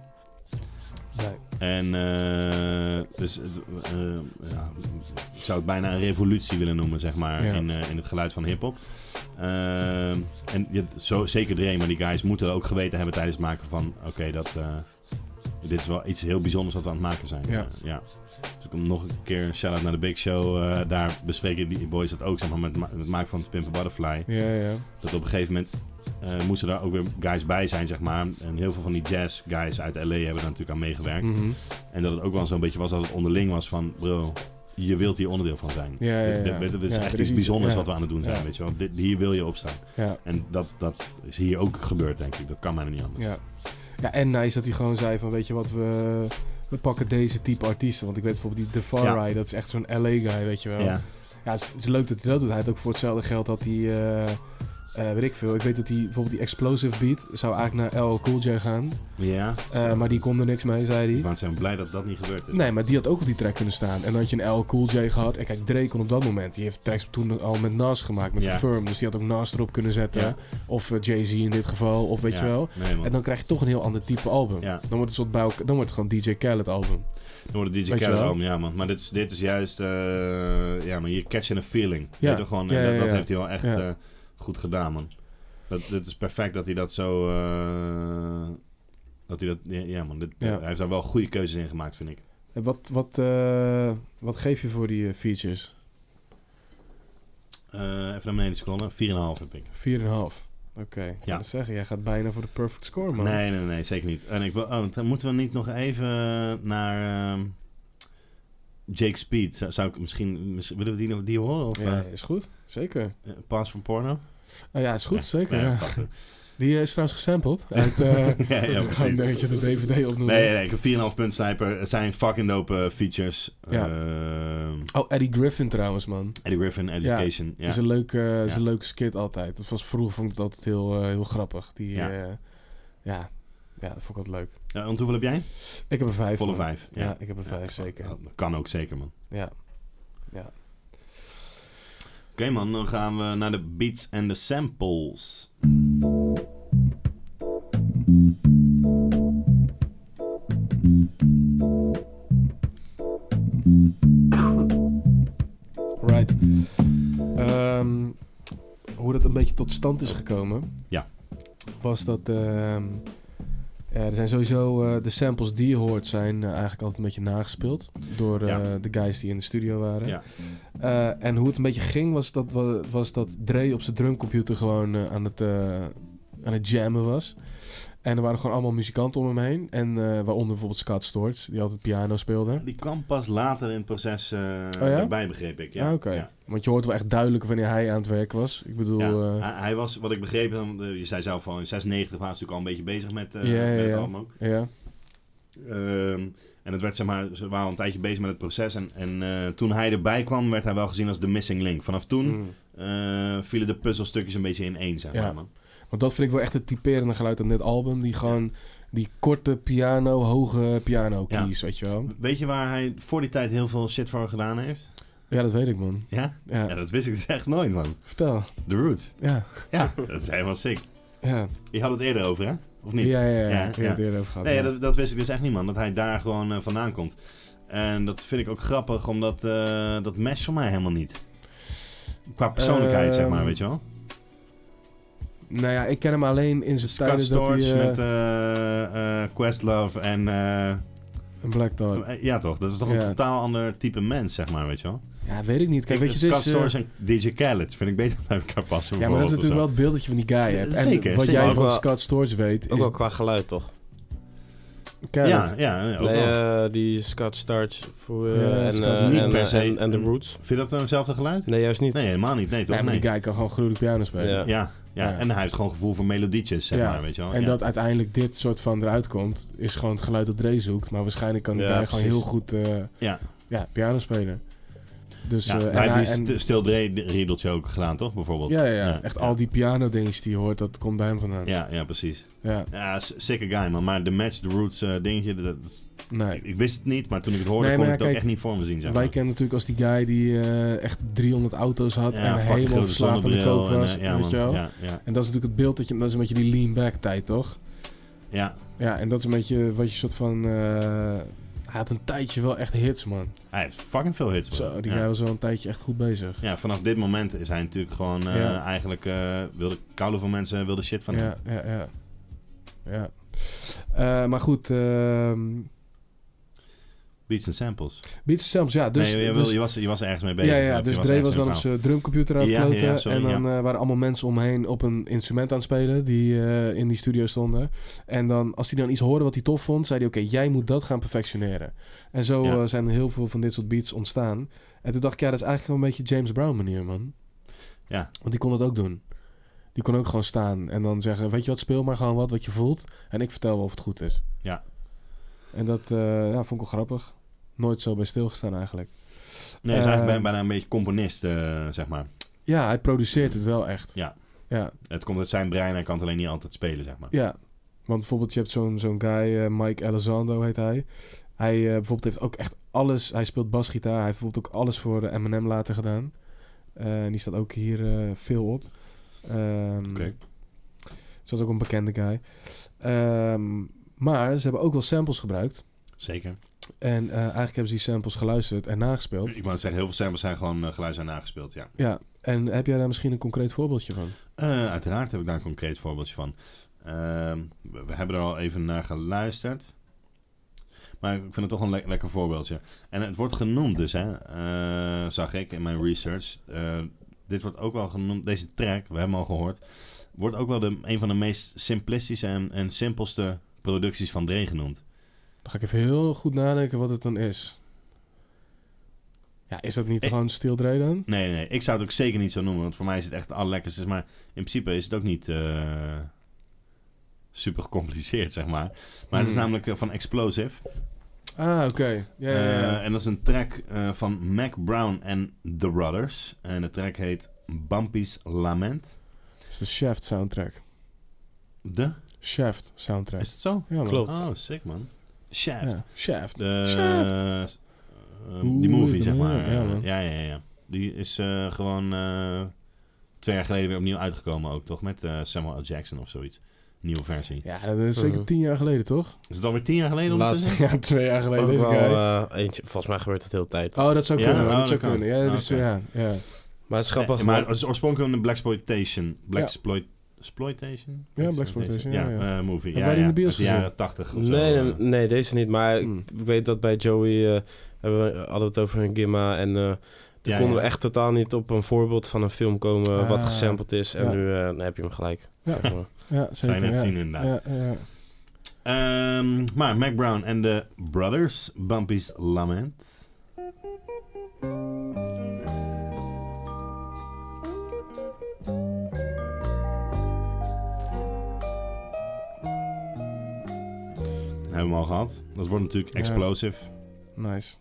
En eh, dus het, eh, ja, ik zou het bijna een revolutie willen noemen, zeg maar,
Ja.
in, eh, in het geluid van hip-hop. Eh, en je- zo, zeker Dre, maar die guys moeten ook geweten hebben tijdens het maken van: oké, dat. eh, dit is wel iets heel bijzonders wat we aan het maken zijn.
Ja.
Eh, ja. Dus ik kom nog een keer een shout-out naar de Big Show. eh, daar bespreken die boys dat ook, zeg maar, met het ma- met het maken van Pimp a Butterfly.
Ja, ja.
Dat op een gegeven moment eh, moesten daar ook weer guys bij zijn, zeg maar. En heel veel van die jazz guys uit L.A. hebben daar natuurlijk aan meegewerkt.
Mhm.
En dat het ook wel zo'n beetje was dat het onderling was van... Bro, je wilt hier onderdeel van zijn.
Ja, ja,
Dit- dit-
ja.
dit- dit is
Ja,
echt
er is
iets
iets-
bijzonders
ja.
wat we aan het doen zijn,
Ja.
weet je wel. Dit, hier wil je op staan.
Ja.
En dat, dat is hier ook gebeurd, denk ik. Dat kan mij niet anders.
Ja. ja, en nice dat hij gewoon zei van, weet je wat, we, we pakken deze type artiesten. Want ik weet bijvoorbeeld die Defari, dat is echt zo'n LA guy, weet je wel.
Ja.
Ja, het is, het is leuk dat hij dat doet. Hij had ook voor hetzelfde geld dat hij, eh, eh, weet ik veel. Ik weet dat hij bijvoorbeeld die Explosive Beat zou eigenlijk naar LL Cool J gaan.
Ja.
Eh, maar die kon er niks mee, zei hij.
Maar zijn blij dat dat niet gebeurd is.
Nee, maar die had ook op die track kunnen staan. En dan had je een L Cool J gehad. En kijk, Drake kon op dat moment. Die heeft tracks toen al met Nas gemaakt, met
Ja.
The Firm. Dus die had ook Nas erop kunnen zetten.
Ja.
Of eh, Jay-Z in dit geval, of weet
Ja,
je wel.
nee, man.
en dan krijg je toch een heel ander type album.
Ja.
Dan wordt het, soort bij elkaar- dan wordt het gewoon DJ Khaled album.
Dan wordt het DJ
Weet je
Khaled
wel?
album, ja man. Maar dit is, dit is juist, eh, ja maar je catching a feeling.
Ja.
Weet je, gewoon, en
Ja, ja,
dat, dat
ja.
heeft hij wel echt
Ja.
eh, goed gedaan man. Dat, het is perfect dat hij dat zo, eh, dat hij dat, ja, ja, man. Dit,
Ja.
hij heeft daar wel goede keuzes in gemaakt vind ik.
En wat, wat, eh, wat geef je voor die eh, features?
Eh, even naar beneden scrollen, 4,5 heb ik.
4,5. Oké. Ik
Ja.
kan zeggen, jij gaat bijna voor de perfect score, man.
Nee, nee, nee, zeker niet. En ik wil, oh, dan moeten we niet nog even naar ehm, Jake Speed. Zou, zou ik misschien, misschien, willen we die, nog- die horen? Of,
Ja,
eh,
is goed. Zeker.
eh, Paas van Porno?
Nou ja, is goed.
Ja,
zeker.
ja,
ja.
wacht even.
Die eh, is trouwens gesampled. Uit, eh (laughs)
(laughs) Ja, ja,
ik ga
precies.
een beetje de DVD opnoemen.
Nee, nee, ik heb 4,5 punt sniper. Het zijn fucking dope eh, features.
Ja.
Ehm,
Oh, Eddie Griffin trouwens, man.
Eddie Griffin, Education. Ja,
Is een leuke, eh, is
Ja.
een leuke skit altijd. Dat was vroeger vond ik dat altijd heel, eh, heel grappig. Die,
Ja.
ja. ja, ja, dat vond ik altijd leuk.
Ja, want hoeveel heb jij?
Ik heb een vijf.
Volle
man.
vijf.
Ja. ik heb een vijf zeker.
Dat kan ook zeker, man.
Ja. ja.
Oké, man. Dan gaan we naar de beats en de samples.
Right. Ehm, hoe dat een beetje tot stand is gekomen.
Ja.
Was dat. ehm, ja, er zijn sowieso eh, de samples die je hoort zijn eh, eigenlijk altijd een beetje nagespeeld door eh,
Ja.
de guys die in de studio waren.
Ja.
Eh, en hoe het een beetje ging was dat, wa- was dat Dre op zijn drumcomputer gewoon eh, aan, het, eh, aan het jammen was. En er waren gewoon allemaal muzikanten om hem heen. En eh, waaronder bijvoorbeeld Scott Storch, die altijd piano speelde.
Die kwam pas later in het proces eh
Oh ja?
erbij, begreep ik. Ja,
Ah, oké.
ja.
Want je hoort wel echt duidelijk wanneer hij aan het werk was. Ik bedoel,
Ja. Ah,
eh,
Hij, hij was, wat ik begreep, dan, eh, je zei zelf al, in 96 waren ze natuurlijk al een beetje bezig met, eh
Ja, ja,
met het
ja.
album ook.
ja.
Ehm, en het werd, zeg maar, ze waren al een tijdje bezig met het proces. En, en eh, toen hij erbij kwam, werd hij wel gezien als de missing link. Vanaf toen
Mm.
eh, vielen de puzzelstukjes een beetje in één, zeg
Ja.
maar. Man.
Want dat vind ik wel echt het typerende geluid aan dit album. Die gewoon die korte piano, hoge piano
Ja.
keys, weet je wel.
Weet je waar hij voor die tijd heel veel shit voor gedaan heeft?
Ja, dat weet ik man.
Ja?
Ja.
Ja, dat wist ik dus echt nooit, man.
Vertel.
The Root.
Ja.
Ja, dat is helemaal sick.
Ja.
Je had het eerder over, hè? Of niet?
Ja, ja, ja.
Ja,
Ik
ja.
heb het eerder over gehad.
Nee,
ja.
dat, dat wist ik dus echt niet, man. Dat hij daar gewoon eh, vandaan komt. En dat vind ik ook grappig, omdat eh dat matcht voor mij helemaal niet. Qua persoonlijkheid, zeg maar,
Ehm,
weet je wel?
Nou ja, ik ken hem alleen in zijn
Scott
tijden dat hij...
Storch
eh,
met eh, eh, Questlove en... eh,
Een Black Dog.
eh, ja, toch? Dat is toch een
Ja.
totaal ander type mens, zeg maar, weet je wel?
Ja, weet ik niet. Kijk, weet je,
Scott
dus...
Storch en DJ Khaled vind ik beter bij (laughs) elkaar passen.
ja, maar dat is
bijvoorbeeld, of
natuurlijk wel het beeld dat je van die guy
Ja,
hebt.
zeker,
en wat
zeker.
jij
Ook
van
wel-
Scott Storch weet
Ook
is...
wel qua geluid, toch?
Kijk,
Ja, ja, ja, ook
Nee,
wel.
eh, die Scott Starch voor, eh,
Ja,
en,
Scott
eh,
Niet
en,
per se.
en, en de Roots.
Vind je dat dan hetzelfde geluid?
Nee, juist niet.
Nee, helemaal niet. Nee, toch?
nee, maar
Nee.
die guy kan gewoon gruwelijk piano spelen.
Ja.
Ja. Ja,
Ja.
en hij heeft gewoon gevoel voor melodietjes, zeg
Ja.
maar, weet je wel?
En
Ja.
dat uiteindelijk dit soort van eruit komt, is gewoon het geluid dat Dre zoekt. Maar waarschijnlijk kan die
Ja,
guy gewoon
precies.
heel goed eh,
Ja.
ja, piano spelen. Dus,
Ja, Nou,
eh, en
hij
hij-
heeft die
en-
st- Stil Dre riedeltje ook gedaan, toch? Bijvoorbeeld.
ja, ja, ja, echt
ja.
al die piano dingetjes die je hoort, dat komt bij hem vandaan.
Ja, ja, precies.
Ja.
Ja, s- sicker guy, man. Maar de match, de roots eh, dingetje, dat, dat is-
Nee.
ik, ik wist het niet. Maar toen ik het hoorde,
Nee,
kon
maar
ik
ja,
het ook
kijk,
echt niet voor me zien, zeg
Wij
maar.
kennen natuurlijk als die guy die eh, echt 300 auto's had
Ja,
en
fucking
helemaal
grote
verslaafd aan de
zonnebril
kook
en,
was.
eh, ja,
weet
man.
je wel?
Ja, ja,
En dat is natuurlijk het beeld dat je, dat is een beetje die lean back tijd, toch?
ja.
Ja, en dat is een beetje wat je soort van, eh, hij had een tijdje wel echt hits, man.
Hij heeft fucking veel hits, man.
Zo, die guy
ja.
was wel een tijdje echt goed bezig.
ja, vanaf dit moment is hij natuurlijk gewoon eh,
Ja.
eigenlijk... eh wilde koude van mensen, wilde shit van hem.
ja, ja, ja, ja. Eh, maar goed, ehm,
Beats and samples.
Beats and samples, ja. Dus,
nee, je,
dus-
wil- je was, je was ergens mee bezig.
Ja, ja,
Je
dus
was
Dre
ergens
was dan
in
op
een
zijn drumcomputer aan het
Ja, ja,
kloten.
ja, sorry,
en dan
ja.
eh, waren allemaal mensen om me heen op een instrument aan het spelen die eh, in die studio stonden. En dan, als hij dan iets hoorde wat hij tof vond, zei hij, oké, jij moet dat gaan perfectioneren. En zo
Ja.
eh, zijn er heel veel van dit soort beats ontstaan. En toen dacht ik, ja, dat is eigenlijk gewoon een beetje James Brown manier, man.
Ja.
Want die kon dat ook doen. Die kon ook gewoon staan en dan zeggen, weet je wat, speel maar gewoon wat wat je voelt. En ik vertel wel of het goed is.
Ja.
En dat eh, ja, vond ik wel grappig. Nooit zo bij stilgestaan eigenlijk.
Nee, hij is
Eh,
eigenlijk bijna een beetje componist, eh, zeg maar.
ja, hij produceert het wel echt.
Ja.
Ja,
Het komt uit zijn brein, hij kan het alleen niet altijd spelen, zeg maar.
ja. Want bijvoorbeeld, je hebt zo'n zo'n guy, eh, Mike Elizondo heet hij. Hij eh, bijvoorbeeld heeft ook echt alles. Hij speelt basgitaar. Hij heeft bijvoorbeeld ook alles voor eh, Eminem later gedaan. Eh, en die staat ook hier eh, veel op. Ehm
Oké.
Dus dat is ook een bekende guy. Ehm, maar ze hebben ook wel samples gebruikt.
Zeker.
En eh, eigenlijk hebben ze die samples geluisterd en nagespeeld.
Ik wou net zeggen, heel veel samples zijn gewoon eh, geluid zijn nagespeeld, ja.
Ja, en heb jij daar misschien een concreet voorbeeldje van?
Eh, uiteraard heb ik daar een concreet voorbeeldje van. Ehm, we, we hebben er al even naar geluisterd. Maar ik vind het toch een le- lekker voorbeeldje. En het wordt genoemd dus, hè, eh, zag ik in mijn research. Eh, dit wordt ook wel genoemd, deze track, we hebben hem al gehoord. Wordt ook wel de, een van de meest simplistische en, en simpelste producties van Dre genoemd.
Dan ga ik even heel goed nadenken wat het dan is. Ja, is dat niet
Ik-
gewoon Steel Dre dan?
Nee, nee, ik zou het ook zeker niet zo noemen, want voor mij is het echt het allerlekkerste. Maar in principe is het ook niet eh, super gecompliceerd, zeg maar. Maar het is
Hmm.
namelijk eh, van Explosive.
Ah, oké. Ja, ja, ja.
Eh, en dat is een track eh, van Mac Brown en The Brothers. En de track heet Bumpy's Lament.
Dat is de Shaft soundtrack.
De?
Shaft soundtrack.
Is het zo?
Ja, man. Ah.
Klopt.
Oh, sick man. Shaft.
Ja, Shaft.
De,
Shaft.
eh,
Hoe
die
is
movie,
de
zeg
man?
maar.
Ja,
Ja,
man.
ja, ja, ja. Die is eh, gewoon eh, twee jaar geleden weer opnieuw uitgekomen ook, toch? Met eh, Samuel L. Jackson of zoiets. Nieuwe versie.
Ja, dat is zeker tien jaar geleden, toch?
Is het alweer tien jaar geleden
Laatst-
ondertussen?
(laughs) Ja, twee jaar geleden.
Ook
Oh,
Deze
wel,
guy.
eh, eentje, volgens mij gebeurt dat heel de tijd.
Oh, dat zou
Ja?
kunnen.
Oh,
dat
dat
zou
kan.
kunnen. Ja, dat
Ah,
is,
oké.
ja, ja.
Maar het is grappig.
Nee, maar het is oorspronkelijk een Blaxploitation. Blaxploitation? Exploitation?
Ja, blaxploitation, ja, ja.
movie.
Heb
ja,
jij die
ja.
in de bios
Uit jaren tachtig of zo.
nee, nee,
eh.
nee, deze niet. Maar ik-
Hmm.
ik weet dat bij Joey eh, hebben we, hadden we het over een Gimma. En eh toen
Ja,
konden we
ja.
echt totaal niet op een voorbeeld van een film komen
Ah,
wat gesampled is. En
ja.
nu eh, dan heb je hem gelijk.
Ja.
Zeg maar.
Ja, zeker.
Zou je net
ja.
zien inderdaad.
Ja, ja, ja.
Ehm, maar Mac Brown en de Brothers, Bumpy's Lament. Hebben we hem al gehad. Dat wordt natuurlijk
Ja.
explosive.
Nice.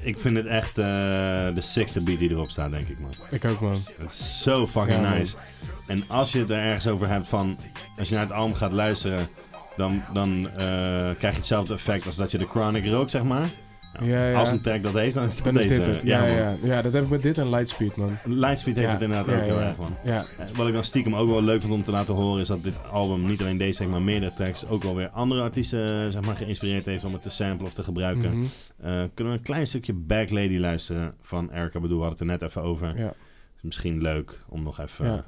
Ik vind het echt eh, de sixte beat die erop staat, denk ik man.
Ik ook, man.
Het is zo fucking
Ja, man.
nice. En als je het er ergens over hebt van... Als je naar het album gaat luisteren... Dan, dan eh, krijg je hetzelfde effect als dat je de Chronic rookt, zeg maar. Nou,
Ja, ja.
Als een track dat heeft, dan is dat
Dan is
deze.
dit het. Ja,
man.
ja, ja. dat heb ik met dit en Lightspeed, man.
Lightspeed heeft
Ja,
het inderdaad
ja,
ook heel
ja.
erg, man.
Ja,
Eh, Wat ik dan stiekem ook wel leuk vond om te laten horen... is dat dit album niet alleen deze, track, maar meerdere tracks... ook wel weer andere artiesten eh, zeg maar, geïnspireerd heeft om het te samplen of te gebruiken.
mhm.
Eh, kunnen we een klein stukje Back Lady luisteren van Erica Badu? We hadden het er net even over.
Ja.
Is misschien leuk om nog even...
Ja.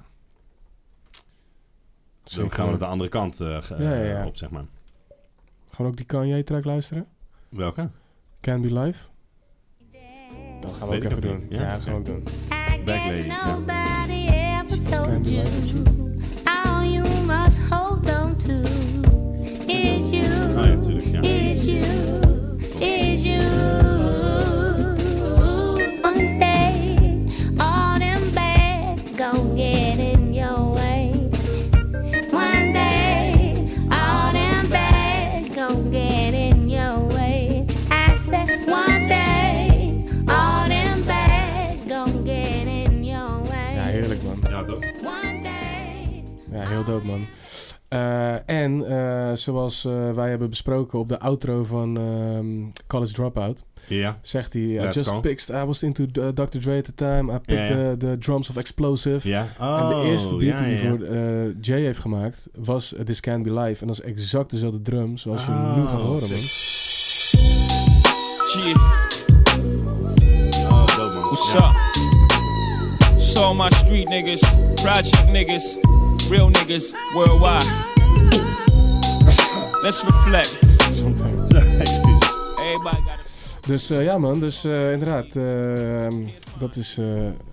Zo
Zeker,
gaan we
man.
het de andere kant eh, ge-
Ja, ja, ja.
op, zeg maar.
Gewoon ook die Kanye-track luisteren.
Welke?
Can Be Live. Dat gaan we
Weet
ook even
ik ook
doen.
niet.
Ja,
Ja,
dat gaan we ook doen.
Backlady. Ja.
Nobody ever told you how you must hold on to. Is you,
Oh ja, natuurlijk. Ja.
is you, is you. One day, all them bad gon' get in your way. One day, all them bad gon' get in your way. I said, one day, all them bad gon' get in your way.
Ja, heerlijk, man.
ja, toch?
One day.
Ja, heel dood, man. Eh, en eh, zoals eh, wij hebben besproken op de outro van ehm, College Dropout,
Ja.
zegt hij: I
Let's
just
go.
picked, I was into uh, Dr. Dre at the time, I picked
Ja, ja.
The, the drums of Explosive.
Ja. Oh,
en de eerste beat
ja,
die
ja,
hij
ja.
voor eh, Jay heeft gemaakt was eh, This Can't Be Live. En dat is exact dezelfde drum zoals je hem nu gaat
Oh,
horen, man.
Yeah,
Oh, dope, man.
what's
Ja.
up?
That's all my street niggas, project niggas, real niggas worldwide. Let's reflect. Everybody got
Dus eh, ja man, dus eh, inderdaad, eh, dat is... eh,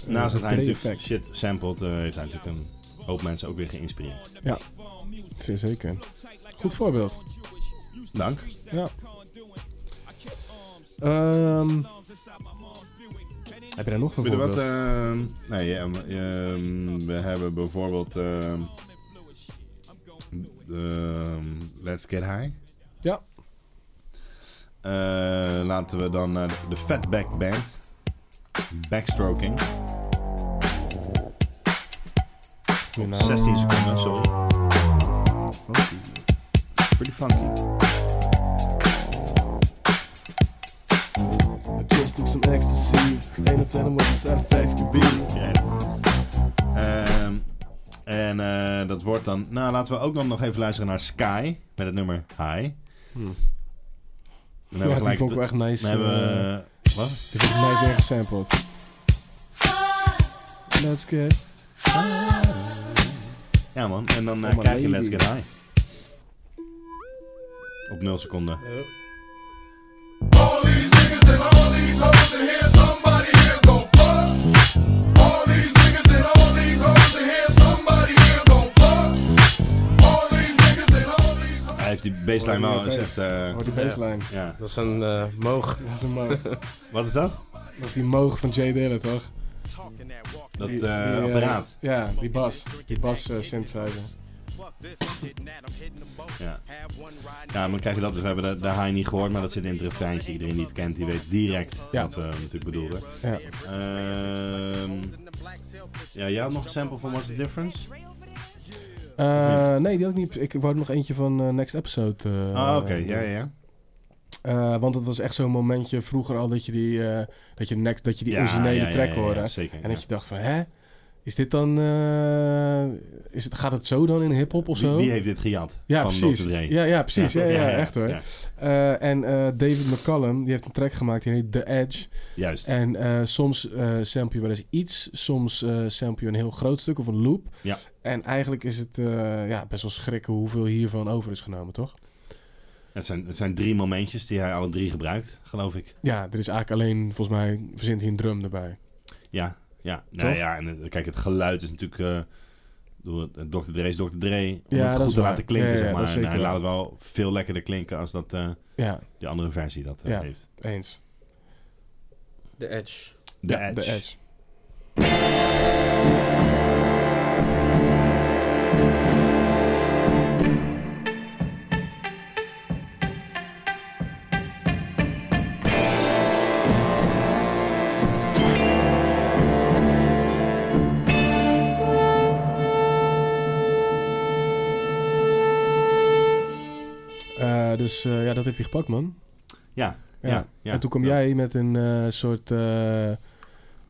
Naast dat
eh,
hij
Dre
natuurlijk shit sampled, eh, heeft hij natuurlijk een hoop mensen ook weer geïnspireerd.
Ja, zeer zeker. Goed voorbeeld.
Dank.
Ja. Ehm, heb je daar nog een
Weet je
voorbeeld?
wat? ehm, nee, ja, maar, ehm, we hebben bijvoorbeeld ehm, ehm, Let's Get High.
Ja.
Eh, laten we dan naar de, de Fatback Band. Backstroking. Op 16 seconden, sorry. Funky. It's pretty funky.
Just took some ecstasy. Ain't no telling what the side effects could be.
Ehm, en eh, dat wordt dan... Nou, laten we ook dan nog even luisteren naar Sky. Met het nummer High. Dan hebben we
Ja, die
gelijk
vond ik
de-
wel echt nice.
Dan hebben we...
eh,
wat?
Die vond ik nice ingesampled. Let's get...
Ja man, en dan eh,
Oh, my
krijg je
lady.
Let's Get High. Op 0 seconden. Hij heeft die baseline
Hoor die
wel, is echt...
bass.
eh,
Hoor die baseline.
Ja.
Dat is een eh, moog.
Dat is een moog.
Wat is dat?
Dat is die moog van Jay Dilla, toch?
Dat
Die-
eh,
die, eh,
apparaat.
Ja, die bas. Die bas eh, synthesizer.
Ja. ja, dan krijg je dat. Dus we hebben de, de high niet gehoord, maar dat zit in het refreintje. Iedereen die het kent, die weet direct wat we natuurlijk bedoelden.
Ja.
Ehm, ja, jij had nog een sample van What's the Difference?
Eh, nee, die had ik niet. Ik wou nog eentje van eh, Next Episode. eh,
Ah, oké.
doen.
Ja, ja, ja.
Eh, want het was echt zo'n momentje vroeger al dat je die, eh, dat je next, dat je die
Ja,
originele
ja, ja,
track
ja, ja,
hoorde.
zeker,
en
ja.
dat je dacht van, hè? Is dit dan... eh, is het, gaat het zo dan in hip-hop of
Wie-
zo?
wie heeft dit gejat?
Ja,
Van
precies.
Dr. Dre.
Ja, ja, precies. Ja,
Ja.
ja,
Ja, ja,
echt hoor.
ja.
Eh, en eh, David McCallum, die heeft een track gemaakt, die heet The Edge.
Juist.
En eh, soms eh sample je wel eens iets, soms eh sample je een heel groot stuk of een loop.
Ja.
En eigenlijk is het eh, ja, best wel schrikken hoeveel hiervan over is genomen, toch?
Het zijn, het zijn drie momentjes die hij alle drie gebruikt, geloof ik.
Ja, er is eigenlijk alleen, volgens mij, verzint hij een drum erbij.
Ja, ja. Nou
Toch?
ja, en het- kijk, het geluid is natuurlijk... eh, door het- Dr. Dre is Dr. Dre.
Ja,
Om het
dat
goed
is
te
waar.
laten klinken,
Ja, ja,
zeg
ja, dat
maar.
is
En hij
zeker
laat het
waar.
wel veel lekkerder klinken als dat... eh,
Ja.
Die andere versie dat eh,
Ja.
heeft.
Eens.
The Edge.
The
Ja,
Edge.
The Edge. Eh, dus eh, ja, dat heeft hij gepakt, man.
Ja, ja, ja.
En toen kwam jij met een eh, soort... eh,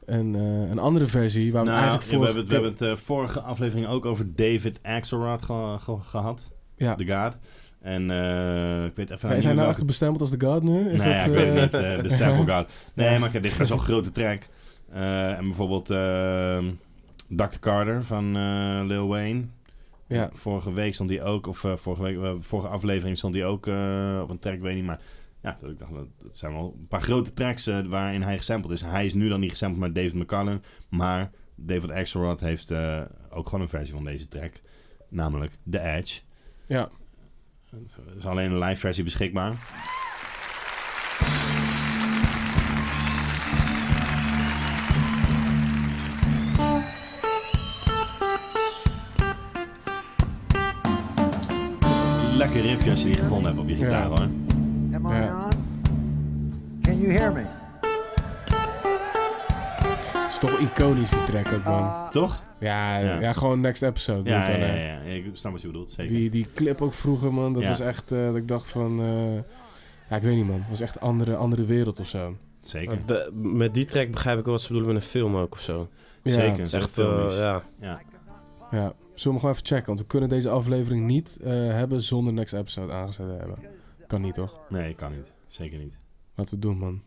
een, eh, een andere versie waar we
Nou,
eigenlijk
ja,
voor...
we hebben het, we hebben het eh, vorige aflevering ook over David Axelrod ge- ge- gehad.
Ja.
The God. En eh, ik weet
Ja,
even...
is
niet
hij nou
welke-
echt bestempeld als de God nu? Is
nee, ja, ik
dat,
weet
eh,
het niet. eh, de
(laughs)
sample god. Nee, maar kijk, dit is zo'n grote track. Eh, en bijvoorbeeld ehm, Dr. Carter van eh, Lil Wayne.
Ja.
Vorige week stond hij ook, of eh, vorige, week, eh, vorige aflevering stond hij ook eh, op een track, ik weet niet, maar ja, dat, ik dacht, dat, dat zijn wel een paar grote tracks eh, waarin hij gesampled is. Hij is nu dan niet gesampled met David McCallum, maar David Axelrod heeft eh, ook gewoon een versie van deze track, namelijk The Edge.
Ja.
Er is alleen een live versie beschikbaar. Lekker riffje als je die gevonden hebt op je gitaar hoor.
Am I on? Can you hear me?
Het is toch iconisch die track ook, man.
Toch?
Ja, ja.
Ja.
gewoon next episode.
Ja,
doe ik
ja,
dan,
ja,
hè.
ja, ik snap wat je bedoelt, zeker.
Die, die clip ook vroeger, man. Dat
Ja.
was echt... eh, dat ik dacht van... eh, ja, ik weet niet, man. Dat was echt een andere, andere wereld of zo.
Zeker.
Be- met die track begrijp ik wel wat ze bedoelen met een film ook of zo.
Ja.
Zeker,
Het is
zo'n
echt,
film is.
eh, ja.
Ja.
Ja. Zullen we hem gewoon even checken? Want we kunnen deze aflevering niet eh, hebben zonder next episode aangezet te hebben. Kan niet, toch?
Nee, kan niet. Zeker niet.
Laten we het doen, man.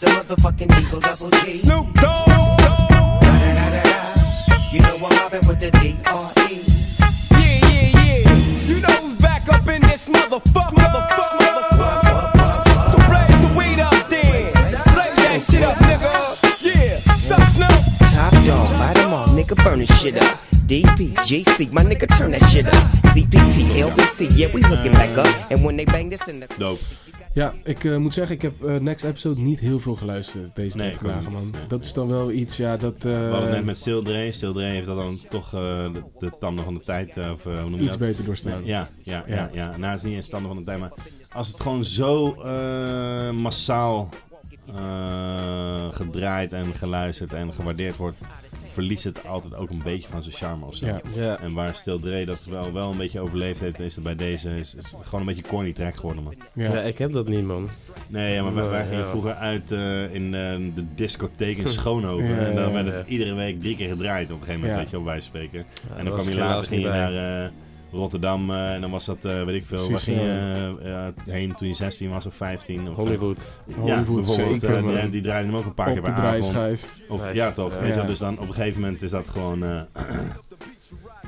motherfucking Eagle Double G. Snoop Dogg. You know I'm mobbing with the E. D.R.E.
Yeah, yeah, yeah. You know who's back up in this motherfucker. Motherfucker, motherfucker. So raise the weed up then. Blaze that shit up, nigga. Yeah. Sup, Snoop?
Top dog, light 'em all, nigga, burn this shit up. DPGC, my nigga, turn that shit up. CPT, LBC, yeah, we hooking back up. And when they bang this in the.
Dope.
Ja, ik eh, moet zeggen, ik heb eh, Next Episode niet heel veel geluisterd deze
Nee,
nee,
ik ook
dagen,
niet.
man. dat is dan wel iets, ja, dat...
We
eh,
hadden het net met Sildre. Sildre heeft dat dan toch eh, de, de tanden van de tijd. eh, of, eh, hoe noem je
Iets
dat?
beter doorstaan.
Ja, ja, ja.
Ja.
ja, Nou, het is niet eens tanden van de tijd. Maar als het gewoon zo eh, massaal eh, gedraaid en geluisterd en gewaardeerd wordt, verliest het altijd ook een beetje van zijn charme of zo.
Ja.
Ja.
En waar Sildre dat wel, wel een beetje overleefd heeft, is het bij deze is, is gewoon een beetje een corny track geworden, man.
Ja.
Ja, ik heb dat niet, man.
Nee, ja, maar wij, wij
Nee,
gingen
ja. Hm.
vroeger uit eh, in eh, de discotheek in Schoonhoven.
Ja,
en dan
ja,
werd
ja.
het iedere week drie keer gedraaid op een gegeven moment,
Ja.
weet je, op wijze van spreken.
Ja,
en
daar
dan
was
kwam je
ik
later
helaas
ging je
niet
naar
bij.
eh, Rotterdam eh, en dan was dat, eh, weet ik veel, waar
Precies,
ging je
ja.
eh, eh, heen toen je 16 was of 15? Of,
Hollywood.
Ja,
Hollywood,
bijvoorbeeld.
zeker,
eh, die-
man.
die draaiden hem ook een paar
Op
keer
de
per avond.
draaischijf.
Of,
Nice.
ja, toch.
Ja.
weet je wel,
Ja.
Dus dan op een gegeven moment is dat gewoon... eh, (clears throat)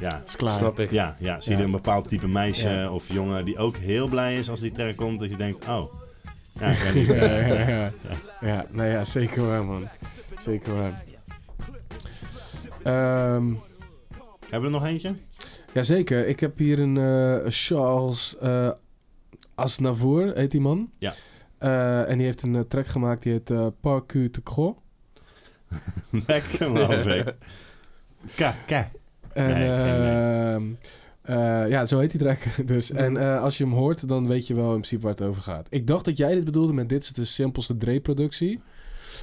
Ja,
Is klaar.
Snap ik.
Ja, ja zie je
Ja.
een bepaald type meisje
Ja.
of jongen die ook heel blij is als die track komt. Dat je denkt, oh, ja,
(laughs)
ik ben niet
ja,
blij.
ja, ja, ja. Ja, nou ja, zeker waar, man. Zeker waar. Ehm
Hebben we er nog eentje?
Jazeker, ik heb hier een eh, Charles eh Aznavour, heet die man.
Ja.
Eh, en die heeft een eh, track gemaakt, die heet eh Parcu te Gros. (laughs)
Lekker man, Vic. Ka, ka.
En
Nee, geen
ehm, eh, ja, zo heet die track (laughs) dus. En eh, als je hem hoort, dan weet je wel in principe waar het over gaat. Ik dacht dat jij dit bedoelde met dit is de simpelste Dre-productie.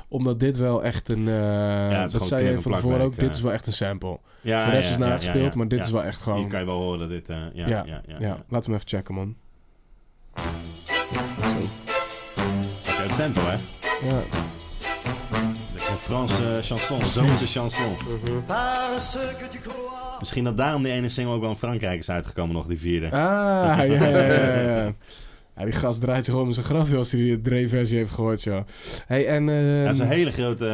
Omdat dit wel echt een... eh,
het is
dat
gewoon
zei
knip
je
en
van tevoren
plakwerk,
ook, dit
ja.
is wel echt een sample.
Ja,
de rest
ja,
is
ja,
nagespeeld,
ja, ja,
maar dit
ja.
is wel echt gewoon...
Hier kan je wel horen dat dit... eh, ja, ja, ja, ja,
ja. Laten we hem even checken, man.
Lekker tempo, hè?
Ja.
Lekker Franse chanson, Zoonse chanson.
Mhm.
Parce que tu crois.
Misschien dat daarom die ene single ook wel in Frankrijk is uitgekomen nog, die vierde.
Ah, ja, ja, ja,
(laughs)
ja. Ja, die gast draait zich om in zijn graf joh, als hij die Dre-versie heeft gehoord, joh. Hey, en... ehm,
Ja, dat is een hele grote,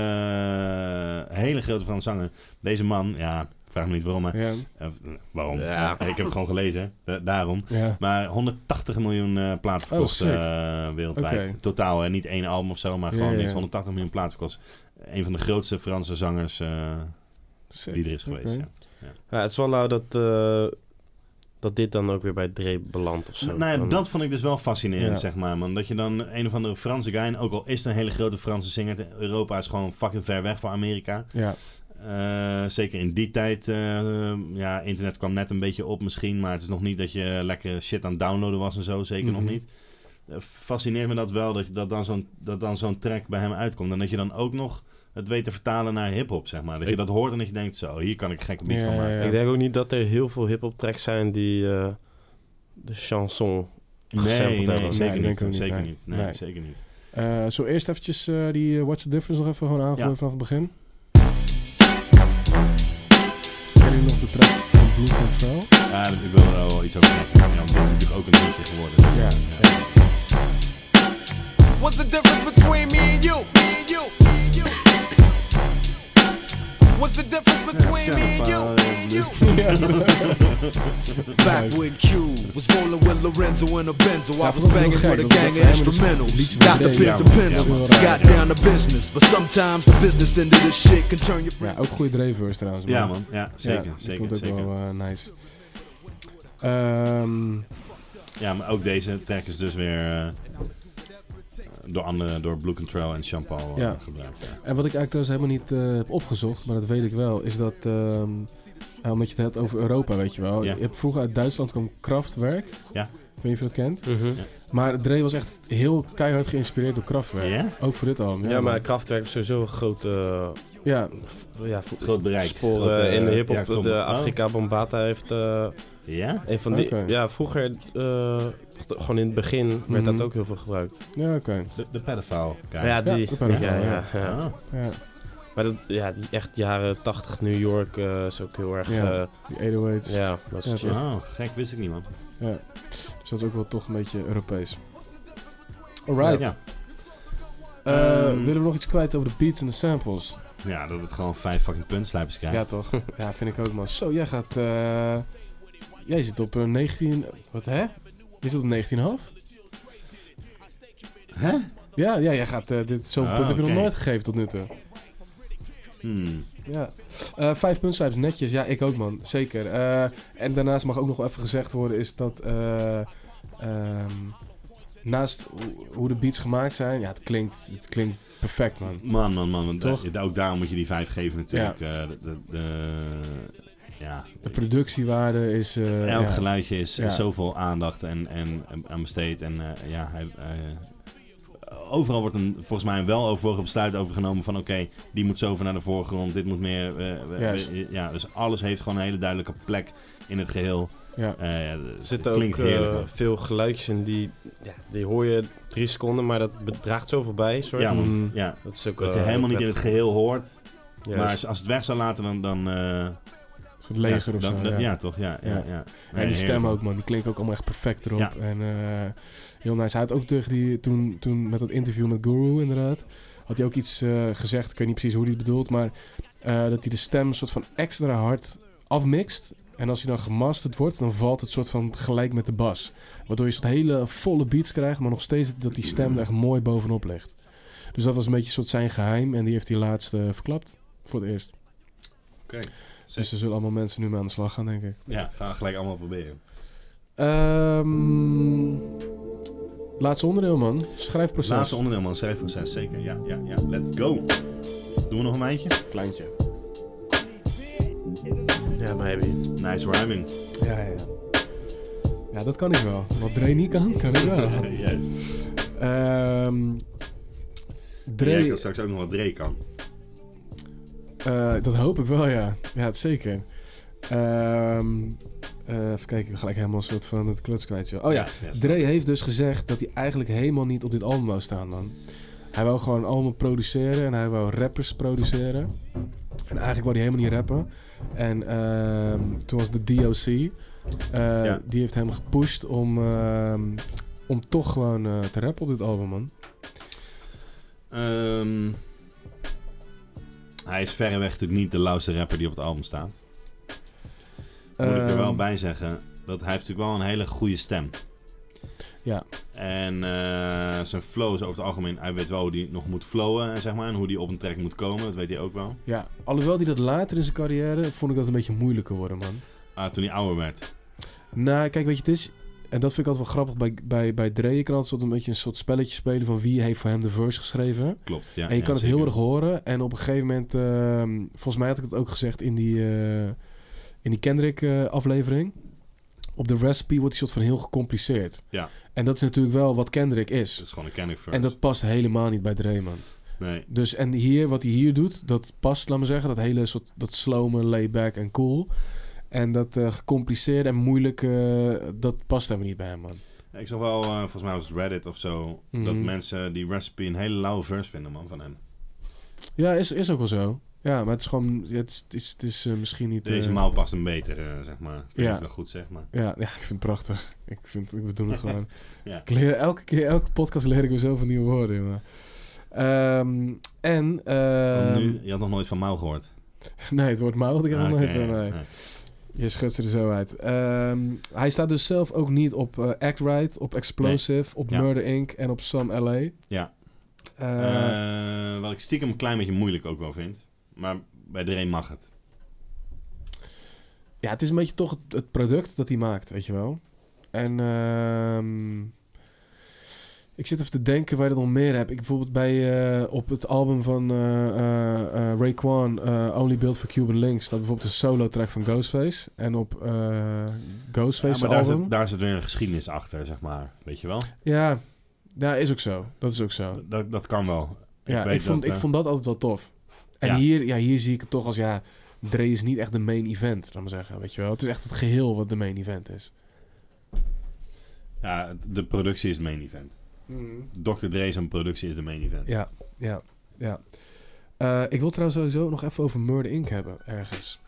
eh, hele grote Frans zanger. Deze man, ja, ik vraag me niet waarom, maar...
Ja.
eh, waarom?
Ja.
Ik heb het gewoon gelezen, hè. Da- daarom.
Ja.
Maar 180 miljoen eh platen
Oh,
verkocht
sick.
eh, wereldwijd.
Oké.
Totaal, hè. Niet één album of zo, maar
Ja,
gewoon
ja,
niks.
ja.
180 miljoen platen verkocht. Een van de grootste Franse zangers eh,
Sick.
die er is geweest,
Oké.
ja.
Ja, het is wel lauw dat, eh, dat dit dan ook weer bij Dre belandt of zo.
Nou ja,
Dan-
dat vond ik dus wel fascinerend,
Ja.
zeg maar, man. Dat je dan een of andere Franse guy, en ook al is het een hele grote Franse zanger, Europa is gewoon fucking ver weg van Amerika.
Ja.
Eh, zeker in die tijd, eh, ja, internet kwam net een beetje op misschien, maar het is nog niet dat je lekker shit aan het downloaden was en zo, zeker nog
Mhm.
niet. Eh, Fascineert me dat wel, dat, je- dat dan zo'n dat dan zo'n track bij hem uitkomt. En dat je dan ook nog het weet te vertalen naar hip-hop, zeg maar. Dat je
Ik-
dat hoort en dat je denkt, zo, hier kan ik gekke beat van maken.
Ik denk ook niet dat er heel veel hip-hop tracks zijn die eh, de chanson gesampled
Nee,
hebben.
nee, zeker
Nee,
niet.
denk ik ook niet,
Zeker
nee.
niet. Nee,
Nee.
zeker niet.
eh, zo eerst eventjes eh, die eh, What's the Difference nog even gewoon aangooien
Ja.
vanaf het begin. Ken je nog de track van Blue Control?
Ja, ik wil er wel iets over zeggen. Ja, want dit is natuurlijk ook een liedje geworden.
Ja.
What's the difference between me and you? Me and you. Me and you. What's the difference between me and you? Me and you. (laughs) Back when Q was rolling with Lorenzo in a Benzo, I
Ja,
was
vond ik
banging
heel gek,
with a
want
gang of
dat rijmen dus
instrumentals.
liedjes
Got the
met
pins
D,
and
ja.
pencils,
Ja, dat is wel
got
raar,
down to business, but sometimes the business end of this shit can turn your
Ja, ook goede Dre-verse trouwens.
Ja, man. Ja, zeker,
die
zeker,
vond ik
zeker.
wel eh, nice. Ehm,
Ja, maar ook deze track is dus weer eh, door anderen, door Blue Control en Sean Paul eh,
Ja.
gebruikt. ja.
En wat ik eigenlijk trouwens helemaal niet eh, heb opgezocht, maar dat weet ik wel, is dat. ehm, eh, omdat je het hebt over Europa, weet je wel.
Ja.
Je hebt vroeger uit Duitsland kwam Kraftwerk.
Ja.
Ik weet niet of je dat kent.
Mhm. Ja.
Maar Dre was echt heel keihard geïnspireerd door Kraftwerk.
Ja?
Ook voor dit album.
Ja, maar Kraftwerk is sowieso een groot, eh,
Ja.
f- ja, v-
Groot bereik.
spoor
Groot,
eh,
eh,
in de hip-hop.
ja, klopt.
de
Oh.
Afrika Bombata heeft eh,
Ja?
een van die.
Oké.
Ja, vroeger, eh, gewoon in het begin, werd dat
Mhm.
ook heel veel gebruikt.
Ja, oké.
De, de pedophile. guy.
Ja, die.
dat
Ja,
ben ik
ja,
wel,
ja,
Ah.
Ja.
Maar dat, ja, die echt jaren 80 New York eh, is ook heel erg.
Ja,
Ja,
die 808's.
ja dat
Ja,
soort shit.
Oh, gek, wist ik niet, man.
Ja. Dus dat is ook wel toch een beetje Europees. Alright.
Ja.
Eh,
Ehm.
willen we nog iets kwijt over de beats en de samples?
Ja, dat het gewoon vijf fucking puntslijpers krijgt.
Ja, toch? ja, vind ik ook, man. Zo, jij gaat... eh, jij zit op eh, 19... Wat, hè? Je zit op 19,5?
Hè?
Ja, ja, jij gaat... eh, dit, zoveel
Ah,
punten heb je
oké.
nog nooit gegeven tot nu toe.
Hmm.
Ja. Eh, vijf puntslijpers, netjes. Ja, ik ook, man. Zeker. Eh, en daarnaast mag ook nog wel even gezegd worden, is dat... eh, ehm, naast hoe- hoe de beats gemaakt zijn... Ja, het klinkt, het klinkt perfect, man.
Man, man, man. want
Toch?
da- ook daarom moet je die vijf geven natuurlijk. Eh, de, de, de- ja.
De productiewaarde is... eh,
Elk
ja.
geluidje is
Ja.
zoveel aandacht en, en, aan besteed. En eh, ja, hij, eh, overal wordt een, volgens mij een weloverwogen besluit over genomen van... oké, die moet zoveel naar de voorgrond, dit moet meer... eh, we-
Juist.
we- ja, dus alles heeft gewoon een hele duidelijke plek in het geheel.
Ja.
Eh, ja,
Er
het
zitten ook
klinkt heerlijk.
eh, veel geluidjes in die, ja, die hoor je drie seconden, maar dat bedraagt zoveel bij. Soort.
Ja, man.
Mm.
ja.
Dat is ook,
dat je
eh,
helemaal niet in het
prettig.
geheel hoort.
Juist.
Maar als- als het weg zou laten, dan... dan eh,
soort leger
ja,
of zo.
dan- dan- ja. toch? Ja, ja, ja. Nee,
en die stem
heerlijk.
ook, man. Die klinkt ook allemaal echt perfect erop.
Ja.
En eh, heel nice. Hij had ook terug die, toen, toen met dat interview met Guru, inderdaad. Had hij ook iets eh, gezegd. Ik weet niet precies hoe hij het bedoelt. Maar eh, dat hij de stem een soort van extra hard afmixt. En als hij dan gemasterd wordt, dan valt het soort van gelijk met de bas. Waardoor je zo'n hele volle beats krijgt, maar nog steeds dat die stem er echt mooi bovenop ligt. Dus dat was een beetje soort zijn geheim. En die heeft hij laatst eh, verklapt. Voor het eerst.
Oké.
Dus er zullen allemaal mensen nu mee aan de slag gaan, denk ik.
Ja, gaan we gelijk allemaal proberen.
Ehm laatste onderdeel, man. Schrijfproces.
Laatste onderdeel, man. Schrijfproces, zeker. Ja, ja, ja. Let's go. Doen we nog een eindje?
Kleintje.
Ja, maybe.
Nice rhyming.
Ja, ja. Ja, dat kan ik wel. Wat Dre niet kan, kan ik wel.
(laughs) Juist.
Ehm
Dre. Ik
Dre,
dat straks ook nog wat Dre kan.
eh, dat hoop ik wel, ja. Ja, het zeker. Ehm eh, even kijken, ik ben gelijk helemaal een soort van het kluts kwijt. joh. Oh ja,
Ja, ja, snap
Dre heeft dus gezegd dat hij eigenlijk helemaal niet op dit album wou staan, man. Hij wou gewoon allemaal produceren en hij wou rappers produceren. En eigenlijk wou hij helemaal niet rappen. En ehm, toen was de DOC, eh,
Ja.
die heeft hem gepusht om, ehm, om toch gewoon eh, te rappen op dit album, man.
Ehm, hij is verreweg natuurlijk niet de lauwste rapper die op het album staat. Moet ik er wel
Ehm.
bij zeggen dat hij heeft natuurlijk wel een hele goede stem.
Ja.
En eh, zijn flow is over het algemeen... Hij weet wel hoe hij nog moet flowen, eh, zeg maar. En hoe hij op een track moet komen. Dat weet hij ook wel.
Ja, alhoewel die dat later in zijn carrière, vond ik dat een beetje moeilijker worden, man.
Ah, toen hij ouder werd.
Nou, kijk, weet je, het is... En dat vind ik altijd wel grappig bij, bij, bij Dre. Je kan altijd soort een beetje een soort spelletje spelen van wie heeft voor hem de verse geschreven.
Klopt, ja,
En je
ja,
kan het
zeker.
heel erg horen. En op een gegeven
(clears throat)
moment, ehm, volgens mij had ik het ook gezegd in die, eh, in die Kendrick eh, aflevering. Op de recipe wordt die soort van heel gecompliceerd.
Ja.
En dat is natuurlijk wel wat Kendrick is.
Dat is gewoon een Kendrick verse.
En dat past helemaal niet bij Dre, man.
Nee.
Dus en hier, wat hij hier doet, dat past, laat maar zeggen, dat hele soort, dat slome, layback en cool. En dat eh, gecompliceerde en moeilijke, eh, dat past helemaal niet bij hem, man.
Ja, Ik zag wel, eh, volgens mij was het Reddit of zo,
Mhm.
dat mensen die recipe een hele lauwe verse vinden, man, van hem.
Ja, is, is ook wel zo. Ja, maar het is gewoon, ja, het is, het is, het is, eh, misschien niet...
Deze
eh,
maal past hem beter, eh, zeg maar. Ik
Ja.
weet niet of ik dat goed zeg, maar.
Ja, ja, ik vind het prachtig. Ik vind, we
(laughs)
doen het gewoon.
Ja.
Ik leer elke keer, elke podcast leer ik weer zoveel nieuwe woorden, jongen. Ehm, en... ehm,
Want nu, je had nog nooit van Mouw gehoord.
Nee, het wordt mild. Ik heb nog
Ah,
nooit.
oké, ja,
nee.
nee.
Je schudt ze er zo uit. Ehm, hij staat dus zelf ook niet op eh, Act Right, op Explosive, op
Ja.
Murder Inc. en op Some LA.
Ja.
Eh,
Eh, wat ik stiekem een klein beetje moeilijk ook wel vind. Maar bij iedereen mag het.
Ja, het is een beetje toch het, het product dat hij maakt, weet je wel. En ehm, ik zit even te denken waar je dat nog meer hebt. Ik bijvoorbeeld bij, eh, op het album van eh eh, eh, Raekwon, eh, Only Built for Cuban Links, staat bijvoorbeeld een solo track van Ghostface. En op eh
Ja,
Ghostface's
maar daar
album...
zit, daar zit weer een geschiedenis achter, zeg maar. Weet je wel?
Ja, ja, is ook zo. Dat is ook zo.
Dat, dat kan wel.
Ja, ik,
weet
vond,
dat,
ik
eh,
vond dat altijd wel tof. En
Ja.
Hier, ja, hier zie ik het toch als, ja, Dre is niet echt de main event, laat maar zeggen. Weet je wel? Het is echt het geheel wat de main event is.
Ja, het- de productie is het main event. Dr. Dre zijn productie is de main event.
Mhm. Ja, ja, ja. Eh, ik wil trouwens sowieso nog even over Murder Inc. hebben, ergens.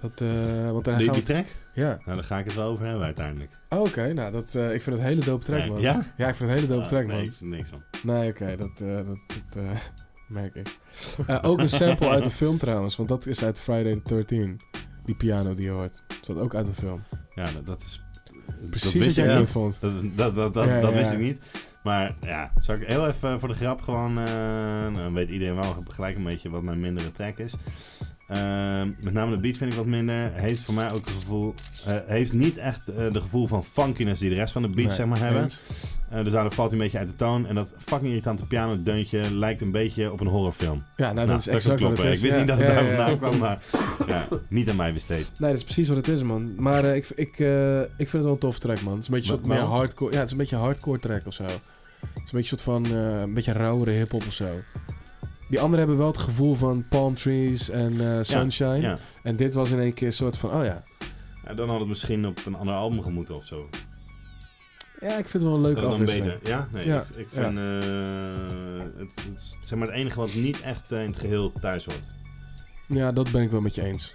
Dat, eh want daar
Doe je
gaan
die
we-
track?
Ja.
Nou, daar ga ik het wel over hebben uiteindelijk.
Oh, Oké, nou, dat, eh, ik vind het een hele dope track,
Nee,
man.
ja?
ik vind het een hele dope
Ah,
track,
nee,
man.
ik vind niks van.
Nee, oké, dat, eh, dat, dat eh, (laughs) merk ik. Eh, ook een sample (laughs)
(laughs)
uit een film trouwens, want dat is uit Friday the 13 Die piano die je hoort. Dat staat ook uit een film.
Ja, nou, dat, dat is...
Precies
dat
wat
wist
jij
ik
niet vond.
Dat, is, dat, dat, dat,
Ja,
dat
ja.
wist ik niet. Maar ja, zou ik heel even eh, voor de grap gewoon... eh, nou, dan weet iedereen wel gelijk een beetje wat mijn mindere track is. Ehm, met name de beat vind ik wat minder. Heeft voor mij ook het gevoel... eh, heeft niet echt eh, de gevoel van funkiness die de rest van de beat
Nee,
zeg maar hebben.
eens.
Eh, dus daardoor valt hij een beetje uit de toon. En dat fucking irritante piano deuntje lijkt een beetje op een horrorfilm.
Ja, nou, dat is
kan
exact wat
kloppen.
het is.
Ik wist
Ja,
niet dat het
ja,
daar
ja, ja.
vandaan kwam, maar ja, niet aan mij besteed.
Nee, dat is precies wat het is, man. Maar eh, ik, ik, eh, ik vind het wel een tof track, man. Het is een beetje een
Wa-
soort meer
waarom?
hardcore. Ja, het is een beetje een hardcore track of zo. Het is een beetje een soort van eh, een beetje rauwere hip-hop of zo. Die anderen hebben wel het gevoel van palm trees en eh, sunshine.
ja.
En dit was in één keer een soort van, oh ja.
Ja, dan had het misschien op een ander album gemoeten of zo.
Ja, ik vind het wel een leuke
dat dan
afwisseling.
beter. Ja, nee, ik, ik
ja.
vind eh, het, het is zeg maar het enige wat niet echt eh, in het geheel thuis hoort.
Ja, dat ben ik wel met je eens.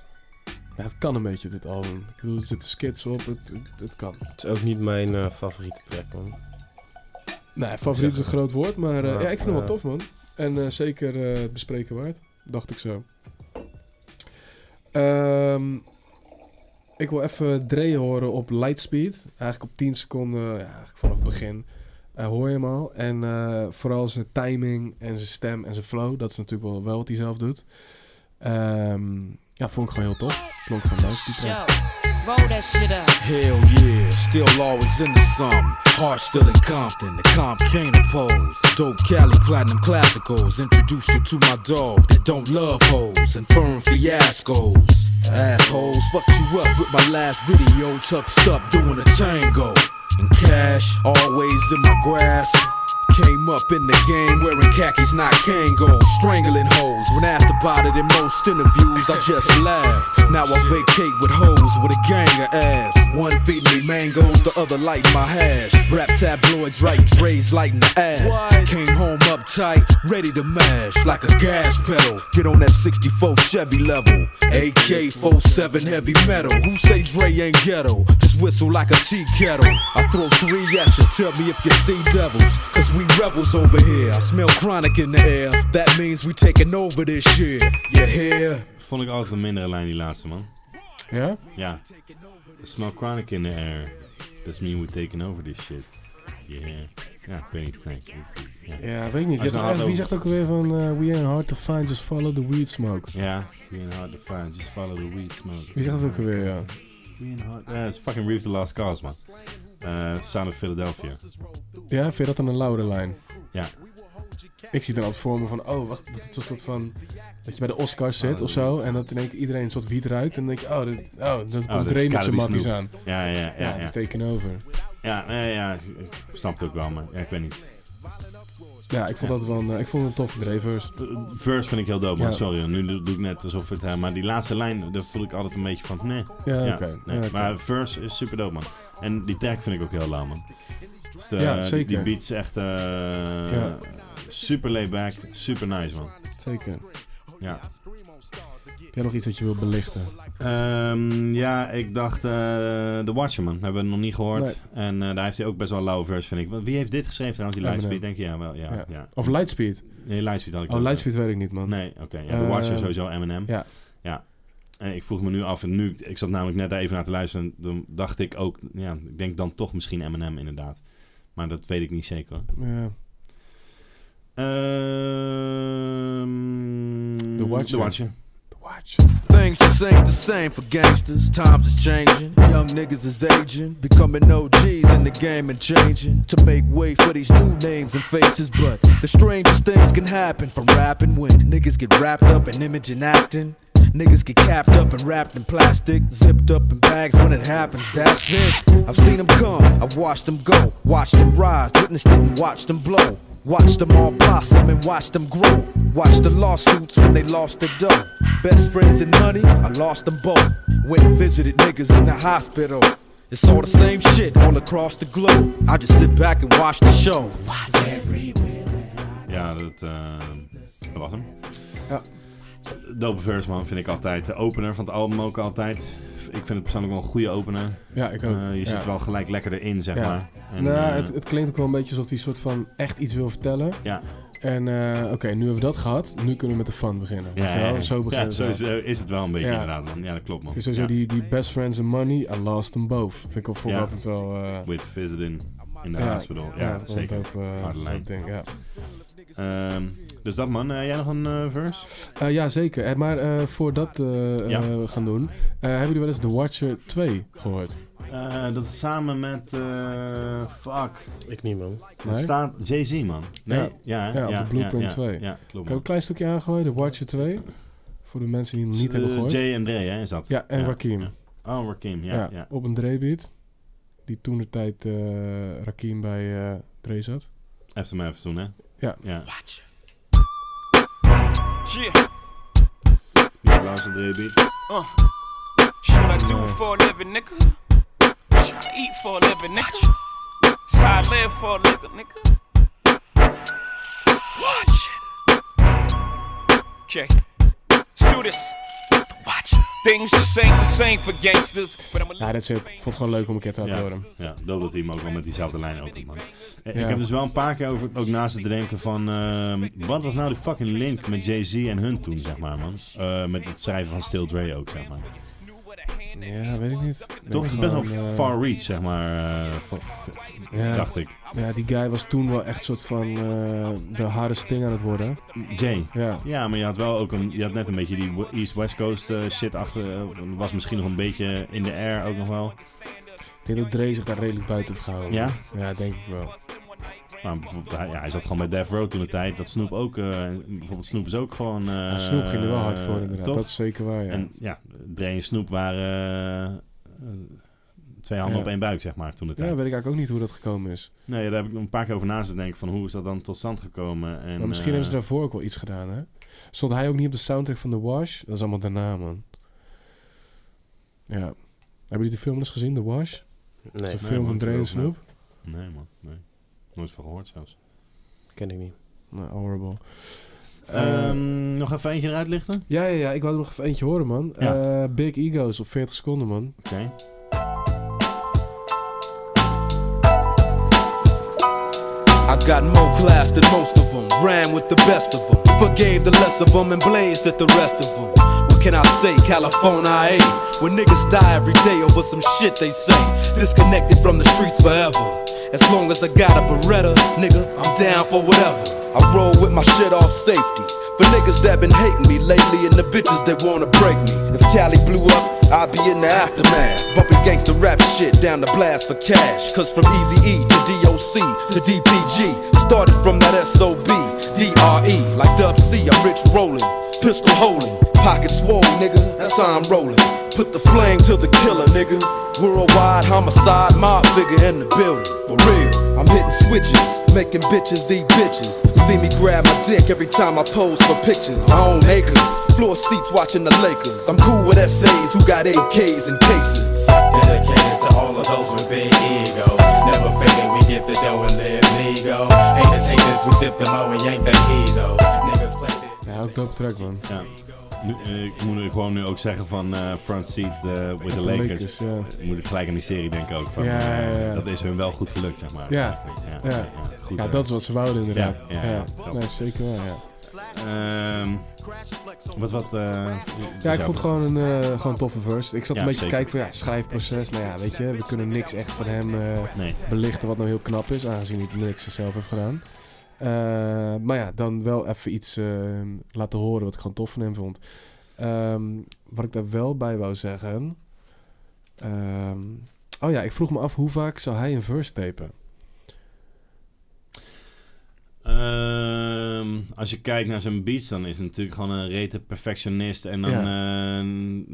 Ja, het kan een beetje, dit album. Ik bedoel, er zitten skits op, het, het, het kan.
Het is ook niet mijn eh, favoriete track, man.
Nee, Nou, favoriet is een groot woord, maar eh,
Maar,
ja, ik vind hem wel
eh,
tof, man. En eh, zeker eh, het bespreken waard, dacht ik zo. Ehm, ik wil even Dre horen op Lightspeed. Eigenlijk op 10 seconden, ja, eigenlijk vanaf het begin, eh, hoor je hem al. En eh, vooral zijn timing en zijn stem en zijn flow, dat is natuurlijk wel, wel wat hij zelf doet. Ehm, ja, vond ik gewoon heel tof. Klonk gewoon leuk, die track.
Yo, roll that shit up.
Hell yeah, still always into something. Heart still in Compton, the comp can't oppose. Dope Cali platinum classicals. Introduced you to my dog that don't love hoes and firm fiascos. Assholes, fucked you up with my last video, tucked up doing a tango. And cash always in my grasp. Came up in the game wearing khakis, not Kango. Strangling hoes. When asked about it in most interviews, I just laugh. Now I vacate with hoes with a gang of ass. One feed me mangoes, the other light my hash. Rap tabloids write Dre's lighting the ass. Came home uptight, ready to mash like a gas pedal. Get on that 64 Chevy level. AK 47 heavy metal. Who say Dre ain't ghetto? Just whistle like a tea kettle. I throw three at you, tell me if you see devils. Cause we rebels over here. I smell chronic in the air. That means we taking over this year. You hear?
Vond ik altijd een mindere lijn die laatste man.
Ja?
Ja. Smell chronic in the air. That's mean we taking over this shit. Yeah. Ja, ik weet niet. Nee, ik- ja.
Ja, weet ik niet. Je hebt nog
Als nou hard
ergens- wie
over-
zegt ook alweer van eh, We ain't hard to find, just follow the weed smoke.
Ja, we ain't hard to find, just follow the weed smoke.
Wie zegt dat ook alweer, ja.
We ain't hard... Ja, het is fucking Reef the Last Cars, man. Eh Sound of Philadelphia.
Ja, vind je dat dan een lauwe lijn?
Ja.
Ik zie dan altijd voor me van, oh, wacht, dat het soort soort van... Dat je bij de Oscars
Oh,
zit of zo, en dat in één keer iedereen een soort wiet ruikt. En dan denk je, oh, dit, oh dan komt
dat is
Dre met
Calibi
zijn matties
Snoep.
aan.
Ja, ja, ja, ja.
die teken over.
Ja, nee, ja, ik snap het ook wel, maar ja, ik weet niet.
Ja, ik vond dat wel een, eh, ik vond het een toffe Dre verse.
Verse vind ik heel dope, man.
Ja.
Sorry, hoor. nu doe doe ik net alsof het... hè, maar die laatste lijn, daar voel ik altijd een beetje van... Nee.
Ja, oké.
nee.
Ja, oké.
Maar verse is super dope, man. En die track vind ik ook heel lauw, man. Dus de,
Ja,
die-
zeker.
Die beats echt... eh,
Ja.
Super laid back, super nice, man.
Zeker.
Ja.
Heb jij nog iets dat je wil belichten?
Ehm, ja, ik dacht eh The Watchman. Hebben we nog niet gehoord.
Nee.
En eh, daar heeft hij ook best wel een lauwe verse, vind ik. Want Wie heeft dit geschreven trouwens? Die
Eminem.
Lightspeed, denk je? Ja, wel. Ja, ja.
Of Lightspeed?
Nee, Lightspeed had ik
Oh,
ook, ja.
Lightspeed weet ik niet, man.
Nee, oké. ja, The Watcher
Eh,
sowieso, Eminem.
Ja.
Ja. En ik vroeg me nu af, en nu, ik zat namelijk net daar even naar te luisteren. en Dan dacht ik ook, ja, ik denk dan toch misschien Eminem inderdaad. Maar dat weet ik niet zeker. hoor.
ja.
Eh, Ehm,
The Watcher.
The Watcher.
Things just ain't the same for gangsters. Times is changing. Young niggas is aging. Becoming OGs in the game and changing. To make way for these new names and faces. But the strangest things can happen from rapping when niggas get wrapped up in image and acting. Niggas get capped up and wrapped in plastic. Zipped up in bags when it happens. That's it. I've seen them come. I've watched them go. Watched them rise. Witnessed it and watched them blow. Watched them all blossom and watched them grow. Watched the lawsuits when they lost the dough. Best friends and money, I lost them both. Went and visited niggas in the hospital. It's all the same shit all across the globe. I just sit back and watch the show.
Ja, dat, eh, dat was hem.
Ja.
Dope Verse, man, vind ik altijd. De opener van het album ook altijd. Ik vind het persoonlijk wel een goede opener.
Ja, ik ook.
Eh, je
Ja.
zit wel gelijk lekker erin, zeg
Ja.
maar. En,
nou,
eh,
het, het klinkt ook wel een beetje alsof hij soort van echt iets wil vertellen.
Ja.
En eh, oké, nu hebben we dat gehad. Nu kunnen we met de fun beginnen.
ja,
Weet je
ja,
wel?
ja.
Zo beginnen
Ja,
we
zo
wel.
is, eh, is het wel een beetje
Ja.
inderdaad, man. Ja, dat klopt, man.
Dus sowieso
Ja.
die, die best friends and money, I lost them both. Vind ik op voor
Ja.
altijd wel... eh,
With visiting in the
Ja.
hospital. Ja,
Ja, dat vond ik
zeker.
ook, eh,
Harde
dat
lijn.
ook ding, ja.
Ehm, dus dat, man. Eh, jij nog een eh, verse?
eh, ja, zeker. Eh, maar eh voordat eh, eh,
Ja.
we gaan doen, eh, hebben jullie wel eens The Watcher 2 gehoord?
Eh, dat is samen met... eh, fuck.
Ik niet, man.
Dat
Nee?
staat Jay-Z, man. Nee? Ja, ja,
ja, op de Blueprint
ja,
2.
Ja,
ik
klopt,
heb
man.
een klein stukje aangegooid, The Watcher 2. Voor de mensen die hem niet
Eh,
hebben gehoord.
Jay en Dre, hè, is dat?
Ja, en
Ja,
Rakim.
ja. Oh, Rakim, ja, ja.
Op een Dre-beat. Die toen de tijd Rakim bij eh Dre zat.
Even maar even doen, hè?
Ja.
Ja.
Yeah.
Die applaus en Dre beat.
Uh. Shit I do
Mm.
for a living, nigga. Shit I eat for a living, nigga. So I live for a living, nigga. Watch. Okay. Let's do this. Watch. Things just ain't the same for gangsters. But I'm a
Ja, dat zit. Vond het gewoon leuk om een keer te laten
Ja,
horen.
ja, dope dat hij hem ook wel met diezelfde lijn opent, man. Eh,
Ja.
Ik heb dus wel een paar keer over, ook naast het denken van... ehm, wat was nou de fucking link met Jay-Z en hun toen, zeg maar, man? Eh, met het schrijven van Still Dre ook, zeg maar.
Ja, weet ik niet.
Toch is het best wel
Gewoon, eh,
far reach, zeg maar, eh, van- van- dacht ik.
Ja, die guy was toen wel echt soort van eh, de harde sting aan het worden.
Jay.
Ja.
Ja, maar je had wel ook een, je had net een beetje die East-West Coast eh, shit achter. eh, was misschien nog een beetje in de air ook nog wel.
Ik denk dat Dre zich daar redelijk buiten heeft gehouden.
Ja?
Ja, denk ik wel.
Maar bijvoorbeeld, hij, ja, hij zat gewoon bij Death Row toen de tijd. Dat Snoop ook, eh, bijvoorbeeld Snoop is ook gewoon... eh,
Ja, Snoop ging er wel hard voor, inderdaad.
toch?
Dat is zeker waar, ja.
En ja, Dre en Snoep waren eh, eh, twee handen
Ja.
op één buik, zeg maar, toen de
Ja,
tijd.
weet ik eigenlijk ook niet hoe dat gekomen is.
Nee, daar heb ik nog een paar keer over na zitten denken van hoe is dat dan tot stand gekomen. En,
maar misschien
eh,
hebben ze daarvoor ook wel iets gedaan, hè? Stond hij ook niet op de soundtrack van The Wash? Dat is allemaal daarna, man. Ja. Hebben jullie de film eens gezien, The Wash? Dat is een
nee,
film
man,
van Dre en
ik geloof
Snoop.
het. Nee man, nee. Nooit van gehoord zelfs.
Ken ik niet.
Nou, horrible. Eh,
Ehm, nog even eentje eruit lichten?
ja, ja, ja, ik wou er nog even eentje horen, man. Eh, Big Egos op 40 seconden, man.
Oké.
I got more class than most of them. Ran with the best of them. Forgave the less of them and blazed at the rest of them. What can I say? California, I ain't. When niggas die every day over some shit they say. Disconnected from the streets forever. As long as I got a Beretta, nigga, I'm down for whatever. I roll with my shit off safety. For niggas that been hating me lately and the bitches that wanna break me. If Cali blew up, I'd be in the aftermath. Bumping gangsta rap shit down the blast for cash. Cause from Easy E to DOC to DPG. Started from that SOB, DRE. E, Like Dub C, I'm rich rolling. Pistol holding, pocket swole, nigga. That's how I'm rolling. Put the flame to the killer, nigga. Worldwide homicide, mob figure in the building. For real, I'm hitting switches, making bitches eat bitches. See me grab my dick every time I pose for pictures. I own acres, floor seats watching the Lakers. I'm cool with SAs who got AKs and cases.
Dedicated to all of those with big egos. Never fading, we get the dough and live legal. Haters, haters, we sip the low and yank the hezo. Niggas play this.
Ja, ook dope track, man.
Ja. Nu, eh, ik moet nu gewoon nu ook zeggen van eh front seat eh, with
de
the Lakers. Eh,
Lakers, ja.
Moet ik gelijk aan die serie denken ook. Van,
Ja, ja, ja.
eh, Dat is hun wel goed gelukt, zeg maar.
Ja,
ja,
ja.
ja,
Ja,
goed, eh.
dat is wat ze wouden, inderdaad.
Ja,
Ja,
ja, ja, klopt.
Nee, zeker waar, ja.
Ehm, wat, wat... eh,
Ja, ik
was jouw-
vond gewoon een eh, gewoon een toffe verse. Ik zat
Ja,
een beetje
zeker.
te kijken van ja, schrijfproces. Nou ja, weet je, we kunnen niks echt van hem eh,
Nee.
belichten wat nou heel knap is, aangezien hij niks zelf heeft gedaan. Eh, maar ja, dan wel even iets eh, laten horen wat ik gewoon tof van hem vond. Ehm, wat ik daar wel bij wou zeggen. ehm, oh ja, ik vroeg me af hoe vaak zou hij een verse tapen?
Ehm, als je kijkt naar zijn beats, dan is het natuurlijk gewoon een rete perfectionist. En dan eh,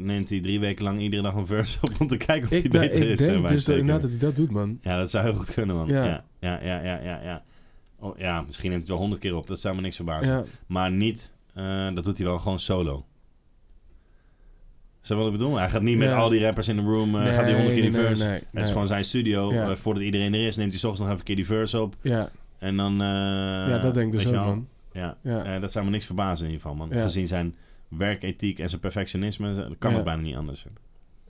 neemt hij drie weken lang iedere dag een verse op om te kijken of hij
ben-
beter
ik
is. eh,
denk
bij
dus dat,
het
inderdaad dat
tekenen.
hij dat doet, man.
Ja, dat zou heel goed kunnen, man. Ja,
Ja.
ja, ja, ja, ja. ja, Oh, ja, misschien neemt hij het wel honderd keer op. Dat zou me niks verbazen.
Ja.
Maar niet, eh, dat doet hij wel gewoon solo. Zou je wat ik bedoel? Hij gaat niet met
Ja.
al die rappers in de room, eh,
Nee,
gaat hij honderd keer
nee,
die
nee,
verse.
nee,
het
nee.
is gewoon zijn studio.
Ja.
Eh, voordat iedereen er is, neemt hij soms nog even een keer die verse op.
Ja.
En dan... eh,
Ja, dat denk ik dus
weet je
ook,
wel.
man.
Ja,
Ja.
eh, dat zou me niks verbazen in ieder geval, man.
Ja.
Gezien zijn werkethiek en zijn perfectionisme, dat kan
Ja.
het bijna niet anders.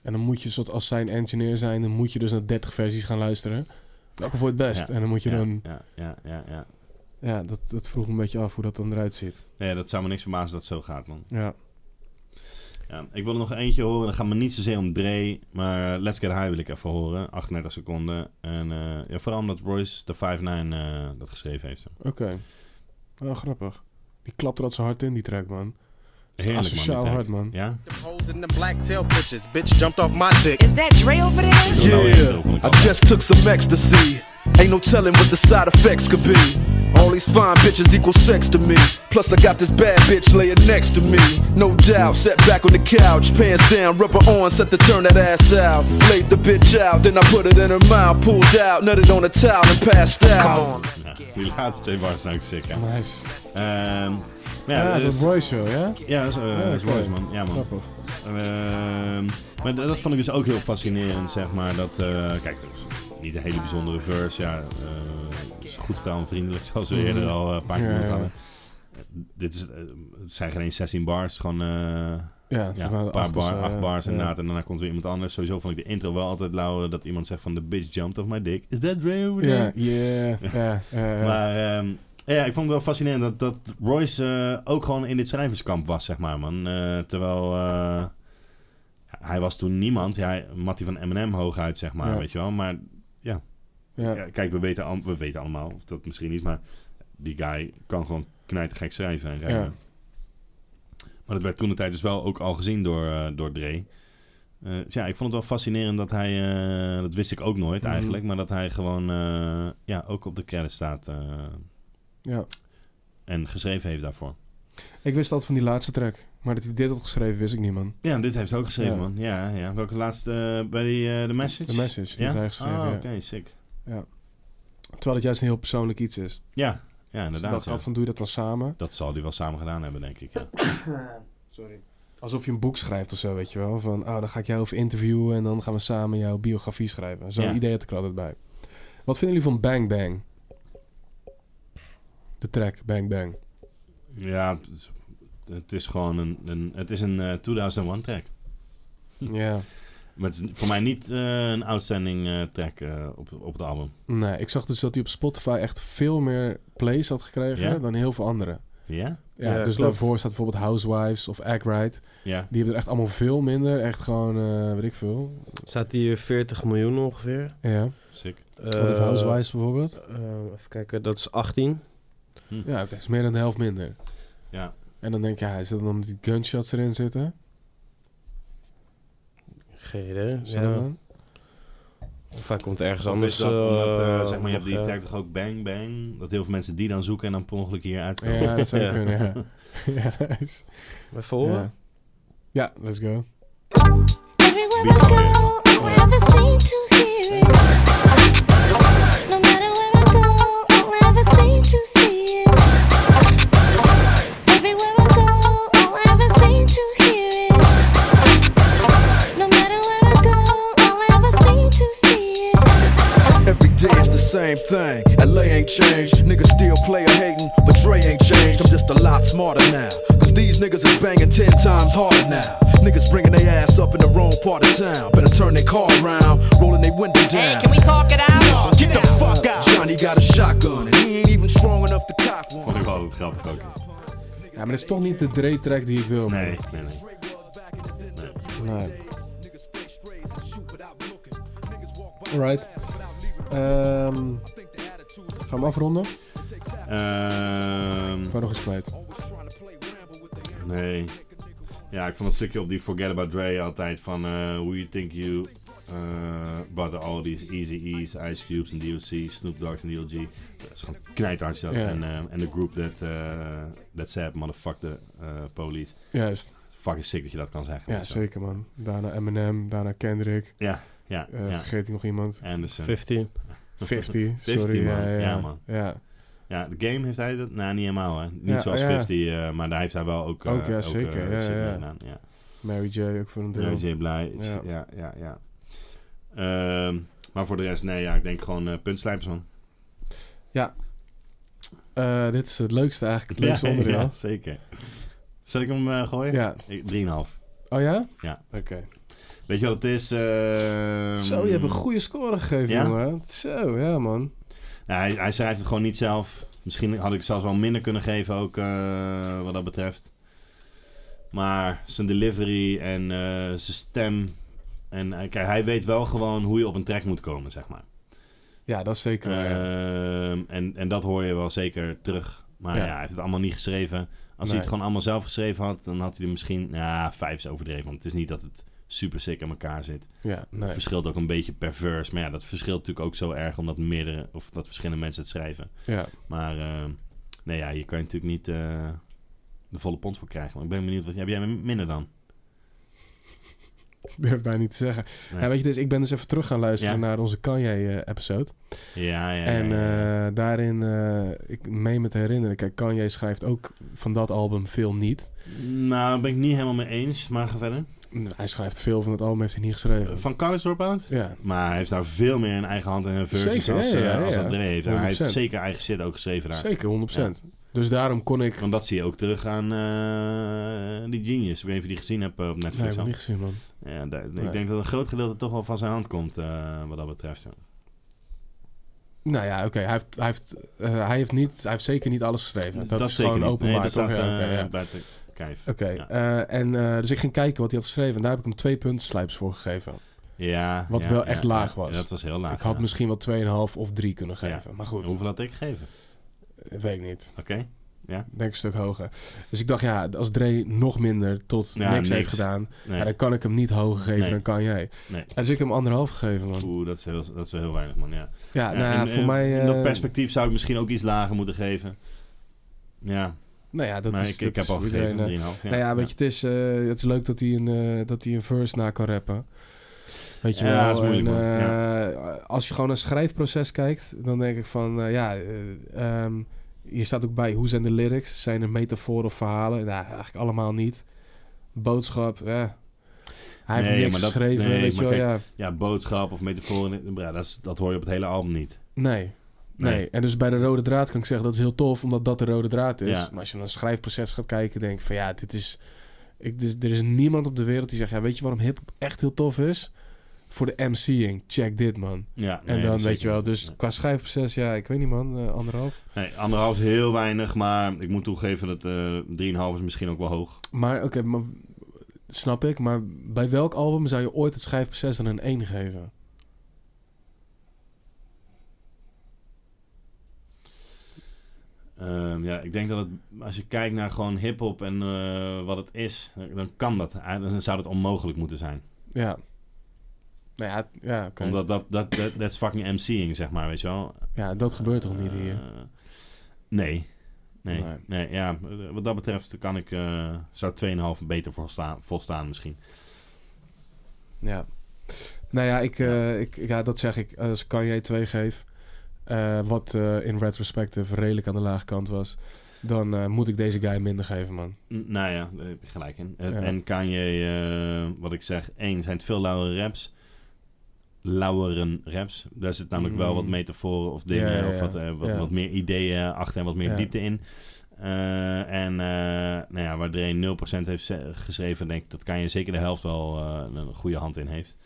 En dan moet je, soort, als zijn engineer zijn, dan moet je dus naar 30 versies gaan luisteren. Welke voor het best?
Ja,
En dan moet je
ja,
dan...
Ja, ja, ja, ja.
Ja, dat, dat vroeg me een beetje af hoe dat dan eruit ziet.
Nee, dat zou me niks verbazen dat het zo gaat, man.
Ja.
Ja, ik wil er nog eentje horen. Dan gaat me niet zozeer om Dre, maar eh, Let's Get High wil ik even horen. 38 seconden. En eh, ja, vooral omdat Royce de 5-9 eh, dat geschreven heeft.
Oké. Wel grappig. Die klapt er altijd zo hard in, die track, man.
Heerlijk, man, die
Asociaal
track.
hard, man.
Ja?
Hoes in them black tail bitches. Bitch jumped off my dick.
Is that Dre over there?
Yeah.
I just took some ecstasy. Ain't no telling what the side effects could be. All these fine bitches equal sex to me. Plus, I got this bad bitch laying next to me. No doubt, sat back on the couch, pants down, rubber on, set to turn that ass out. Laid the bitch out, then I put it in her mouth, pulled out, nutted on a towel, and passed out.
Ja, die laatste twee bars zijn ook sick, hè. Ehm,
Nice.
ja,
Ja, is
dat
dat Royce show, ja?
Ja, dat is, eh,
Ja,
dat is
oké.
Royce, man. Ja, man.
Grappig.
Ehm, maar dat, dat vond ik dus ook heel fascinerend, zeg maar. Dat, eh, kijk, dat is niet een hele bijzondere verse. Ja, eh, het is goed vrouwenvriendelijk, (laughs) zoals we
Mhm.
eerder al eh, een paar keer
Ja,
genoemd
ja.
hadden. Dit is, eh, het zijn geen eens 16 bars, het is gewoon eh,
volgens mij
een paar
acht of
bar,
zo,
acht
ja.
bars
Ja.
inderdaad. En daarna komt weer iemand anders. Sowieso vond ik de intro wel altijd lauw dat iemand zegt van... The bitch jumped off my dick. Is that Dre over there?
Ja, ja, (laughs) ja, ja.
Maar ehm, ja, ik vond het wel fascinerend dat, dat Royce eh, ook gewoon in dit schrijverskamp was, zeg maar, man. Eh, terwijl eh, hij was toen niemand. Ja, hij- Mattie van M&M hooguit, zeg maar,
Ja.
weet je wel. Maar ja,
Ja.
K- kijk, we weten, al- we weten allemaal, of dat misschien niet, maar die guy kan gewoon knijtergek schrijven en rijmen.
Ja.
Maar dat werd toen de tijd dus wel ook al gezien door, eh, door Dre. Eh, dus ja, ik vond het wel fascinerend dat hij, eh, dat wist ik ook nooit
Mhm.
eigenlijk, maar dat hij gewoon eh, ja, ook op de credits staat. eh,
Ja.
En geschreven heeft daarvoor.
Ik wist altijd van die laatste track. Maar dat hij dit had geschreven, wist ik niet, man.
Ja, dit heeft hij ook geschreven,
Ja.
man. Ja, ja. Welke laatste? eh, bij die, eh, The Message?
The Message, die
ja?
heeft hij geschreven,
Ah,
ja.
oké, sick.
Ja. Terwijl het juist een heel persoonlijk iets is.
Ja, ja
Dus ik
inderdaad.
dacht
ja.
altijd van, doe je dat dan samen?
Dat zal hij wel samen gedaan hebben, denk ik. Ja.
Ehm,
Sorry. Alsof je een boek schrijft of zo, weet je wel. Van, oh, dan ga ik jou over interviewen en dan gaan we samen jouw biografie schrijven. Zo'n
Ja.
idee had ik er altijd bij. Wat vinden jullie van Bang Bang? De track Bang Bang.
Ja, het is- het is gewoon een, een, het is een eh, 2001 track. Hm.
Ja.
Maar het is voor mij niet eh, een outstanding eh, track eh, op, op het album.
Nee, ik zag dus dat hij op Spotify echt veel meer plays had gekregen
Ja?
dan heel veel anderen.
Ja?
Ja,
Ja,
dus
klopt.
daarvoor staat bijvoorbeeld Housewives of Act Right.
Ja.
Die hebben er echt allemaal veel minder. Echt gewoon, eh, weet ik veel.
Staat hier 40 miljoen ongeveer.
Ja.
Sick.
Eh,
Wat heeft Housewives bijvoorbeeld?
eh, even kijken, dat is 18.
Ja, oké. is meer dan de helft minder.
Hm. Ja.
En dan denk je, ja, is dat dan omdat die gunshots erin zitten?
Geen idee.
Is dat het
Ja.
dan?
Of hij komt ergens
Of
anders.
is dat omdat, eh,
eh,
zeg maar, je hebt die
nog, eh,
track toch ook Bang Bang? Dat heel veel mensen die dan zoeken en dan per ongeluk hier uitkomen.
Ja, dat
(laughs)
zou kunnen, ja. ja, nice.
Even horen?
Ja. Ja, let's go.
Every day it's the same thing. LA ain't changed. Niggas still play a hating, but Dre ain't changed. I'm just a lot smarter now. Cause these niggas is banging ten times harder now. Niggas bringing their ass up in the wrong part of town. Better turn their car around, rolling their window down.
Hey, can we talk it out?
Get the fuck out. Johnny got a shotgun and he ain't even strong enough to cock one.
Vond ik wel altijd Oh, grappig ook.
Ja, maar dat is toch niet de Dre-track die ik wil. man.
Nee, nee, nee. nee.
Nee. Alright. Ehm, gaan we hem afronden?
Ehm,
Ik wou nog eens kwijt.
Nee. Ja, ik vond het stukje op die Forget About Dre altijd van eh Who You Think You eh, About All These Easy E's, Ice Cubes en DOC, Snoop Dogg's en DLG. Dat is gewoon knijthard zelf.
Ja.
En eh, en de groep that, eh that Sad Motherfuck the eh, Police.
Juist.
Fucking sick dat je dat kan zeggen.
Ja,
Zo.
zeker man. Daarna Eminem, daarna Kendrick.
Ja, ja,
Eh,
ja.
Vergeet ik nog iemand?
Anderson. (laughs)
15.
50,
50,
sorry. eh,
man.
Ja, ja,
man.
Ja.
Ja, de game heeft hij dat... Nou, niet helemaal, hè. Niet
Ja,
zoals
ja.
50, eh, maar daar heeft hij wel ook... eh,
Ook, ja,
eh,
zeker. Ja,
shit mee
ja, ja.
gedaan, ja.
Mary J. ook voor een deel.
Ja, Jay blij.
Ja.
Ja, ja, ja. Ehm, maar voor de rest, nee, ja, ik denk gewoon eh puntslijpers, man.
Ja. Eh, dit is het leukste eigenlijk, het leukste
ja,
onderdeel.
ja, zeker. Zal ik hem eh, gooien?
Ja.
Ik- 3,5.
Oh ja?
Ja.
Oké.
Weet je wat het is? Ehm,
Zo, je hebt een goede score gegeven,
Ja?
jongen. Zo, ja, man.
Nou, hij, hij schrijft het gewoon niet zelf. Misschien had ik het zelfs wel minder kunnen geven, ook eh, wat dat betreft. Maar zijn delivery en eh, zijn stem. En eh, kijk, hij weet wel gewoon hoe je op een track moet komen, zeg maar.
Ja, dat is (laughs) zeker. waar, ja.
Ehm, en, en dat hoor je wel zeker terug. Maar ja,
Ja.
hij heeft het allemaal niet geschreven. Als hij
Nee.
het gewoon allemaal zelf geschreven had, dan had hij er misschien... Ja, vijf is overdreven, want het is niet dat het super sick aan elkaar zit.
Ja, nee.
Het verschilt ook een beetje pervers. Maar ja, dat verschilt natuurlijk ook zo erg omdat meerdere... Of dat verschillende mensen het schrijven.
Ja.
Maar ehm, nee, ja, hier kan je natuurlijk niet eh, de volle pond voor krijgen. Maar ik ben benieuwd, wat heb jij minder dan?
Ik durf het bijna niet te zeggen.
Nee.
Ja, weet je, dus ik ben dus even terug gaan luisteren
Ja.
naar onze Kanye-episode.
Ja, ja,
en
ja, ja.
eh, daarin, eh, ik meen me te herinneren, kijk, Kanye schrijft ook van dat album veel niet.
Nou, daar ben ik niet helemaal mee eens, maar ga verder.
Hij schrijft veel van het album, heeft hij niet geschreven.
Van College Dropout?
Ja.
Maar hij heeft daar veel meer in eigen hand en versus
Zeker,
als,
ja,
eh,
ja, ja,
als
ja.
André heeft. En hij heeft
100%.
zeker eigen shit ook geschreven daar.
Zeker, 100%. Dus daarom kon ik...
Want dat zie je ook terug aan eh, die Genius. Ik weet niet of je die gezien hebt eh, op Netflix.
Nee, ik heb
al.
niet gezien, man.
Ja, daar-
Nee.
Ik denk dat een groot gedeelte toch wel van zijn hand komt, eh, wat dat betreft. ja.
Nou ja, oké, hij, heeft, hij, heeft, eh, hij, heeft niet- hij heeft zeker niet alles geschreven. Dat, is
zeker
gewoon
niet. Nee,
openbaar.
dat
toch?
staat
Ja,
eh
oké, ja.
buiten kijf.
Oké,
Ja.
eh, en eh, dus ik ging kijken wat hij had geschreven. En daar heb ik hem twee puntslijps voor gegeven.
Ja,
Wat
ja,
wel
ja,
echt
ja.
laag was.
Ja, dat was heel laag,
Ik had
ja.
misschien wel 2,5 of 3 kunnen geven.
Ja.
Maar goed.
En Hoeveel had ik gegeven?
Eh, Weet ik niet.
Oké. Ja.
Denk een stuk hoger. Dus ik dacht, ja, als Dre nog minder tot
Ja,
niks, heeft
niks.
gedaan,
Nee.
ja, dan kan ik hem niet hoger geven
Nee.
dan kan jij.
Nee.
En dus ik heb hem anderhalf gegeven, man.
Oeh, dat is, heel, dat is wel heel weinig, man. Ja,
Ja, nou ja,
en,
voor
eh,
mij,
in dat
eh,
perspectief zou ik misschien ook iets lager moeten geven. Ja.
Nou ja, dat
maar
is
ik,
dat
ik heb
is
al
voor
gegeven
iedereen, eh,
3,5. Ja.
Nou ja, weet je, het is, eh, het is leuk dat hij, een, eh, dat hij een verse na kan rappen. Weet je
Ja,
wel,
dat is moeilijk,
en,
man.
eh, Als je gewoon naar het schrijfproces kijkt, dan denk ik van, eh, ja, eh, ehm, hier staat ook bij, hoe zijn de lyrics? Zijn er metaforen of verhalen? Nou, eigenlijk allemaal niet. Boodschap, ja. Hij heeft
Nee,
niks
maar dat-
geschreven,
nee,
weet je
maar
wel, ja.
kijk, boodschap of metaforen, ja, dat, is- dat hoor je op het hele album niet.
Nee. Nee.
Nee.
en dus bij de rode draad kan ik zeggen dat is heel tof, omdat dat de rode draad is.
Ja.
Maar als je naar het schrijfproces gaat kijken, denk ik van ja, dit is. Ik, dus, er is niemand op de wereld die zegt: ja, weet je waarom hip echt heel tof is? Voor de MC'ing. Check dit, man.
Ja,
en
nee,
dan weet
zeker
je wel,
niet.
dus qua schrijfproces, ja, ik weet niet, man, eh, anderhalf.
Nee, anderhalf is heel weinig, maar ik moet toegeven dat eh 3,5 is misschien ook wel hoog.
Maar oké, maar, snap ik, maar bij welk album zou je ooit het schrijfproces dan een 1 geven?
Ehm, ja, ik denk dat het, als je kijkt naar gewoon hip-hop en eh, wat het is, dan kan dat. Eh, Dan zou dat onmogelijk moeten zijn.
Ja. Nou ja, ja oké.
Omdat dat, dat, dat, that's fucking MC'ing, zeg maar, weet je wel. Eh,
Ja, dat gebeurt toch niet hier?
Nee. Nee,
Nee.
nee. ja, wat dat betreft kan ik, eh zou 2,5 beter volstaan, volstaan misschien.
Ja. Nou ja, ik, eh, ik, ja, dat zeg ik. Als Kanye 2 geef, eh, wat eh, in retrospective redelijk aan de lage kant was, dan eh, moet ik deze guy minder geven, man.
N- nou ja, daar heb je gelijk in. Het-
Ja.
En Kanye, eh wat ik zeg, één, zijn het veel lauwere raps. Lauweren raps. Daar zit namelijk wel
Mm.
wat metaforen of dingen
Ja, ja,
of
ja.
wat, eh, wat,
Ja.
wat meer ideeën achter en wat meer
Ja.
diepte in. Eh, en eh, nou ja, waar Dre 0% heeft ze- geschreven, denk ik dat Kanye zeker de helft wel eh, een goede hand in heeft.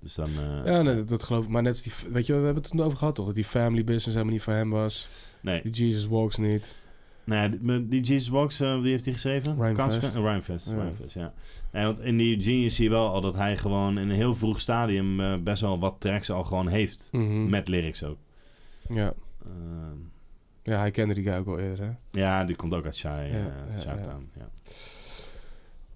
Dus dan... eh,
Ja, nee, dat, dat geloof ik. Maar net als die, weet je, we hebben het toen over gehad, toch? Dat die family business helemaal niet voor hem was.
Nee.
Die Jesus Walks niet.
Nou ja, die- die Jesus Walks, eh, wie heeft die geschreven?
Rhymefest.
Kanske? Eh, Rhymefest,
Ja.
Rhymefest, ja. Nee, want in die Genius zie je wel al dat hij gewoon in een heel vroeg stadium eh, best wel wat tracks al gewoon heeft.
Mhm.
Met lyrics ook.
Ja.
Ehm,
ja, hij kende die guy ook al eerder, hè?
ja, die komt ook uit Shy, eh
Ja, ja,
Chinatown, ja.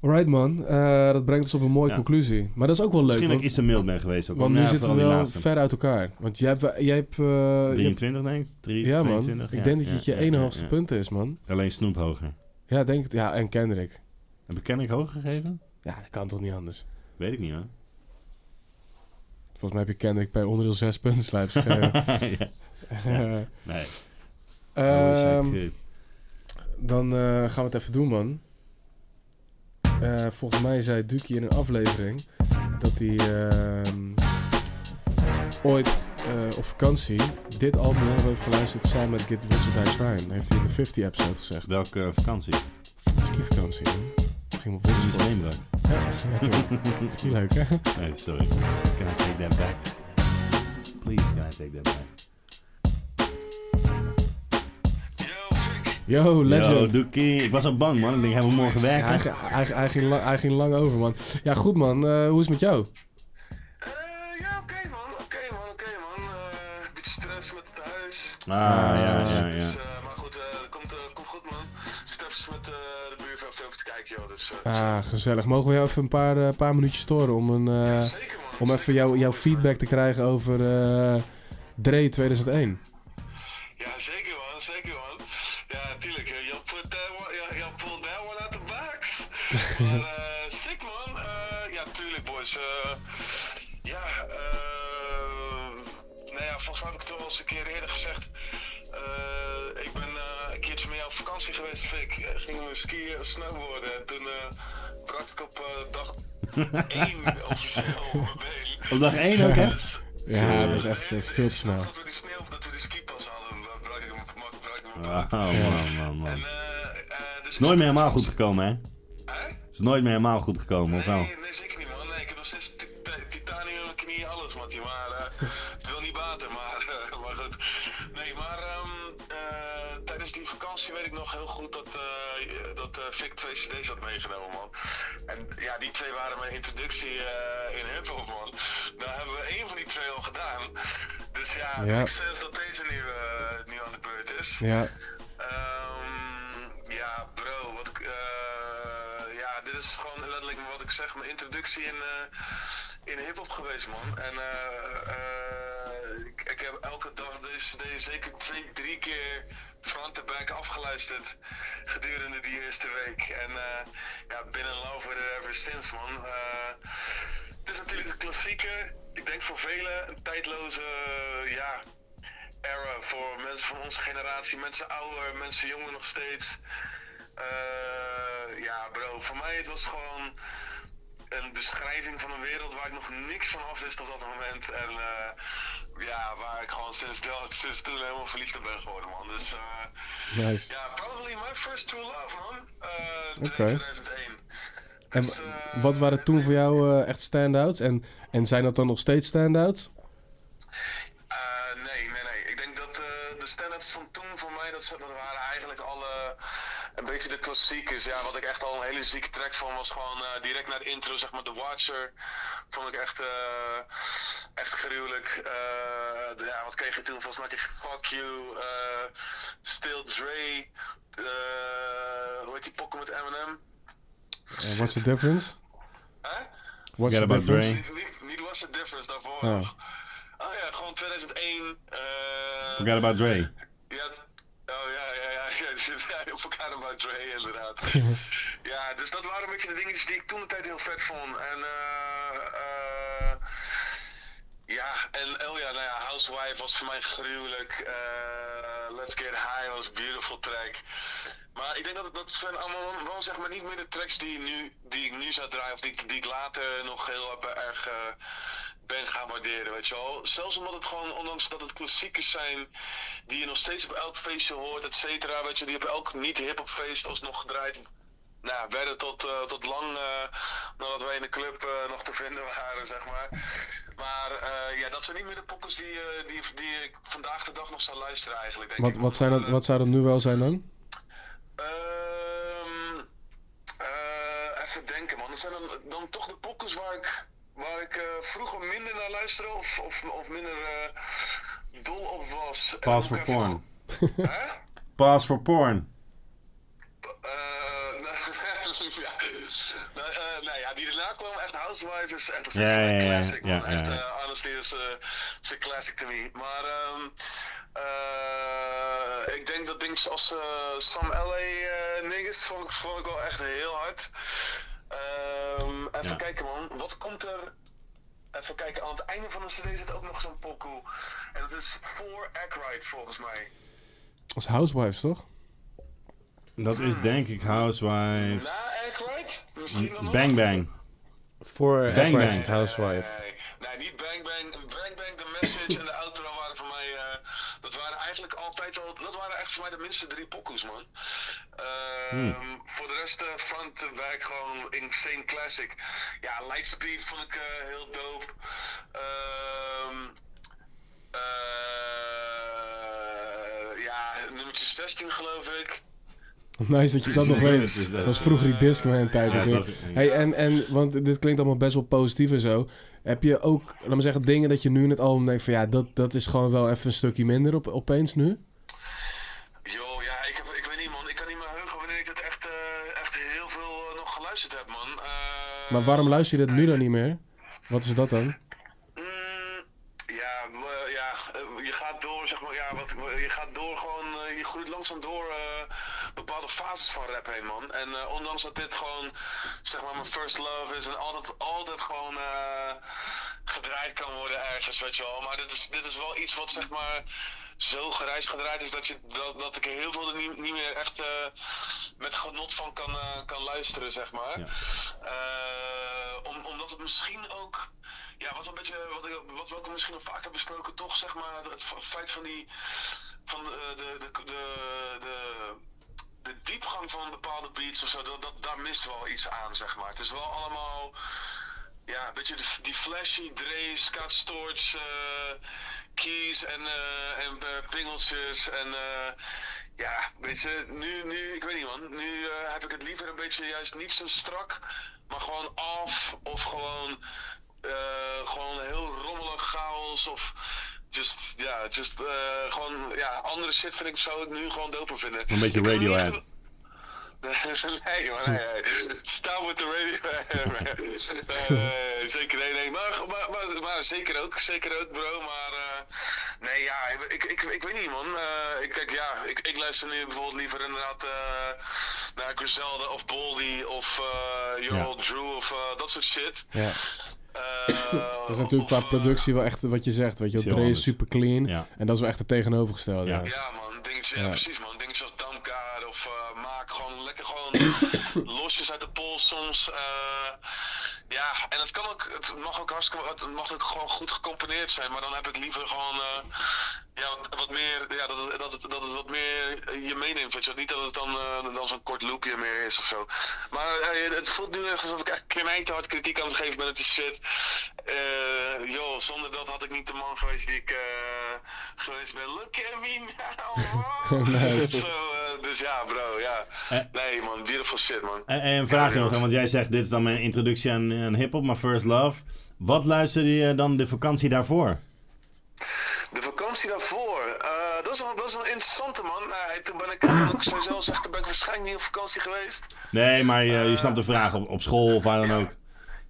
Alright, man. Eh, dat brengt ons op een mooie
Ja.
conclusie. Maar dat is ook wel leuk,
Misschien dat
want,
ik iets te mild ben geweest ook.
want nu
Ja,
zitten we
vooral die
wel
laatste.
ver uit elkaar. Want jij hebt... Jij hebt eh, je hebt-
23 denk ik, Drie-
ja, man.
22,
ik
ja,
denk dat
ja,
dit je
ja,
ene
ja,
hoogste
ja.
punt is, man.
Alleen Snoep hoger.
Ja, denk het. Ja, en Kendrick.
Heb ik Kendrick hoog gegeven?
Ja, dat kan toch niet anders.
Weet ik niet hoor.
Volgens mij heb je Kendrick bij onderdeel 6 punten slijps gegeven.
(laughs)
(laughs)
Ja. Ja. Nee. Nou, I wish I
Ehm,
could.
dan eh, gaan we het even doen, man. Eh, volgens mij zei Duki in een aflevering dat hij ehm, ooit eh, op vakantie dit album heel erg heeft geluisterd samen met Get Rich or Die Trying. Heeft hij in de 50 episode gezegd.
Welke eh, vakantie?
skivakantie. Ik ging op wintersport.
Steenbrak.
Ja, ja, toch.
(laughs)
Is die leuk, hè?
Nee, sorry. Can I take that back? Please, can I take that back?
Yo, legend.
Yo, Doekie. Ik was al bang, man. Ik denk, hij moet morgen
Ja, hij,
werken.
ging- hij, hij ging lang, hij ging lang over, man. Ja, goed, man. Eh, hoe is het met jou?
Ah, ja, ja, ja.
Ah, gezellig. Mogen we jou even een paar, eh, paar minuutjes storen om, een, eh, om even jou, jouw feedback te krijgen over eh Dre 2001? nou Eh, dus
Op dag 1 ook, hè?
Ja, dat is echt dat is veel te snel.
Wauw, man, man, man. is nooit meer helemaal goed gekomen, eh, dus hè? Het is nooit meer helemaal goed gekomen, of wel? Nee, zeker
(laughs) ehm, eh, eh, eh, Dus Ja. eh, Ja. eh, eh, eh,
Eh, eh,
Nice. Oké. En wa- wat waren toen voor jou eh, echt stand-outs? En, en zijn dat dan nog steeds stand-outs?
Een beetje de klassiekers, ja, wat ik echt al een hele zieke track van was gewoon eh, direct naar de intro, zeg maar, The Watcher. Vond ik echt, eh, echt gruwelijk. Eh, de- ja, wat kreeg je toen? Volgens mij kreeg je Fuck You, eh, Still Dre, eh, hoe heet die pokken met Eminem?
Eh, what's the difference? What's
Forget
the
about
difference?
Dre.
Oh.
Forgot about Dre.
(laughs)
eh, oh nou Eh, eh, nou eh, eh, Wat, wat, zijn dat, wat zou dat nu wel zijn dan?
Pass for porn. Pass for porn. Ja, ja, ja. ja, ja, ja.
Eh, Ehm, Als housewives, toch?
Dat is denk ik Housewives. Bang Bang.
Voor
Bang
Bang
Bang.
Housewife.
Dat waren eigenlijk altijd
tijd al, dat waren echt voor mij de minste drie pokoes, man. Ehm,
Hmm.
Voor de rest, eh, front en back, gewoon insane classic. Ja, Lightspeed vond ik eh, heel dope. Ehm, eh, ja, nummertje 16 geloof ik.
Nice dat je dat
Ja,
nog
het
weet.
is echt-
Dat was vroeger die Discman tijd
Ja,
natuurlijk.
dat- ja.
Hey, en, en, want dit klinkt allemaal best wel positief en zo. Heb je ook, laat me zeggen, dingen dat je nu in het album denkt van... Ja, dat, dat is gewoon wel even een stukje minder op, opeens nu?
Yo, ja, ik, heb, ik weet niet man, ik kan niet meer heugen wanneer ik dit echt, eh, echt heel veel eh, nog geluisterd heb, man. Eh,
Maar waarom luister je dat nu dan niet meer? Wat is dat dan?
Ja, we- ja, eh, je gaat door, zeg maar, ja, wat, je gaat door gewoon, eh, je groeit langzaam door eh, bepaalde fases van rap heen, man. En eh, ondanks dat dit gewoon, zeg maar, mijn first love is en altijd, altijd gewoon eh, gedraaid kan worden ergens, weet je wel. Maar dit is, dit is wel iets wat, zeg maar, zo gereis gedraaid is dat, je, dat, dat ik er heel veel er niet, niet meer echt eh, met genot van kan, eh, kan luisteren, zeg maar. Eh, om, omdat het misschien ook ja, wat een beetje, wat, ik, wat we ook misschien al vaak hebben besproken, toch zeg maar het f- feit van die, van eh, de, de, de, de, de diepgang van bepaalde beats of zo, dat, dat, daar mist wel iets aan, zeg maar. Het is wel allemaal, ja, een beetje de- die flashy Dre, Scott Storch, eh, keys en, eh, en eh, pingeltjes en eh, ja, weet je, nu, nu, ik weet niet man, nu eh, heb ik het liever een beetje juist niet zo strak, maar gewoon af of gewoon eh, gewoon heel rommelig chaos of just, ja, just, eh, gewoon, ja, andere shit vind ik, zou ik nu gewoon doper vinden.
Een beetje Radiohead.
nee, man, nee, nee. Staan met de radio. Eh, zeker, nee, nee. Maar, maar, maar, maar zeker ook, zeker ook, bro. Maar eh, nee, ja, ik, ik, ik, ik weet niet, man. Eh, ik, kijk, ja, ik, ik luister nu bijvoorbeeld liever inderdaad eh, naar Griselda of Boldy of eh Your
Ja.
Old Drew of eh, dat soort shit.
Ja.
Eh,
dat is natuurlijk qua productie wel echt wat je zegt. Weet je,
Is heel
wel. Dre is
anders.
super clean.
Ja.
En dat is wel echt het tegenovergestelde. Ja,
man. Dingetjes, ja,
Ja.
precies, man. Dingetjes als Damkaart of eh, maak gewoon lekker gewoon losjes uit de pols soms. eh, ja, en het kan ook, het mag ook hartstikke, het mag ook gewoon goed gecomponeerd zijn, maar dan heb ik liever gewoon, eh, ja, wat, wat meer, ja, dat, het- dat, het, dat het wat meer eh, je meeneemt, weet je wel. Niet dat het dan, eh, dan zo'n kort loopje meer is of zo. Maar eh, het voelt nu echt alsof ik echt knijterhard kritiek aan het geven ben op die shit. Eh, joh, zonder dat had ik niet de man geweest die ik eh, geweest ben. Look at
(laughs)
me now.
Nice. Eh.
Zo, eh, dus ja, bro, ja. Nee, man, beautiful shit, man.
En, en een vraagje nog, hè, want jij zegt dit is dan mijn introductie aan, aan hip-hop, maar First Love. Wat luisterde je dan de vakantie daarvoor?
De vakantie daarvoor, eh, dat, is een, dat is een interessante man. Nee, toen ben ik,
Ah.
toen ik zo zelf zeg, toen ben ik waarschijnlijk niet op vakantie geweest.
Nee, maar je, je snapt de vraag op, op school of waar dan ook.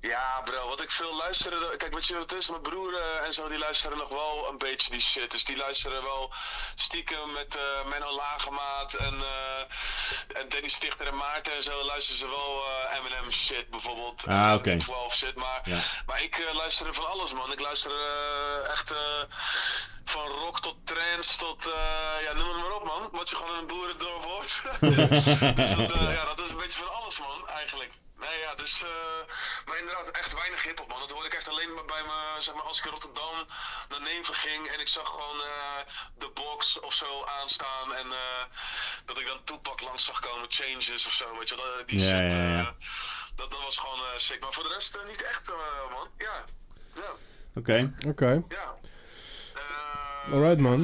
Ja, bro, wat ik veel luisterde. dat- Kijk, weet je wat het is? Mijn broer eh, en zo, die luisteren nog wel een beetje die shit. Dus die luisteren wel stiekem met eh Menno Lagemaat en, eh en Danny Stichter en Maarten en zo. Luisteren ze wel eh Eminem shit bijvoorbeeld.
Ah, oké.
12 shit. Maar,
Ja.
maar ik eh, luisterde van alles, man. Ik luister eh, echt eh, van rock tot trance tot. eh, ja, noem het maar op, man. Wat je gewoon in een boerendorp hoort. dus dat, eh, ja, dat is een beetje van alles, man, eigenlijk. Nee, ja, dus. eh, maar inderdaad, echt weinig hip-hop, man. Dat hoorde ik echt alleen maar bij me, zeg maar, als ik in Rotterdam naar Neven ging en ik zag gewoon eh, de box of zo aanstaan. En eh, dat ik dan Toepak langs zag komen, Changes of zo, weet je wel. dat- Die
Ja,
shit,
ja, ja.
eh, dat, dat was gewoon eh, sick. Maar voor de rest eh, niet echt, eh, man. Ja. ja.
Oké.
Oké.
Eh,
Alright, man.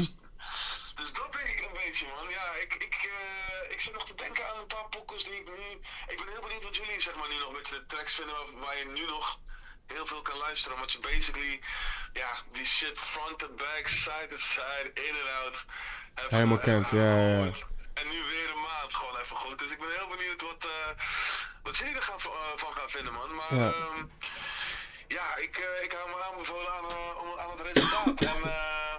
Dus dat ben ik een beetje, man. Ja, ik, ik, eh, ik zit nog te denken aan een paar pokkels Dus die ik nu... Ik ben heel benieuwd wat jullie zeg maar, nu nog met de tracks vinden waar, waar je nu nog heel veel kan luisteren. Omdat je basically, ja, die shit front to back, side to side, in en out. hebt
Helemaal
ge-
kent, ja, ja, ja.
En nu weer een maand gewoon even goed. Dus ik ben heel benieuwd wat, eh, wat jullie er gaan, v- eh, van gaan vinden, man. Maar
Ja.
ehm, ja, ik, eh, ik hou me aanbevolen aan, eh, om- aan het resultaat. en eh,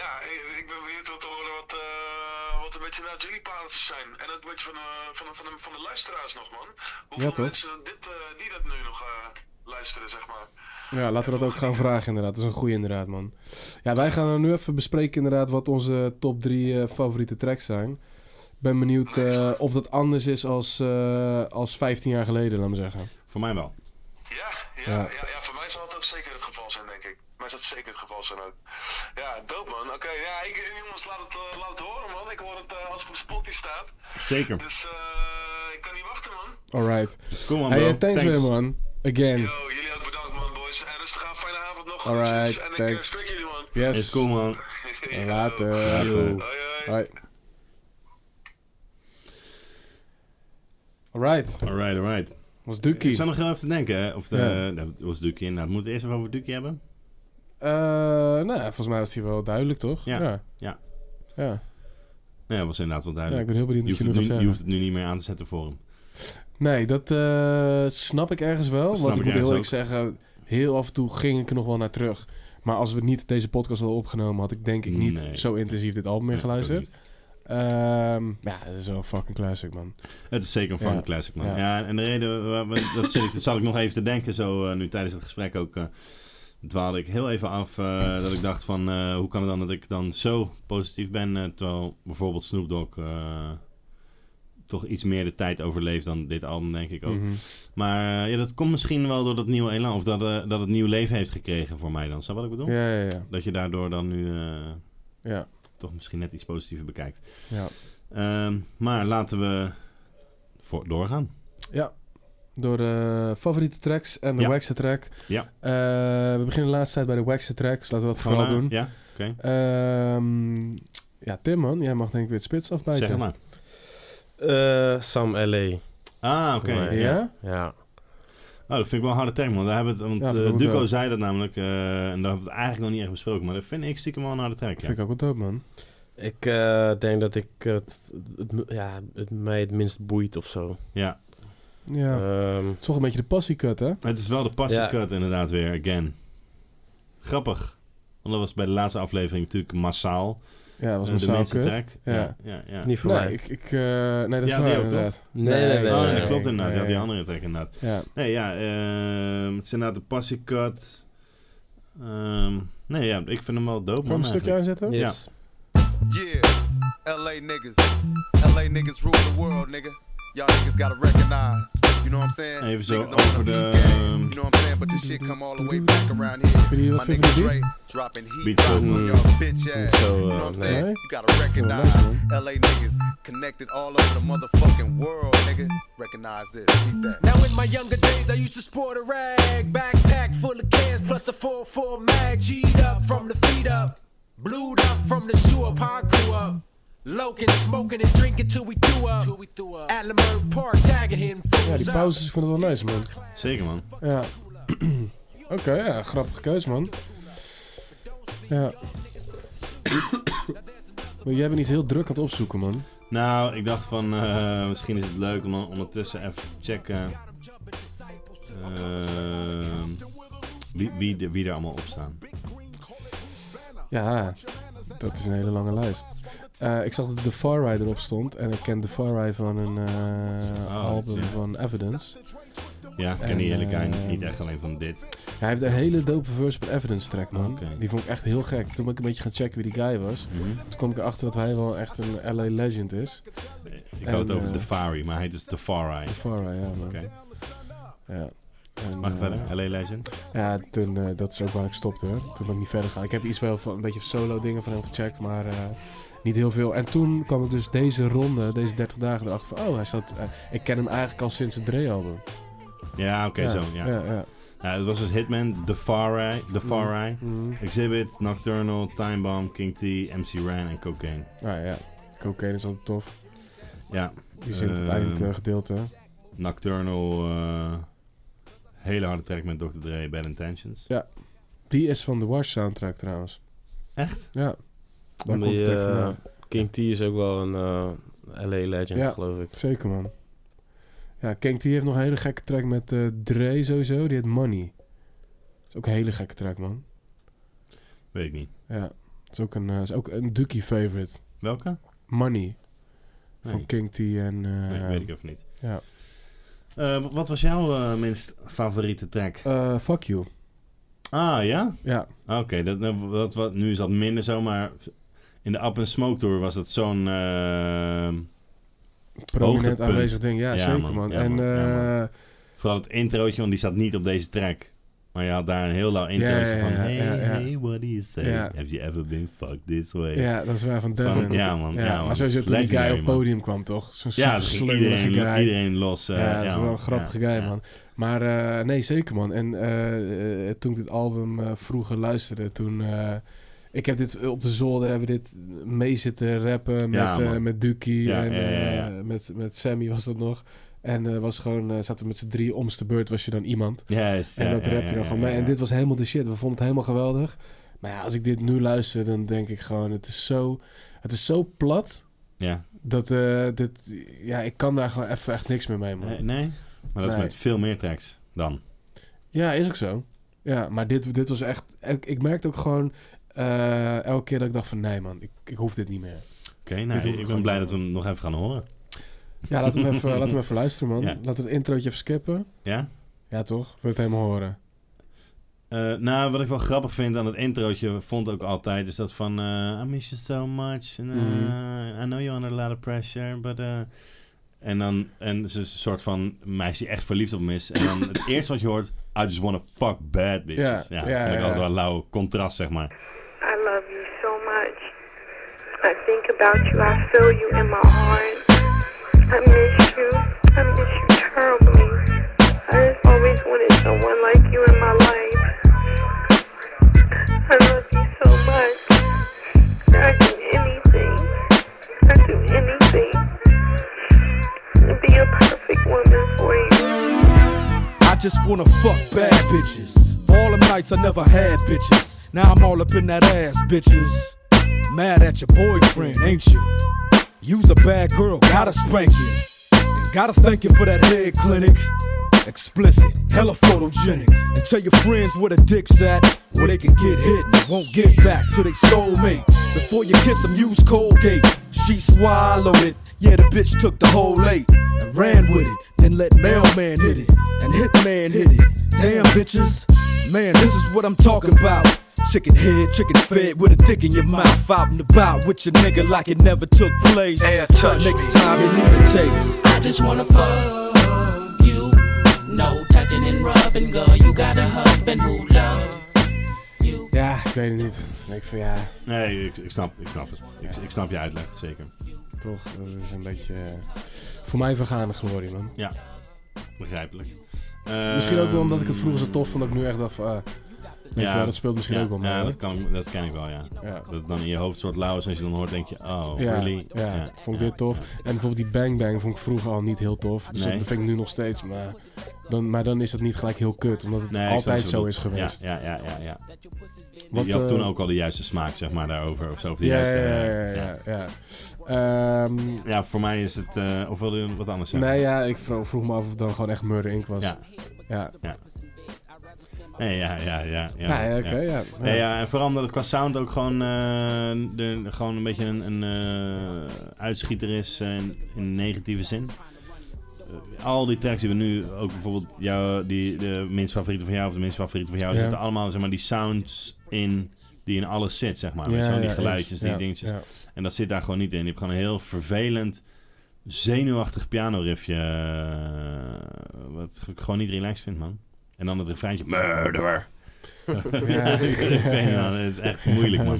ja, ik, ik ben benieuwd wat te horen wat, eh, wat een beetje naar jullie pareltjes zijn. En ook een beetje van, eh, van, de- van, de, van de luisteraars nog, man. Hoeveel
Ja, toch?
mensen dit, eh, die dat nu nog eh, luisteren, zeg maar.
Ja, laten we dat ook gaan vragen inderdaad. Dat is een goeie inderdaad, man. Ja, wij gaan er nu even bespreken inderdaad wat onze top drie eh, favoriete tracks zijn. Ik ben benieuwd eh, of dat anders is als, eh, als 15 jaar geleden, laat me zeggen.
Voor mij wel.
Ja, ja, ja. voor mij zal het ook zeker het geval zijn, denk ik. Maar zou het zeker het geval zijn ook. Ja, dope man. Oké, ja, ik, jongens, laat het, eh, laat het horen man. Ik hoor het eh, als het op Spotify staat.
Zeker.
Dus eh, ik kan niet wachten man.
Alright.
Kom man,
Hey,
bro.
eh, thanks,
Thanks.
weer, man. Again. Alright, thanks. (laughs) Yes.
Is cool, man.
Later.
Yo.
Hoi. Alright.
Alright, alright.
Was Duki.
Ik zat nog heel even te denken, hè, of de, nou,
Ja.
dat was Duki inderdaad. Moeten we eerst even over Duki hebben?
Eh, nou, ja, volgens mij was hij wel duidelijk, toch?
Ja.
Ja.
Ja.
Ja.
Ja, dat was inderdaad wel duidelijk.
Ja, ik ben heel benieuwd
je
wat je
hoeft,
nu
het
gaat zeggen.
nu, je hoeft het nu niet meer aan te zetten voor hem.
Nee, dat eh, snap ik ergens wel.
Dat snap
want ik
ik
moet heel eerlijk
ergens
zeggen, heel af en toe ging ik er nog wel naar terug. Maar als we niet deze podcast hadden opgenomen, had ik denk ik niet
Nee.
zo intensief dit album meer
Nee, ik ook
geluisterd. Ehm, ja, dat is wel een fucking classic, man.
Het is zeker een fun
Ja.
classic, man.
Ja.
Ja. en de reden, waar we- dat, zit ik, dat zat ik nog even te denken, zo eh, nu tijdens het gesprek ook, eh dwaalde ik heel even af eh, dat ik dacht van, eh, hoe kan het dan dat ik dan zo positief ben, eh, terwijl bijvoorbeeld Snoop Dogg eh, toch iets meer de tijd overleeft dan dit album, denk ik ook.
Mhm.
Maar eh, ja, dat komt misschien wel door dat nieuwe elan, of dat, eh, dat het nieuw leven heeft gekregen voor mij dan. Snap je wat ik bedoel?
Ja, ja, ja.
Dat je daardoor dan nu eh,
Ja.
toch misschien net iets positiever bekijkt.
Ja.
Ehm, maar laten we voor doorgaan.
Ja. Door de favoriete tracks en de
Ja.
Waxer track.
Ja.
Eh, we beginnen de laatste tijd bij de Waxer track, dus laten we dat
Gewoon
vooral doen.
naar- ja, oké.
Ehm, ja, Tim, man. Jij mag denk ik weer het spits afbijten.
Zeg het maar.
Eh, Sam L.A.
Ah, oké.
Volgens mij.
Ja?
Ja.
Oh, dat vind ik wel een harde term, want, daar hebben we het,
Ja,
want
vind ik
eh,
ook
Duco
wel.
zei dat namelijk, eh, en daar hebben we het eigenlijk nog niet echt besproken, maar dat vind ik stiekem wel een harde track. Ja.
Vind ik ook wel dope, man.
Ik eh, denk dat ik het, het- ja, het mij het minst boeit of zo.
Ja.
Ja.
Ehm,
Het is toch een beetje de passiecut, hè?
Het is wel de passie
Ja.
cut inderdaad weer, again. Grappig. Want dat was bij de laatste aflevering natuurlijk massaal.
Ja, dat was
Eh,
massaal
de mensen
kut.
track.
Ja.
Ja, ja, ja.
Niet voor
nee,
mij.
Ik, ik, eh, nee, dat is
Ja,
waar,
die ook,
inderdaad.
toch?
Nee, nee, nee,
Oh,
nee,
dat
nee.
klopt inderdaad. Ja,
nee.
die andere track inderdaad.
Ja.
Nee, ja, ehm, het is inderdaad de passie cut. Ehm, nee, ja, ik vind hem wel dope,
Kan
man,
een stukje
eigenlijk.
aanzetten?
Ja.
Yeah, LA niggas. LA niggas rule the world, nigga. Y'all niggas gotta recognize. You know what I'm saying?
Even zo
Niggas don't wanna
over de,
be gang, You know what I'm saying? But this shit come all the way back around here. My nigga Dre dropping heat
Beats
drops
ook.
on y'all bitch ass.
Zo,
You know
eh,
what I'm
nee.
saying? You gotta recognize LA niggas connected all over the motherfucking world, nigga. Recognize this. Keep that.
Now in my younger days, I used to sport a rag backpack full of cans plus a full full mag. G'd up from the feet up, blued up from the sewer. up, How I grew up, loking, smoking and drinking till we threw up. Till we threw up. At Lamar Park, tagging him
Ja,
fools
die
up.
pauzes, ik vind het wel nice, man.
Zeker, man.
Ja. (clears throat) Oké, ja, grappige keus, man. Ja. (coughs) Maar jij bent iets heel druk aan het opzoeken, man.
Nou, ik dacht van eh, misschien is het leuk om dan ondertussen even te checken eh, wie, wie, de- wie er allemaal op staan.
Ja, dat is een hele lange lijst. Eh, ik zag dat The Far Ride erop stond. En ik ken The Far Ride van een eh,
Oh,
album
ja.
van Evidence.
Ja, ik ken
En,
die hele guy
eh,
niet echt alleen van dit.
Hij heeft een hele dope verse op een Evidence track, man.
Oké.
Die vond ik echt heel gek. Toen ben ik een beetje gaan checken wie die guy was.
Mhm.
Toen kwam ik erachter dat hij wel echt een LA legend is.
Ik had het
En,
over
eh,
Defari, maar hij is Defari.
Farah, ja, man.
Oké.
Ja. En,
Mag
eh,
verder? LA Legend?
Ja, toen, eh, dat is ook waar ik stopte. Hoor. Toen ben ik niet verder gegaan. Ik heb iets wel van een beetje solo dingen van hem gecheckt, maar eh, niet heel veel. En toen kwam ik dus deze ronde, deze 30 dagen erachter. van, Oh, hij staat. eh, ik ken hem eigenlijk al sinds het Dre-album.
Ja, oké,
Ja,
zo. Ja.
ja, ja.
Ja, het was dus Hitman, Defari, Defari
Mhm.
Exhibit, Nocturnal, Time Bomb, King T, MC Ran en Cocaine.
Nou ja, cocaine is altijd tof.
Ja.
Die zingt het eh,
Ehm,
eindgedeelte.
Nocturnal, eh, hele harde track met Dr. Dre, Bad Intentions.
Ja. Die is van de Wash soundtrack trouwens.
Echt?
Ja. Daar komt
Die,
het echt
eh,
vandaan.
King T is ook wel een eh, LA legend,
Ja.
geloof ik.
Zeker, man. Ja, King T heeft nog een hele gekke track met eh, Dre sowieso. Die heet Money. is ook een hele gekke track, man.
Weet ik niet.
Ja. is ook een, eh, is ook een Ducky favorite.
Welke?
Money. Van
Nee.
King T en... eh,
Nee, weet ik even niet.
Ja.
Eh, wat was jouw eh, minst favoriete track?
Eh, fuck You.
Ah, ja?
Ja.
Ah, Oké, dat dat, dat, wat nu is dat minder zo, maar in de Up and Smoke Tour was dat zo'n... eh,
Prominent
hoogtepunt.
aanwezig ding. Ja, zeker, man.
Ja,
en
man. Ja, man.
eh,
Vooral het introotje, want die staat niet op deze track. Maar je had daar een heel lauw introotje
ja, ja,
van...
ja,
Hey,
ja, ja.
hey, what do you say?
Ja.
Have you ever been fucked this way?
Ja, dat is waar van Devin.
ja, man. Ja, man.
Maar sowieso
Dat
toen
is
die guy op
legendary,
het
man.
podium kwam, toch? Zo'n
Ja,
ja,
dus
slungerige
iedereen-
guy.
iedereen los, eh,
ja, dat is
ja,
wel
man.
een grappige guy, man. Maar eh, nee, zeker, man. En eh, eh, toen ik dit album eh, vroeger luisterde, toen... eh, ik heb dit op de zolder, hebben we dit mee zitten rappen met,
Ja,
eh,
man.
met Duki
Ja,
en
ja, ja, ja.
eh, met, met Sammy was dat nog. En eh, was gewoon, eh, zaten we met z'n drie omste beurt, was je dan iemand.
Juist,
en
ja,
dat
ja,
rapte je
ja,
dan
ja,
gewoon mee.
ja,
En
ja.
dit was helemaal de shit. We vonden het helemaal geweldig. Maar ja, als ik dit nu luister, dan denk ik gewoon, het is zo, het is zo plat.
Ja.
Dat eh, dit, ja, ik kan daar gewoon even echt niks meer mee, man.
Eh, nee? Maar dat is
Nee.
met veel meer tracks dan.
Ja, is ook zo. Ja, maar dit, dit was echt... Ik, ik merkte ook gewoon eh, elke keer dat ik dacht van... Nee man, ik, ik hoef dit niet meer.
Oké, nou,
Dit hoef
ik
gewoon
ben blij
niet
dat we hem nog even gaan horen.
meer. Ja, laten we
(laughs)
hem even, laten we even luisteren, man.
Ja.
Laten we het introotje even skippen.
Ja?
Ja, toch? Wil je het helemaal horen?
Eh, nou, wat ik wel grappig vind aan het introotje, vond ook altijd, is dat van... eh, I miss you so much. And, eh,
Mhm.
I know you're under a lot of pressure, but... eh," en dan, en ze is een soort van meisje die echt verliefd op hem is. En dan
(coughs)
het eerste wat je hoort, I just wanna fuck bad bitches.
Ja,
Ja,
ja,
vind ik
ja,
altijd
ja.
wel een lauw contrast, zeg maar.
I love you so much. I think about you. I feel you in my heart. I miss you. I miss you terribly. I just always wanted someone like you in my life. I love you so much. I'd do anything. I'd do anything to be a perfect woman for you.
I just wanna fuck bad bitches. For all them nights I never had bitches. Now I'm all up in that ass, bitches. Mad at your boyfriend, ain't you? You's a bad girl, gotta spank you. And gotta thank you for that head clinic. Explicit, hella photogenic. And tell your friends where the dick's at, where they can get hit and won't get back to they soulmate. Before you kiss them, use Colgate. She swallowed it. Yeah, the bitch took the whole eight and ran with it. Then let mailman hit it and hitman hit it. Damn bitches, man, this is what I'm talking about. Chicken head, chicken fed with a dick in your mouth. Out and about with your nigga like it never took place. Air touch Next time you need a taste. I just wanna fuck.
No touching and rubbing, girl, you got a husband who loves
Ja, ik weet het niet. Ik denk van ja,
Nee, ik, ik, snap, ik snap het. Ik, ik snap je uitleg, zeker.
toch. Dat is een beetje... eh, voor mij vergaande glorie, man.
Ja, begrijpelijk.
Misschien ook wel omdat ik het
Ehm,
vroeger zo tof vond dat ik nu echt dacht van... ah, weet je wel, dat speelt misschien
ja,
ook wel mee.
Ja,
hè?
dat, kan, dat ken ik wel, ja. Dat het dan in je hoofd een soort lauw is. En als je dan hoort, denk je, oh,
ja,
really?
ja, vond ik dit tof. En bijvoorbeeld die Bang Bang vond ik vroeger al niet heel tof. Dus
Nee.
dat vind ik nu nog steeds. Maar dan, maar dan is dat niet gelijk heel kut. Omdat het
Nee, ik snap
altijd
wat je
zo
bedoelt.
is geweest.
Ja, ja, ja, ja. ja.
Want,
je had toen
eh,
ook al de juiste smaak, zeg maar, daarover. Of zo, of de
Ja,
juiste,
ja, ja,
eh,
ja,
ja.
ja. ja. Ehm,
Ja, voor mij is het... eh, of wilde je wat anders zeggen?
nee, ja, ik vro- vroeg me af of het dan gewoon echt Murder Inc. was.
Ja.
ja.
Nee, ja, ja, ja. ja,
Nou ja, oké, ja.
Nee, ja, en vooral omdat het qua sound ook gewoon, eh, de, gewoon een beetje een, een eh, uitschieter is eh, in, in negatieve zin. Eh, al die tracks die we nu, ook bijvoorbeeld jou, die, de minst favoriete van jou of de minst favoriete van jou,
Ja.
zitten allemaal zeg maar, die sounds in die in alles zit, zeg maar.
Ja,
Weet je wel, die
ja,
geluidjes,
eens.
die
Ja,
dingetjes.
ja.
En dat zit daar gewoon niet in. Je hebt gewoon een heel vervelend, zenuwachtig pianoriffje. eh, Wat ik gewoon niet relaxed vind, man. En dan het refreintje. Murderer.
Ja.
(laughs) Ik weet niet, man. Dat is echt moeilijk, man.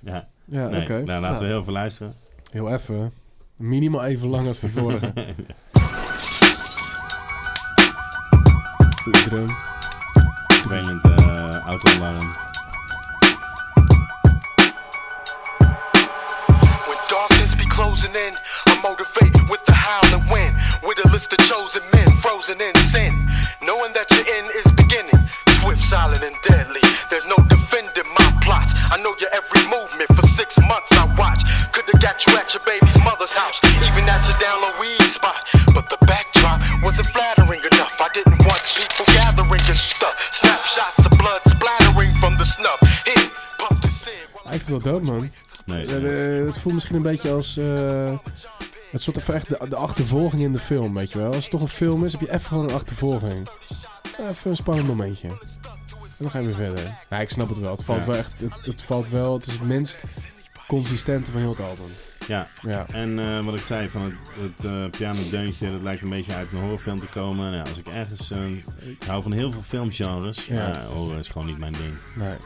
Ja,
Ja,
Nee,
oké.
Nou, laten
Nou.
we heel veel luisteren.
Heel even. Minimaal even lang als de
(laughs)
vorige. Goeie drum.
Vervelend eh auto-alarm.
When darkness be closing in, I'm motivated with the howling wind. With a list of chosen men, frozen in sin. Knowing that your end is beginning, swift, silent, and deadly. There's no defending my plots. I know your every movement. For six months I watch. Could've got you at your baby's mother's house, even at your down low weed spot. But the backdrop wasn't flattering enough. I didn't want people gathering and stuff. Snapshots of blood splattering from the snub. Here, pump the
Ah, ik vind het wel dood, man.
Nee,
Eh, eh, het voelt misschien een beetje als... eh, het soort van echt de, de achtervolging in de film, weet je wel. Als het toch een film is, heb je even gewoon een achtervolging. Even een spannend momentje. En dan gaan we weer verder. Nou, ik snap het wel. Het valt
Ja.
wel echt... Het, het valt wel... Het is het minst consistente van heel het album.
Ja. En eh, wat ik zei van het, het eh, pianodeuntje, dat lijkt een beetje uit een horrorfilm te komen. Nou, als ik ergens. eh, ik hou van heel veel filmgenres.
Ja.
Maar horror is gewoon niet mijn ding.
Nee.
Het-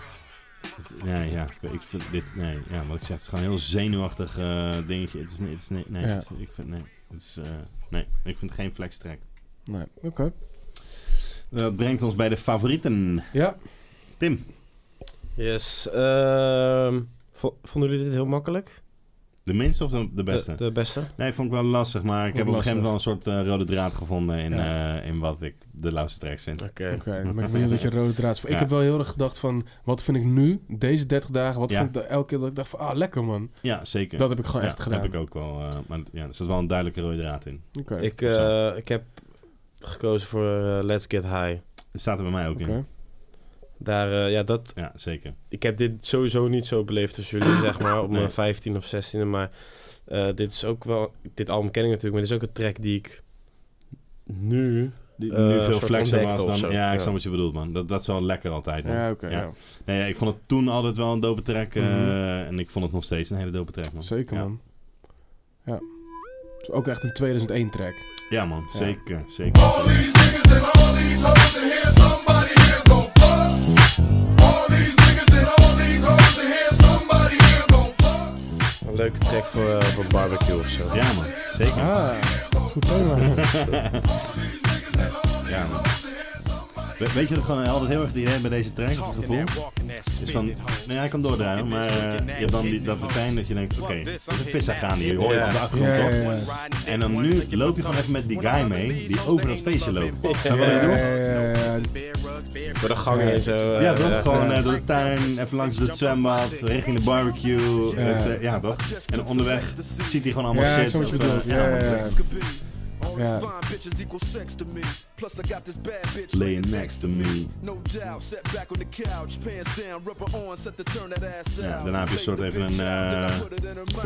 Nee, ja, ik, ik vind dit, nee, ja, wat ik zeg, het is gewoon een heel zenuwachtig eh, dingetje. Het is, niet- het is, nee, nee,
Ja.
het is- ik vind, nee, het is, eh, nee, ik vind het geen flex track.
Nee. Oké.
Dat brengt ons bij de favorieten.
Ja.
Tim.
Yes. ehm, vo- vonden jullie dit heel makkelijk?
De minste of de, de beste?
De, beste.
Nee, vond ik wel lastig, maar ik
Vond
heb
ik
op een gegeven moment
lastig.
wel een soort eh, rode draad gevonden in,
Ja.
eh, in wat ik de laatste tracks vind.
Oké.
Oké,
(laughs)
dan ben ik
(laughs)
benieuwd dat je rode draad... Ik
Ja.
heb wel heel erg gedacht van, wat vind ik nu, deze 30 dagen, wat
Ja.
vind ik de- elke keer dat ik dacht van, ah, lekker man.
Ja, zeker.
Dat heb ik gewoon
Ja,
echt gedaan.
heb ik ook wel, eh, maar ja, er zat wel een duidelijke rode draad in.
Oké.
Ik,
Zo.
eh, ik heb gekozen voor eh, Let's Get High.
Dat staat er bij mij ook
Oké.
in.
Daar, eh, ja, dat...
Ja, zeker.
Ik heb dit sowieso niet zo beleefd als jullie, zeg maar, op
Nee.
mijn 15 of 16e. Maar eh, dit is ook wel... Dit album ken ik natuurlijk, maar dit is ook een track die ik nu...
Die-
eh,
nu
soort
veel flexer
ontdekte
was
of
dan.
zo.
Ja, ik snap wat je bedoelt, man. Dat, dat is wel lekker altijd. Man.
Ja, oké, ja.
Nee, ja, ik vond het toen altijd wel een dope track. eh,
Mhm.
En ik vond het nog steeds een hele dope track, man.
Zeker
Ja.
man. Ja. Het is ook echt een 2001 track.
Ja, man.
Ja.
Zeker, zeker.
Een leuke track voor, eh, voor barbecue of zo.
Ja, man. Zeker.
Ah, goed thema.
(laughs) ja, man. We- weet je dat ik gewoon altijd heel erg die idee bij deze track, of het gevoel? Is van, nee, hij kan doordraaien, maar eh, je hebt dan die, dat fijn dat je denkt, oké, dat is een visser gaan hier, hoor je
Ja.
op de achtergrond
Ja,
toch?
ja,
En dan nu loop je gewoon even met die guy mee, die over dat feestje loopt. Snap je wat ik bedoel?
Door de gangen en zo. eh,
ja, toch?
ja.
Gewoon eh, door de tuin, even langs het zwembad, richting de barbecue.
Ja.
Het, eh, ja, toch? En onderweg ziet hij gewoon allemaal
Ja, ik
shit.
snap wat je
of,
bedoelt.
eh,
Ja, ja, ja.
Ja. Laying next to me. Ja, daarna heb je soort even een... eh,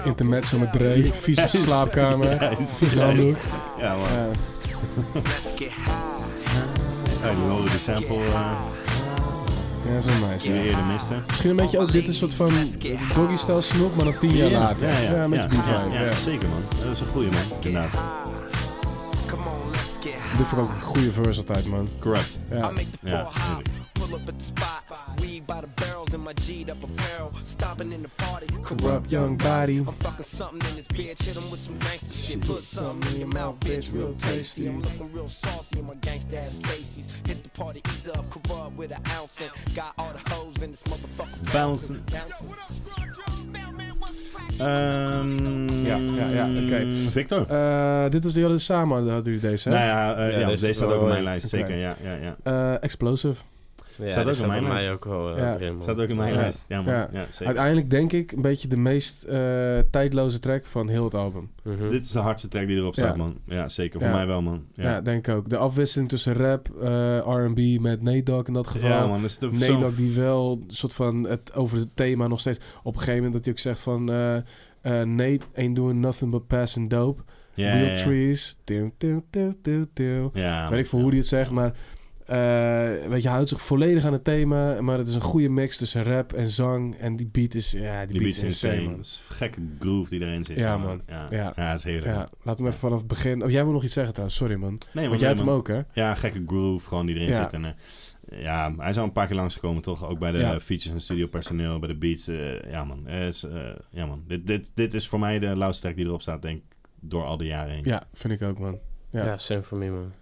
Intermezzo met Dre, vies op de
(laughs)
slaapkamer,
Juist,
vies
juist.
handdoek.
Ja, man.
Ja.
Ja, die horen de sample. eh,
Ja, zo'n meisje.
die we eerder misten.
Misschien een beetje ook dit is een soort van doggy-style snoep, maar dan tien jaar later.
Ja, ja,
een beetje die
ja,
vibe.
ja,
ja.
zeker man. Dat is een goeie man, inderdaad.
Dit vond ik ook een goede verse altijd, man.
Correct.
Ja.
Ja,
Pull up at the spot, weed by the barrels in my G'd up apparel. Stopping in the party,
Corrupt young body.
I'm fucking something in this bitch. Hit 'em with some gangster shit. Put something in your mouth, bitch. Real tasty. I'm looking real saucy in my gangsta ass Stacy's. Hit the party, ease up, corrupt with an ounce. And got all the hoes in this motherfucker
Bouncing.
bouncing.
Eh, Ehm,
Ja, ja, ja, oké.
Victor?
Eh, dit was die hadden samen, hadden jullie deze, hè?
Nou ja, eh,
Ja,
ja,
deze
deze staat
wel
ook op mijn
in.
lijst,
Oké.
zeker. Ja, ja, ja.
Eh, Explosive.
Ja,
staat
die
ook in mijn
bij
lijst.
mij ook wel eh,
Ja.
erin, man.
Staat ook in mijn
Ja.
lijst. Ja, man. Ja. zeker.
Uiteindelijk denk ik een beetje de meest eh, tijdloze track van heel het album.
Mhm.
Dit is de hardste track die erop staat,
Ja.
man. Ja, zeker. Voor
Ja.
mij wel, man.
Ja.
Ja,
denk ik ook. De afwisseling tussen rap, eh, R&B met Nate Dogg in dat geval.
ja man. Dat is de
Nee,
zo'n-
dat die wel een soort van het over het thema nog steeds. Op een gegeven moment dat hij ook zegt van eh eh, Nate ain't doing nothing but passing dope.
Ja,
Real
ja, ja.
trees. Til, til, til, til, til.
Ja,
weet ik veel hoe die het zegt, maar eh, weet je, hij houdt zich volledig aan het thema. Maar het is een goede mix tussen rap en zang. En die beat is, ja, die,
die
beat is
insane.
insane.
Dat
man.
is een gekke groove die erin zit.
Ja,
zeg maar.
man.
Ja,
Ja.
ja. dat is heerlijk.
Ja, laat hem even vanaf het begin. Oh, jij moet nog iets zeggen trouwens, sorry man.
Nee,
Want
maar
jij
nee,
hebt hem
man.
ook, hè?
Ja, gekke groove gewoon die erin
Ja.
zit. En, eh, ja, hij is al een paar keer langsgekomen, toch? Ook bij de
Ja.
eh, features en studio personeel, bij de beats. eh, ja, man. Eh, is, eh, ja, man. Dit, dit, dit is voor mij de loudste track die erop staat, denk ik, door al die jaren heen.
Ja, vind ik ook, man. Ja.
Ja, same for me, man.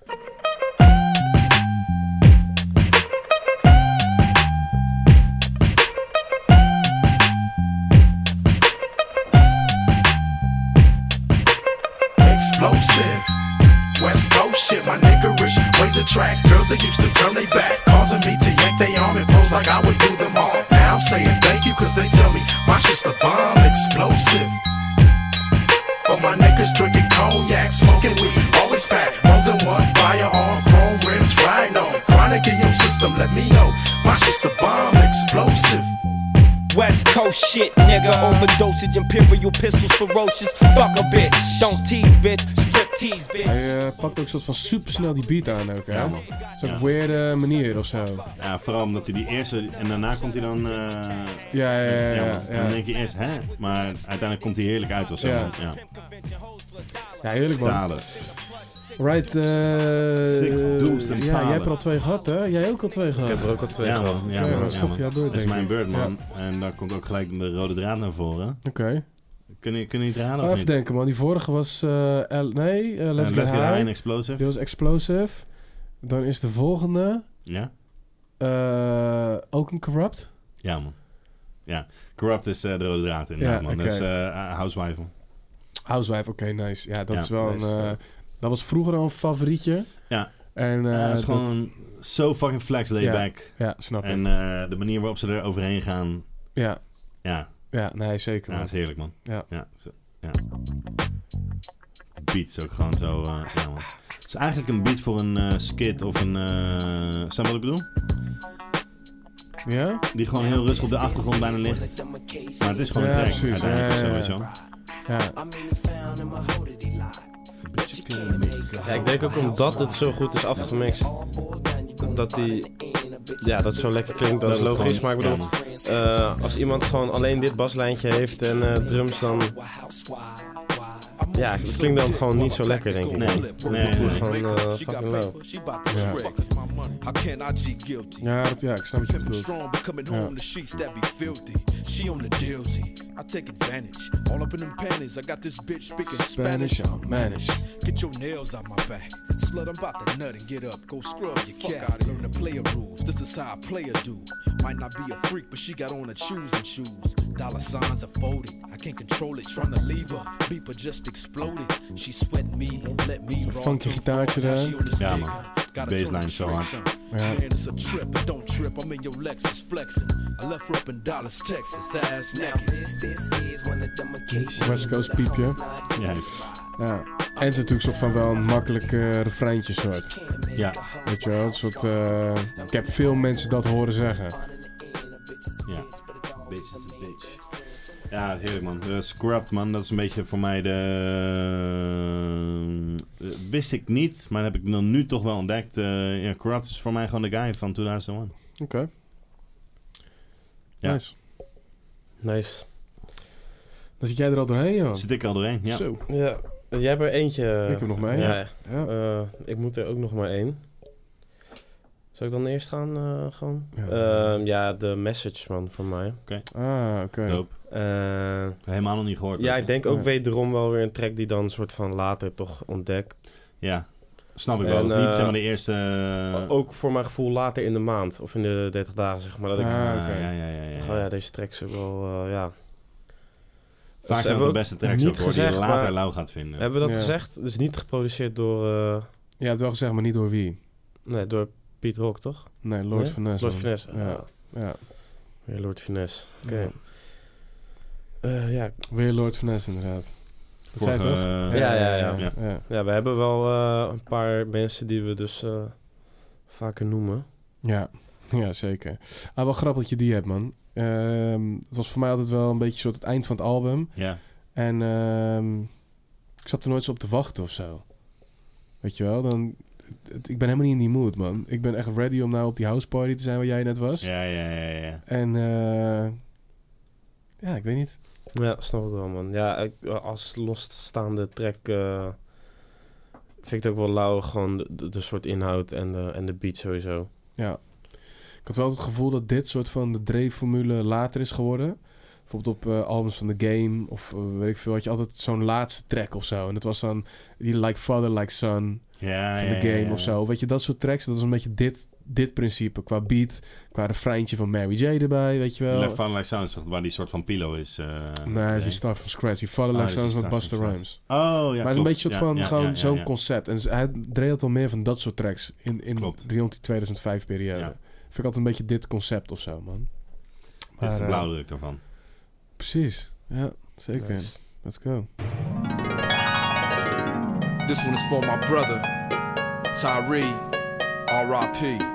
Explosive. West Coast shit, my niggerish ways attract girls that used to turn they back, causing me to yank they arm and pose like I would do them all. Now I'm saying thank you, cause they tell me my shit's the bomb explosive. For my niggas drinking cognac, smoking weed, always pack more than one firearm, chrome rims, rhino. Chronic in your system, let me know my shit's the bomb explosive.
West Coast shit, nigga. Overdosage, imperial pistols, ferocious. Fuck a bitch. Don't tease, bitch. Strip tease, bitch.
Hij eh, pakt ook een soort van supersnel die beat aan ook, hè?
Ja, man.
Zo'n
Ja.
weirde manier of zo.
Ja, vooral omdat hij die eerste... En daarna komt hij dan... eh,
Ja, ja, ja,
man.
ja.
Dan denk je eerst, hè? Maar uiteindelijk komt hij heerlijk uit of zo.
Ja.
man. Ja.
Ja, heerlijk man.
Dalen.
Right, eh...
Six Dooms and
Ja, jij hebt
Palen.
er al twee gehad, hè? Jij ook al twee gehad.
ja, man. Ja, man.
dat is
Ja,
toch
man.
jouw beurt,
Dat is
denk
mijn
ik.
beurt,
Ja.
man. En daar komt ook gelijk de rode draad naar voren.
Oké.
Kunnen kun je het raden
Maar
of
even
niet?
denken, man. Die vorige was... eh, L- nee, eh, Let's,
Eh,
Get,
Let's Get
High.
High en Explosive.
Die was Explosive. Dan is de volgende...
Ja?
eh, ook een Corrupt.
Ja, man. Ja. Corrupt is eh, de rode draad inderdaad,
Ja,
man.
oké.
Dat is eh Housewife.
Housewife, oké, nice. Ja, dat
Ja,
is wel
nice,
een... eh,
ja.
dat was vroeger al een favorietje.
Ja.
En, eh,
Ja, het is
dat-
gewoon zo fucking flex laid
Ja,
back.
ja, snap ik.
En eh, de manier waarop ze er overheen gaan.
Ja.
Ja.
Ja, nee, zeker.
Ja,
man.
dat is heerlijk, man.
Ja.
zo- ja. Beats ook gewoon zo. eh, ja, man. Het is eigenlijk een beat voor een eh, skit of een... eh snap je wat ik bedoel?
Ja?
Die gewoon heel rustig op de achtergrond bijna ligt. Maar het is gewoon
Ja,
een track.
precies.
uiteindelijk
Ja,
of zo,
ja,
weet je
ja.
wel.
Ja.
Ja, ik denk ook omdat het zo goed is afgemixt. Dat die. Ja, dat zo lekker klinkt, dat is
Dat het
logisch. Maar
gewoon-
ik bedoel, eh, als iemand gewoon alleen dit baslijntje heeft en eh, drums, dan. Ja, het klinkt dan gewoon niet zo lekker, denk ik.
Nee, nee, nee.
Gewoon eh, fucking low.
Ja.
How can I G guilty?
Ja, dat, ja, ik snap wat je
Pimpin'
bedoelt.
strong, but coming
Ja.
home the sheets that be filthy. She on the dealsy. I take advantage. All up in them panties. I got this bitch speaking Spanish.
Spanish, I'll manage.
Get your nails out my back. Slut, I'm about to nut and get up. Go scrub your cat. Learn the player rules. This is how I play a dude. Might not be a freak, but she got on her shoes and shoes. Dollar signs are folded. I can't control it. Trying to leave her. Beeper just exploded. She sweat me and let me roll.
Funky gitaartje daar.
Ja, man. Baseline zo hard.
Ja.
Man, it's a trip, but don't trip. I'm in your Lexus flexing. I left her up in Dallas, Texas, ass naked.
West Coast piepje.
Juist.
Ja. En het is natuurlijk soort van wel een makkelijk eh, refreintje soort.
Ja.
Weet je wel, een soort... eh, ik heb veel mensen dat horen zeggen.
Ja. Bitch is a bitch. Ja, heerlijk man. Eh, Scrubbed man, dat is een beetje voor mij de... eh, wist ik niet, maar dat heb ik dan nu toch wel ontdekt. Eh ja, Corrupt is voor mij gewoon de guy van 2001.
Oké.
Ja.
Nice.
Nice.
Dan zit jij er al doorheen, joh.
Zit ik al doorheen, ja.
Zo.
Ja, jij hebt er eentje.
Ik heb nog maar
mee.
één.
Ja.
Ja.
Eh, ik moet er ook nog maar één. Zal ik dan eerst gaan? eh, gewoon?
Ja.
Ja. ja, de message man van mij.
Oké.
Ah, oké.
Dope.
Eh,
Helemaal nog niet gehoord.
ja,
ook,
ik
hè?
denk ook
Ja.
wederom wel weer een track die dan soort van later toch ontdekt.
Ja, snap ik wel.
En,
dat is niet
eh,
zeg maar de eerste... eh,
Ook voor mijn gevoel later in de maand of in de 30 dagen zeg maar. Dat ik,
Ah,
ah,
oké.
ja, ja, ja, ja, ja.
dacht, oh ja, deze track is ook wel, eh, ja. Dus
Vaak zijn
hebben
dat
we
de
ook
beste tracks
niet
ook, hoor, die je
gezegd,
later
maar-
lauw gaat vinden.
Hebben we dat
Ja.
gezegd? Dus niet geproduceerd door, eh,
Je hebt wel gezegd, maar niet door wie.
nee, door Piet Rock, toch?
Nee, Lord
Nee?
van Ness.
Lord
man.
Finesse.
Ja. Ja.
Weer Lord Finesse. Oké.
Ja.
Eh, ja,
Weer Lord van Ness, inderdaad. Dat zei
Vorige,
je toch?
eh,
Ja, ja, ja.
ja.
ja.
Ja, we hebben wel eh, een paar mensen die we dus eh, vaker noemen.
Ja, (laughs) ja zeker. Ah, wel grappig dat je die hebt, man. Ehm, het was voor mij altijd wel een beetje soort het eind van het album.
ja.
En ehm, ik zat er nooit zo op te wachten of zo. Weet je wel, dan... het- Ik ben helemaal niet in die mood, man. Ik ben echt ready om nou op die houseparty te zijn waar jij net was.
Ja, ja, ja, ja, ja.
En eh, ja, ik weet niet.
Ja, snap ik wel, man. Ja, ik- als losstaande track eh, vind ik het ook wel lauw. Gewoon de, de, de soort inhoud en de, en de beat sowieso.
Ja. Ik had wel het gevoel dat dit soort van de Dre-formule later is geworden. Bijvoorbeeld op eh, albums van The Game of eh, weet ik veel, had je altijd zo'n laatste track of zo. En dat was dan die Like Father, Like Son
Ja,
van
ja,
The Game
ja, ja.
of zo. Weet je, dat soort tracks, dat is een beetje dit, dit principe. Qua beat, qua refreintje van Mary J erbij, weet je wel.
Left Fun Like Sounds, toch, waar die soort van pilo is. eh,
nee, het is
nee.
die start van scratch. Die Father,
Ah,
Like
dit is
Son is
die
van
Start
Busta
van Scratch.
Rooms.
Oh,
maar
ja,
het is een beetje soort van gewoon zo'n
concept.
concept. En hij Dre had wel meer van dat soort tracks in, in rond die 2005 periode.
Ja.
Vind ik altijd een beetje dit concept of zo, man.
Dit is de
eh,
blauwdruk daarvan.
precies. Ja, zeker.
Nice.
Let's go.
This one is for my brother, Tyree, R.I.P.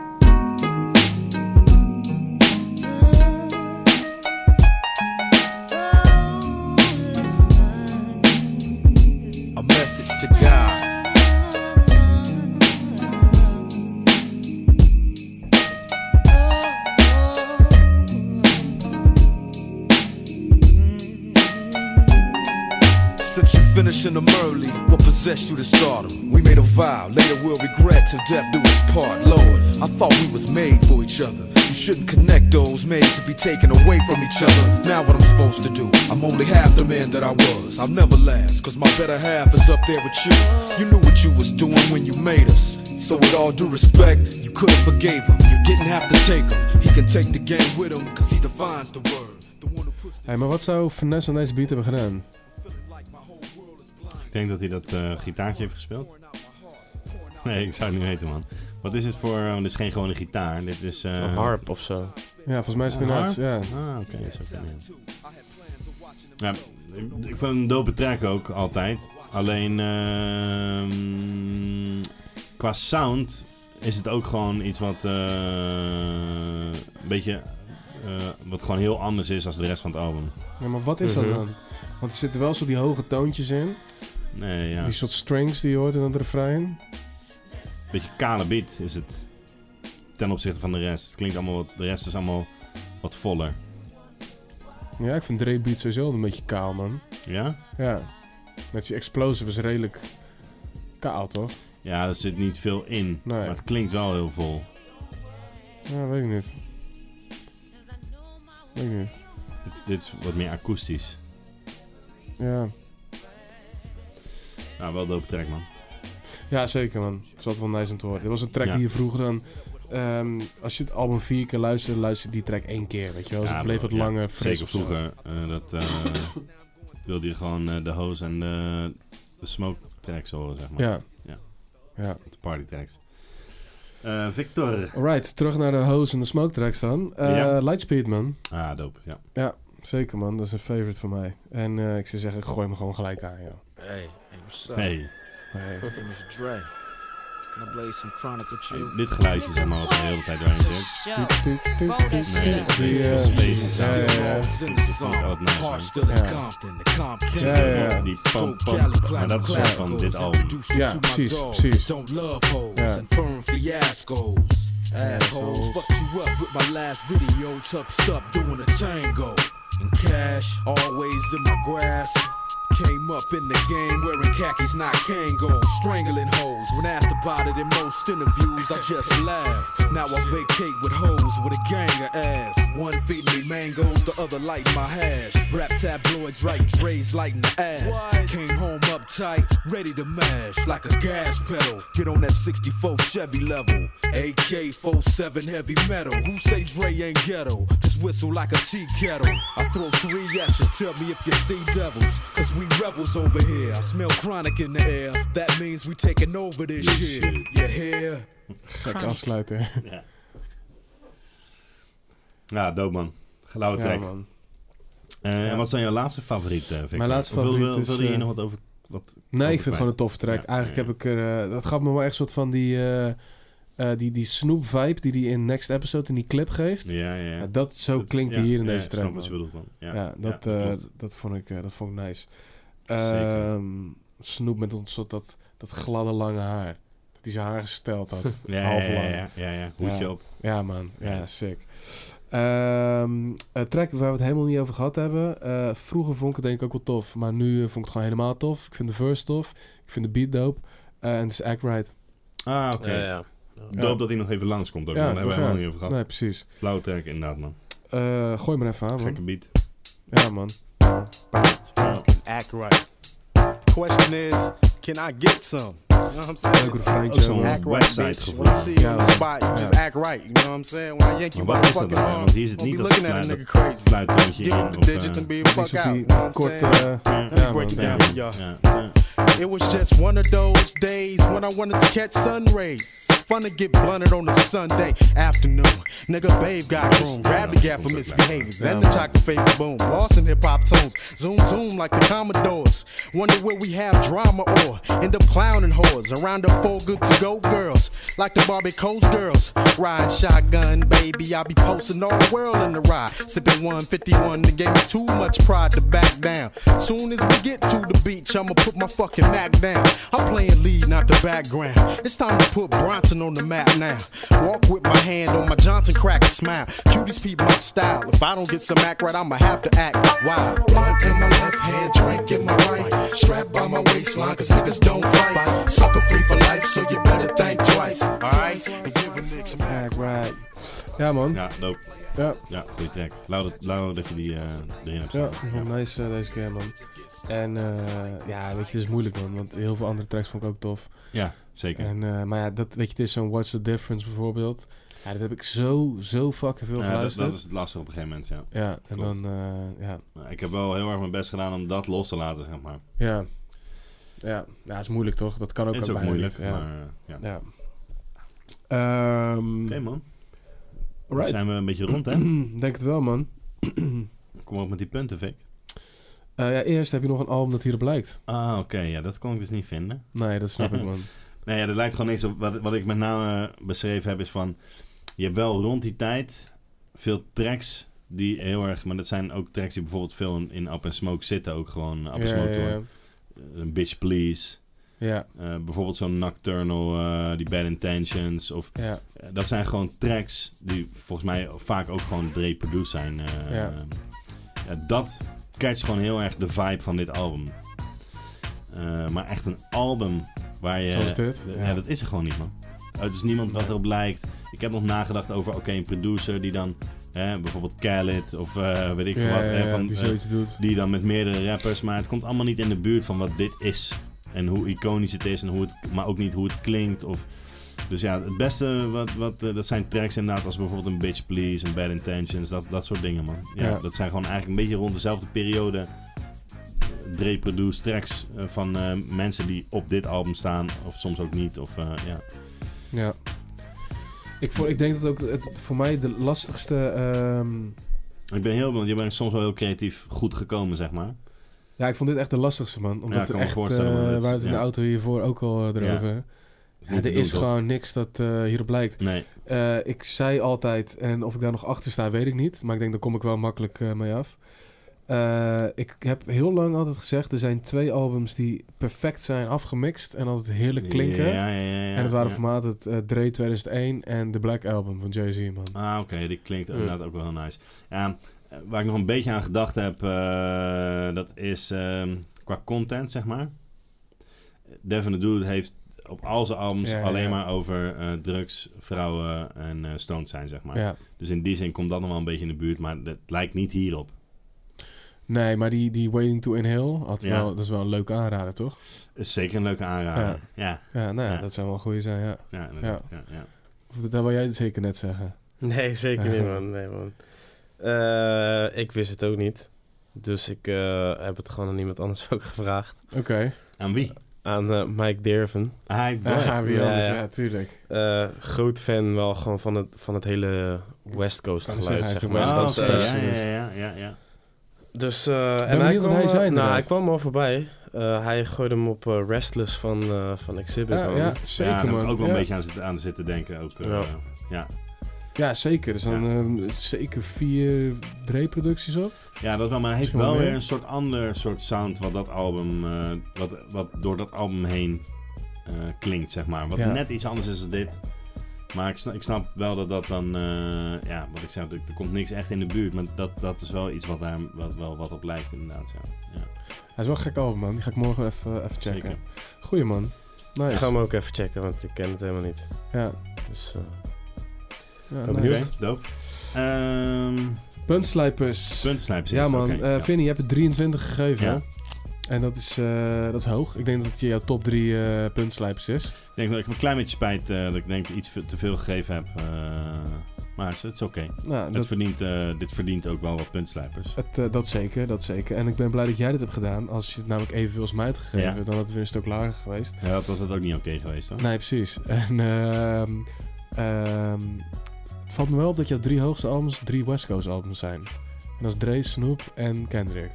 in the Merly. What possessed you to stardom? We made a vow, later we'll regret till death do us part. Lord, I thought we was made for each other. You shouldn't connect those made to be taken away from each other. Now what I'm supposed to do? I'm only half the man that I was. I'll never last, cause my better half is up there with you. You knew what you was doing when you made us. So with all due respect, you could've forgave him. You didn't have to take him. He can take the game with him, cause he defines the word.
Hey, maar wat zou Finesse aan deze beat hebben gedaan?
Ik denk dat hij dat eh, gitaartje heeft gespeeld. Nee, ik zou het niet weten, man. Wat is het voor... eh, want dit is geen gewone gitaar. Dit is... eh,
Een harp of zo.
Ja, volgens mij is het inderdaad. Ja.
Ah, oké. dat is ook een, ja. Ja, ik- ik vind het een dope track ook, altijd. Alleen, ehm, qua sound is het ook gewoon iets wat eh, een beetje... eh, wat gewoon heel anders is dan de rest van het album.
Ja, maar wat is dat
Mhm.
dan? Want er zitten wel zo die hoge toontjes in.
Nee, ja.
Die soort strings die je hoort in het refrein.
beetje kale beat is het ten opzichte van de rest. Het klinkt allemaal wat, de rest is allemaal wat voller.
Ja, ik vind Dre Beat sowieso een beetje kaal, man.
Ja?
Ja. Net die Explosive is redelijk kaal, toch?
Ja, er zit niet veel in, maar het klinkt wel heel vol.
Ja, weet ik niet. Weet ik niet.
Dit- Dit is wat meer akoestisch.
Ja.
Nou, wel dope track, man.
Ja, zeker man. Het is altijd wel nice om te horen. Dit was een track
Ja.
die je vroeger dan... ehm, als je het album vier keer luisterde, luister je die track één keer, weet je wel. Dus
Ja,
het bleef wat
ja,
langer fris
Zeker
of zo.
vroeger. eh, dat
(laughs)
eh, wilde je gewoon eh, de hose en de, de smoke tracks horen, zeg maar.
Ja.
ja.
Ja.
De party tracks. Eh, Victor.
Alright, terug naar de Hose en de Smoke tracks dan. Eh,
Ja.
Lightspeed man.
Ah, dope, ja.
Ja, zeker man. Dat is een favorite van mij. En eh, ik zou zeggen, ik gooi hem gewoon gelijk aan, joh.
Hey, hey, what's up?
Hey.
Hey.
My name is Dre. Can I blaze some chronic with you?
Dit geluidje, zeg maar, wat de hele tijd doorheen zit. Nee,
Die, eh,
die space
ja,
sound.
ja, ja.
Dat vind ik altijd nice, man.
Ja, ja, ja.
Die pam pam. Maar dat is soort van dit album.
Ja, precies, precies. Ja. Assholes, fucked you up with my last video, tucked up doing a tango. And cash, always in my grasp. Came up in the game wearing khakis, not Kangol. Strangling hoes. When asked about it in most interviews, I just laugh. Now I vacate with hoes with a gang of ass. One feed me mangoes, the other light my hash. Rap tabloids, right? Dre's lighting the ass. Came home uptight, ready to mash like a gas pedal. Get on that 64 Chevy level. AK 47 heavy metal. Who say Dre ain't ghetto? Just whistle like a tea kettle. I throw three at you, tell me if you see devils. Cause we rebels over here. I smell chronic in the air. That means we taking over this shit. You hear?
Gek afsluiten.
Ja. Ja, dope man. Geluide
Ja,
track.
man.
Eh, En wat zijn jouw laatste favorieten, Victor?
Mijn laatste
Of wil-
favoriet
wil-
is,
Wilde je hier
eh,
nog wat over... Wat
Nee,
over
ik vind het gewoon een
kwijt?
toffe track.
Ja,
Eigenlijk
ja,
heb ik er... eh, dat gaf me wel echt soort van die... eh eh, die, die snoep vibe die hij in Next Episode in die clip geeft.
Ja, ja, ja.
Nou, dat, zo
Dat is-
klinkt hij
ja,
hier in
ja,
deze
ik
track.
snap wat je
man.
bedoelt, man. Ja, ja,
dat,
dat
eh,
klopt.
dat, vond ik, eh, dat vond ik nice.
Zeker.
Ehm snoep met dat soort dat, dat gladde lange haar. Dat hij zijn haar gesteld had.
(laughs) Ja, ja,
half
ja,
lang.
ja, ja, ja. Hoedje op.
Ja, man. Ja,
Ja.
sick. Ehm, een track waar we het helemaal niet over gehad hebben. Eh, vroeger vond ik het denk ik ook wel tof. Maar nu eh, vond ik het gewoon helemaal tof. Ik vind de verse tof. Ik vind de beat dope. Eh, En het is Act Right.
Ah, oké.
Ja, ja.
Dope dat hij nog even langskomt ook.
Ja,
Ja, daar hebben we
begrijp.
helemaal niet over gehad.
Nee, precies.
Blauwe track inderdaad, man.
Eh, gooi maar even aan, man.
Gekke beat.
Ja, man.
Act right. Question is, can I get some? You know what I'm saying?
Leuk refreintje,
Ook zo'n
man.
act right,
Westside
bitch.
gevoel.
When I see you in
Ja.
the spot, you just
Ja.
act right. You know what I'm saying? When I yank you
Maar wat
by
is
the
dat
fucking
dan?
arm,
Want hier zit
don't
niet
be
dat
looking at a
fluit-
nigga crazy.
dat fluittoontje
Give
in
him the
of,
digits
eh,
and be
Ik
the
denk
fuck
dat
out.
die
You uh, know what I'm
korte,
saying?
eh,
Let me
ja,
break it
man.
down
Ja.
for y'all.
Ja.
It was just one of those days when I wanted to catch sun rays. Fun to get blunted on a Sunday afternoon. Nigga, babe got room. Grab the gap for misbehaviors and the chocolate favor boom. Lost in hip hop tones. Zoom, zoom like the Commodores. Wonder where we have drama or end up clowning whores around the four good to go girls. like the Barbie Coast girls. Riding shotgun, baby, I be posting all world in the ride. Sipping 151, they gave me too much pride to back down. Soon as we get to the beach, I'ma put my fucking Mac down. I'm playing lead, not the background. It's time to put Bronson on the map now. Walk with my hand on my Johnson crack and smile. Cuties peep my style. If I don't get some act right, I'ma have to act wild.
Blunt in my left hand, drink in my right. Strapped by my waistline, cause niggas don't fight. Sucker free for life, so you better think twice. Alright? And give a nigga some
Act right. Ja, man.
Ja, dope.
Ja.
Ja, goede track. Lauw dat- Lauw dat je die eh, erin hebt
Ja,
staan.
ik vond het nice eh, deze keer, man. En eh, ja, weet je, het is moeilijk, man. Want heel veel andere tracks vond ik ook tof.
Ja, zeker.
En, eh, maar ja, dat, weet je, het is zo'n What's the Difference bijvoorbeeld. Ja, dat heb ik zo, zo fucking veel
Ja, dat,
geluisterd.
dat is het lastige op een gegeven moment, ja.
Ja, en
Klopt.
dan, eh, ja.
Maar Ik heb wel heel erg mijn best gedaan om dat los te laten, zeg maar.
Ja. Ja, ja, is moeilijk toch? Dat kan ook,
Het is ook
bijna
moeilijk,
niet, ja.
maar, eh, ja.
Oké,
man.
Alright.
Zijn we een beetje rond, hè?
(clears throat) Denk het wel, man. (clears throat)
Kom op met die punten, Vic.
Eh, ja, eerst heb je nog een album dat hierop lijkt.
Ah, oké. ja, dat kon ik dus niet vinden.
(laughs) Nee, dat snap ik, man.
(laughs) nee, ja, dat lijkt gewoon niks op. Wat, wat ik met name eh, beschreven heb is van... Je hebt wel rond die tijd veel tracks die heel erg... Maar dat zijn ook tracks die bijvoorbeeld veel in, in Up and Smoke zitten. Ook gewoon Up and
Ja,
Smoke
ja,
door.
ja.
Eh, Een Bitch Please.
Ja.
Eh, bijvoorbeeld zo'n Nocturnal, eh, die Bad Intentions. Of,
Ja.
eh, dat zijn gewoon tracks die volgens mij vaak ook gewoon reproduced zijn. eh,
Ja.
ja, dat catcht gewoon heel erg de vibe van dit album. Eh, maar echt een album waar je...
Zoals dit,
Ja,
ja.
dat is er gewoon niet, man. Het is niemand wat erop lijkt. Ik heb nog nagedacht over, oké, een producer die dan... hè, bijvoorbeeld Khaled of eh, weet ik
Ja,
wat.
ja,
hè,
ja, die
eh,
zoiets doet.
die dan met meerdere rappers, maar het komt allemaal niet in de buurt van wat dit is. En hoe iconisch het is, en hoe het, maar ook niet hoe het klinkt. Of, dus ja, het beste, wat, wat, eh, dat zijn tracks inderdaad als bijvoorbeeld een Bitch Please, een Bad Intentions, dat, dat soort dingen man. Ja,
Ja.
Dat zijn gewoon eigenlijk een beetje rond dezelfde periode reproduced tracks eh, van eh, mensen die op dit album staan, of soms ook niet. Of, eh, ja.
Ja. Ik, vo- ik denk dat ook het, voor mij de lastigste... ehm,
Ik ben heel benieuwd, je bent soms wel heel creatief goed gekomen zeg maar.
Ja, ik vond dit echt de lastigste, man.
Ja,
Omdat
ik kan
er
me
echt,
voorstellen,
eh,
maar dat-
we hadden het in de
ja.
auto hiervoor ook al eh,
Ja.
erover.
Dat is
Ja,
niet te
er
doen,
is
toch?
gewoon niks dat eh, hierop lijkt.
Nee.
Eh, ik zei altijd, en of ik daar nog achter sta, weet ik niet. Maar ik denk, daar kom ik wel makkelijk eh, mee af. Eh, ik heb heel lang altijd gezegd, er zijn twee albums die perfect zijn afgemixt en altijd heerlijk klinken.
Ja, ja, ja, ja,
en het waren
ja.
voor mij altijd eh, Dre 2001 en The Black Album van Jay-Z, man.
Ah, oké, die klinkt
Ja.
inderdaad ook wel heel nice. Ja, eh, waar ik nog een beetje aan gedacht heb, eh, dat is ehm, qua content, zeg maar. Devin the Dude heeft op al zijn albums
Ja, ja,
alleen
ja.
maar over eh, drugs, vrouwen en eh stoned zijn, zeg maar.
Ja.
Dus in die zin komt dat nog wel een beetje in de buurt, maar dat lijkt niet hierop.
Nee, maar die, die Waiting to Inhale, had
Ja.
wel, dat is wel een leuke aanrader, toch?
Is zeker een leuke aanrader. Ja,
Ja, nou ja, dat zou wel een goede zijn, ja.
Ja, inderdaad, ja, ja.
Of dat wil jij zeker net zeggen.
Nee, zeker
Ja.
niet, man. Nee, man. Eh, ik wist het ook niet. Dus ik eh, heb het gewoon aan iemand anders (laughs) ook gevraagd.
Oké.
Aan wie?
Aan eh, Mike Derven.
Hi, boy.
Ah, wie anders, ja, tuurlijk.
Eh, groot fan wel gewoon van het, van het hele West Coast
Kan ik
geluid, zeg
zeggen, hij
maar.
is
Ah,
Dat,
oké,
eh,
ja, ja, ja, ja, ja.
Dus, eh,
benieuwd wat
kwam,
hij
eh,
zei inderdaad.
Nou, hij kwam al voorbij. Eh, hij gooide hem op eh, Restless van, eh, van Exhibit.
Ja,
man.
ja, zeker,
ja, daar heb ik
man.
ook wel
Ja.
een beetje aan zitten, aan zitten denken. Ook, eh,
Ja.
ja.
Ja, zeker. Er zijn ehm, zeker vier Dre-producties op.
Ja, dat wel, maar hij heeft
Misschien
wel
wel
weer
meer.
een soort ander soort sound wat dat album, eh, wat, wat door dat album heen eh, klinkt, zeg maar. Wat
Ja.
net iets anders is dan dit. Maar ik snap, ik snap wel dat dat dan, eh, ja, wat ik zei, er, er komt niks echt in de buurt. Maar dat, dat is wel iets wat daar wat, wel wat op lijkt, inderdaad. Ja. Ja.
Hij is wel een gek album, man. Die ga ik morgen even, eh, even checken.
Zeker.
Goeie, man. Nice.
Ik ga hem ook even checken, want ik ken het helemaal niet.
Ja.
Dus, eh,
Ja,
ben
nice.
benieuwd.
Oké, dope. Ehm
Puntslijpers.
Puntslijpers,
Ja,
yes,
man.
oké,
Eh
ja.
Vinnie, je hebt het 23 gegeven,
Ja.
hè? En dat is, eh, dat is hoog. Ik denk dat het je jouw top 3 eh puntslijpers is.
Ik denk dat ik me een klein beetje spijt eh, dat ik denk ik iets ve- te veel gegeven heb. eh, maar het is- het is oké.
Nou,
Het
dat-
verdient, eh, dit verdient ook wel wat puntslijpers.
Het, eh, dat zeker, dat zeker. En ik ben blij dat jij dit hebt gedaan. Als je het namelijk evenveel als mij had gegeven,
Ja.
dan had het weer een stuk lager geweest.
Ja, dat was dat ook niet oké geweest hoor.
Nee, precies. En ehm, ehm, het valt me wel op dat jouw drie hoogste albums drie West Coast albums zijn. En dat is Dre, Snoop en Kendrick.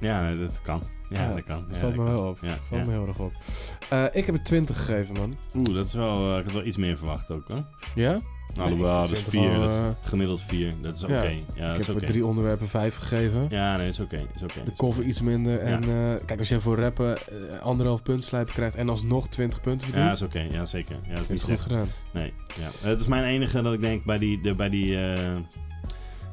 Ja, dat kan. Ja,
Ja,
dat kan.
Het
Ja,
valt
dat
me
kan.
wel op.
Ja,
het valt
ja.
me heel erg op. Eh, ik heb er 20 gegeven, man.
Oeh, dat is wel... eh, ik had wel iets meer verwacht ook, hoor.
Ja?
Nou, alhoewel, dat is 4.
Wel,
Dat
eh,
is gemiddeld 4. Dat is oké. Ja, dat
ik
is
heb
oké.
er drie onderwerpen vijf gegeven.
Ja, dus- nee, is oké. Is oké.
De cover iets minder. En eh, kijk, als je voor rappen eh, anderhalf punt slijpen krijgt en alsnog 20 punten
Ja,
verdient.
dat is oké. Ja, zeker. Ja, dat is
Vind
niet
je het goed
slecht. Nee. Ja. Het is mijn enige dat ik denk bij die, de, bij die eh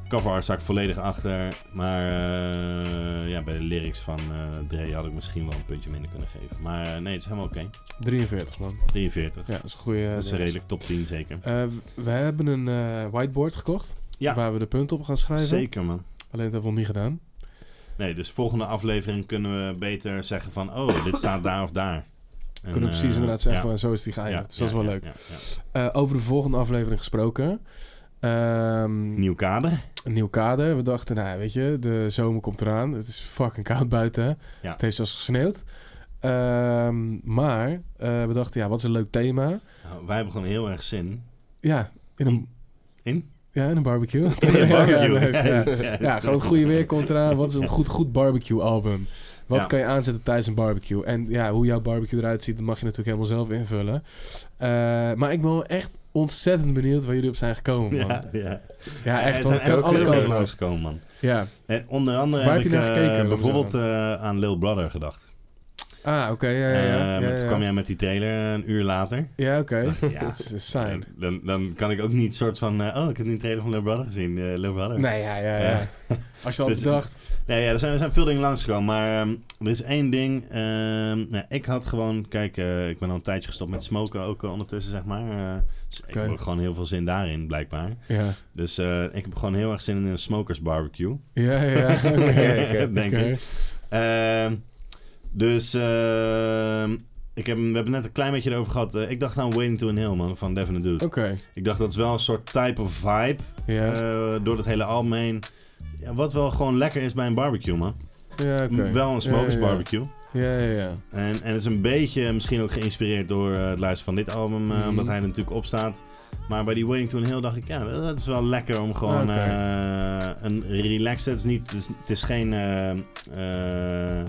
cover art sta ik volledig achter. Maar eh, ja, bij de lyrics van eh Dre had ik misschien wel een puntje minder kunnen geven. Maar eh, nee, het is helemaal oké.
43, man.
43.
Ja, dat is een goede...
Dat is een
eh,
redelijk top 10 zeker.
Eh, w- we hebben een eh, whiteboard gekocht.
Ja.
Waar we de punten op gaan schrijven.
Zeker, man.
Alleen dat hebben we nog niet gedaan.
Nee, dus volgende aflevering kunnen we beter zeggen van... Oh, dit staat daar of daar. En,
Kunnen we precies
eh,
inderdaad zeggen
ja.
van zo is die geëindigd.
Ja,
dus dat is
ja,
wel
ja,
leuk.
ja, ja.
Eh, over de volgende aflevering gesproken. Ehm,
nieuw kader.
Een nieuw kader. We dachten, nou weet je, de zomer komt eraan. Het is fucking koud buiten. hè.
Ja.
Het heeft zelfs gesneeuwd. Ehm, maar eh, we dachten, ja, wat is een leuk thema?
Nou, wij hebben gewoon heel erg zin.
Ja, in een...
In?
Ja, in een barbecue.
(laughs) In een barbecue.
ja, ja, ja.
Ja.
Ja, gewoon het goede weer komt eraan. Wat is een goed, goed barbecue album? Wat
Ja.
kan je aanzetten tijdens een barbecue? En ja, hoe jouw barbecue eruit ziet, dat mag je natuurlijk helemaal zelf invullen. Eh, maar ik ben wel echt ontzettend benieuwd waar jullie op zijn gekomen, man.
Ja, ja.
Ja,
Er
echt.
zijn
want het kan
echt
alle
heel veel
kanten op.
langsgekomen, man.
Ja.
En onder andere
Waar
heb
heb
ik
je naar
eh,
gekeken, laat me
bijvoorbeeld eh, aan Lil Brother gedacht.
Ah, oké. ja, ja,
Eh,
ja, ja,
maar
ja,
toen
ja.
kwam jij met die trailer een uur later.
Ja, oké.
Toen
(laughs)
dacht ik, ja,
Dat is saai.
Dan, dan kan ik ook niet soort van... eh, oh, ik heb nu een trailer van Lil Brother gezien. eh Lil Brother.
Nee, ja, ja, ja.
Eh,
(laughs) Als je al
dus-
bedacht.
Nee, ja, er, zijn, er zijn veel dingen langsgekomen. Maar ehm, er is één ding. ehm, nou, ik had gewoon... Kijk, eh, ik ben al een tijdje gestopt met smoken ook eh, ondertussen, zeg maar. Eh, dus
Oké.
Ik heb ook gewoon heel veel zin daarin, blijkbaar.
Ja.
Dus eh, ik heb gewoon heel erg zin in een smokers barbecue.
Ja, ja,
(laughs)
ja. Oké, oké,
Denk
oké.
ik. Ehm, dus ehm, ik heb, hem- we hebben het net een klein beetje erover gehad. Eh, ik dacht aan Waiting to Inhale, man, van Devin the Dude.
Oké.
Ik dacht dat is wel een soort type of vibe
Ja.
eh, door dat hele album heen. Ja, wat wel gewoon lekker is bij een barbecue, man.
Ja, oké.
M- Wel een smokers
Ja, ja, ja.
barbecue.
Ja, ja, ja.
En, en het is een beetje misschien ook geïnspireerd door eh, het luisteren van dit album, eh,
Mhm.
omdat hij er natuurlijk op staat. Maar bij die Waiting to Inhale dacht ik, ja, dat dat is wel lekker om gewoon
Oké.
eh, een relaxed, het is, niet, het is, het is geen eh, eh,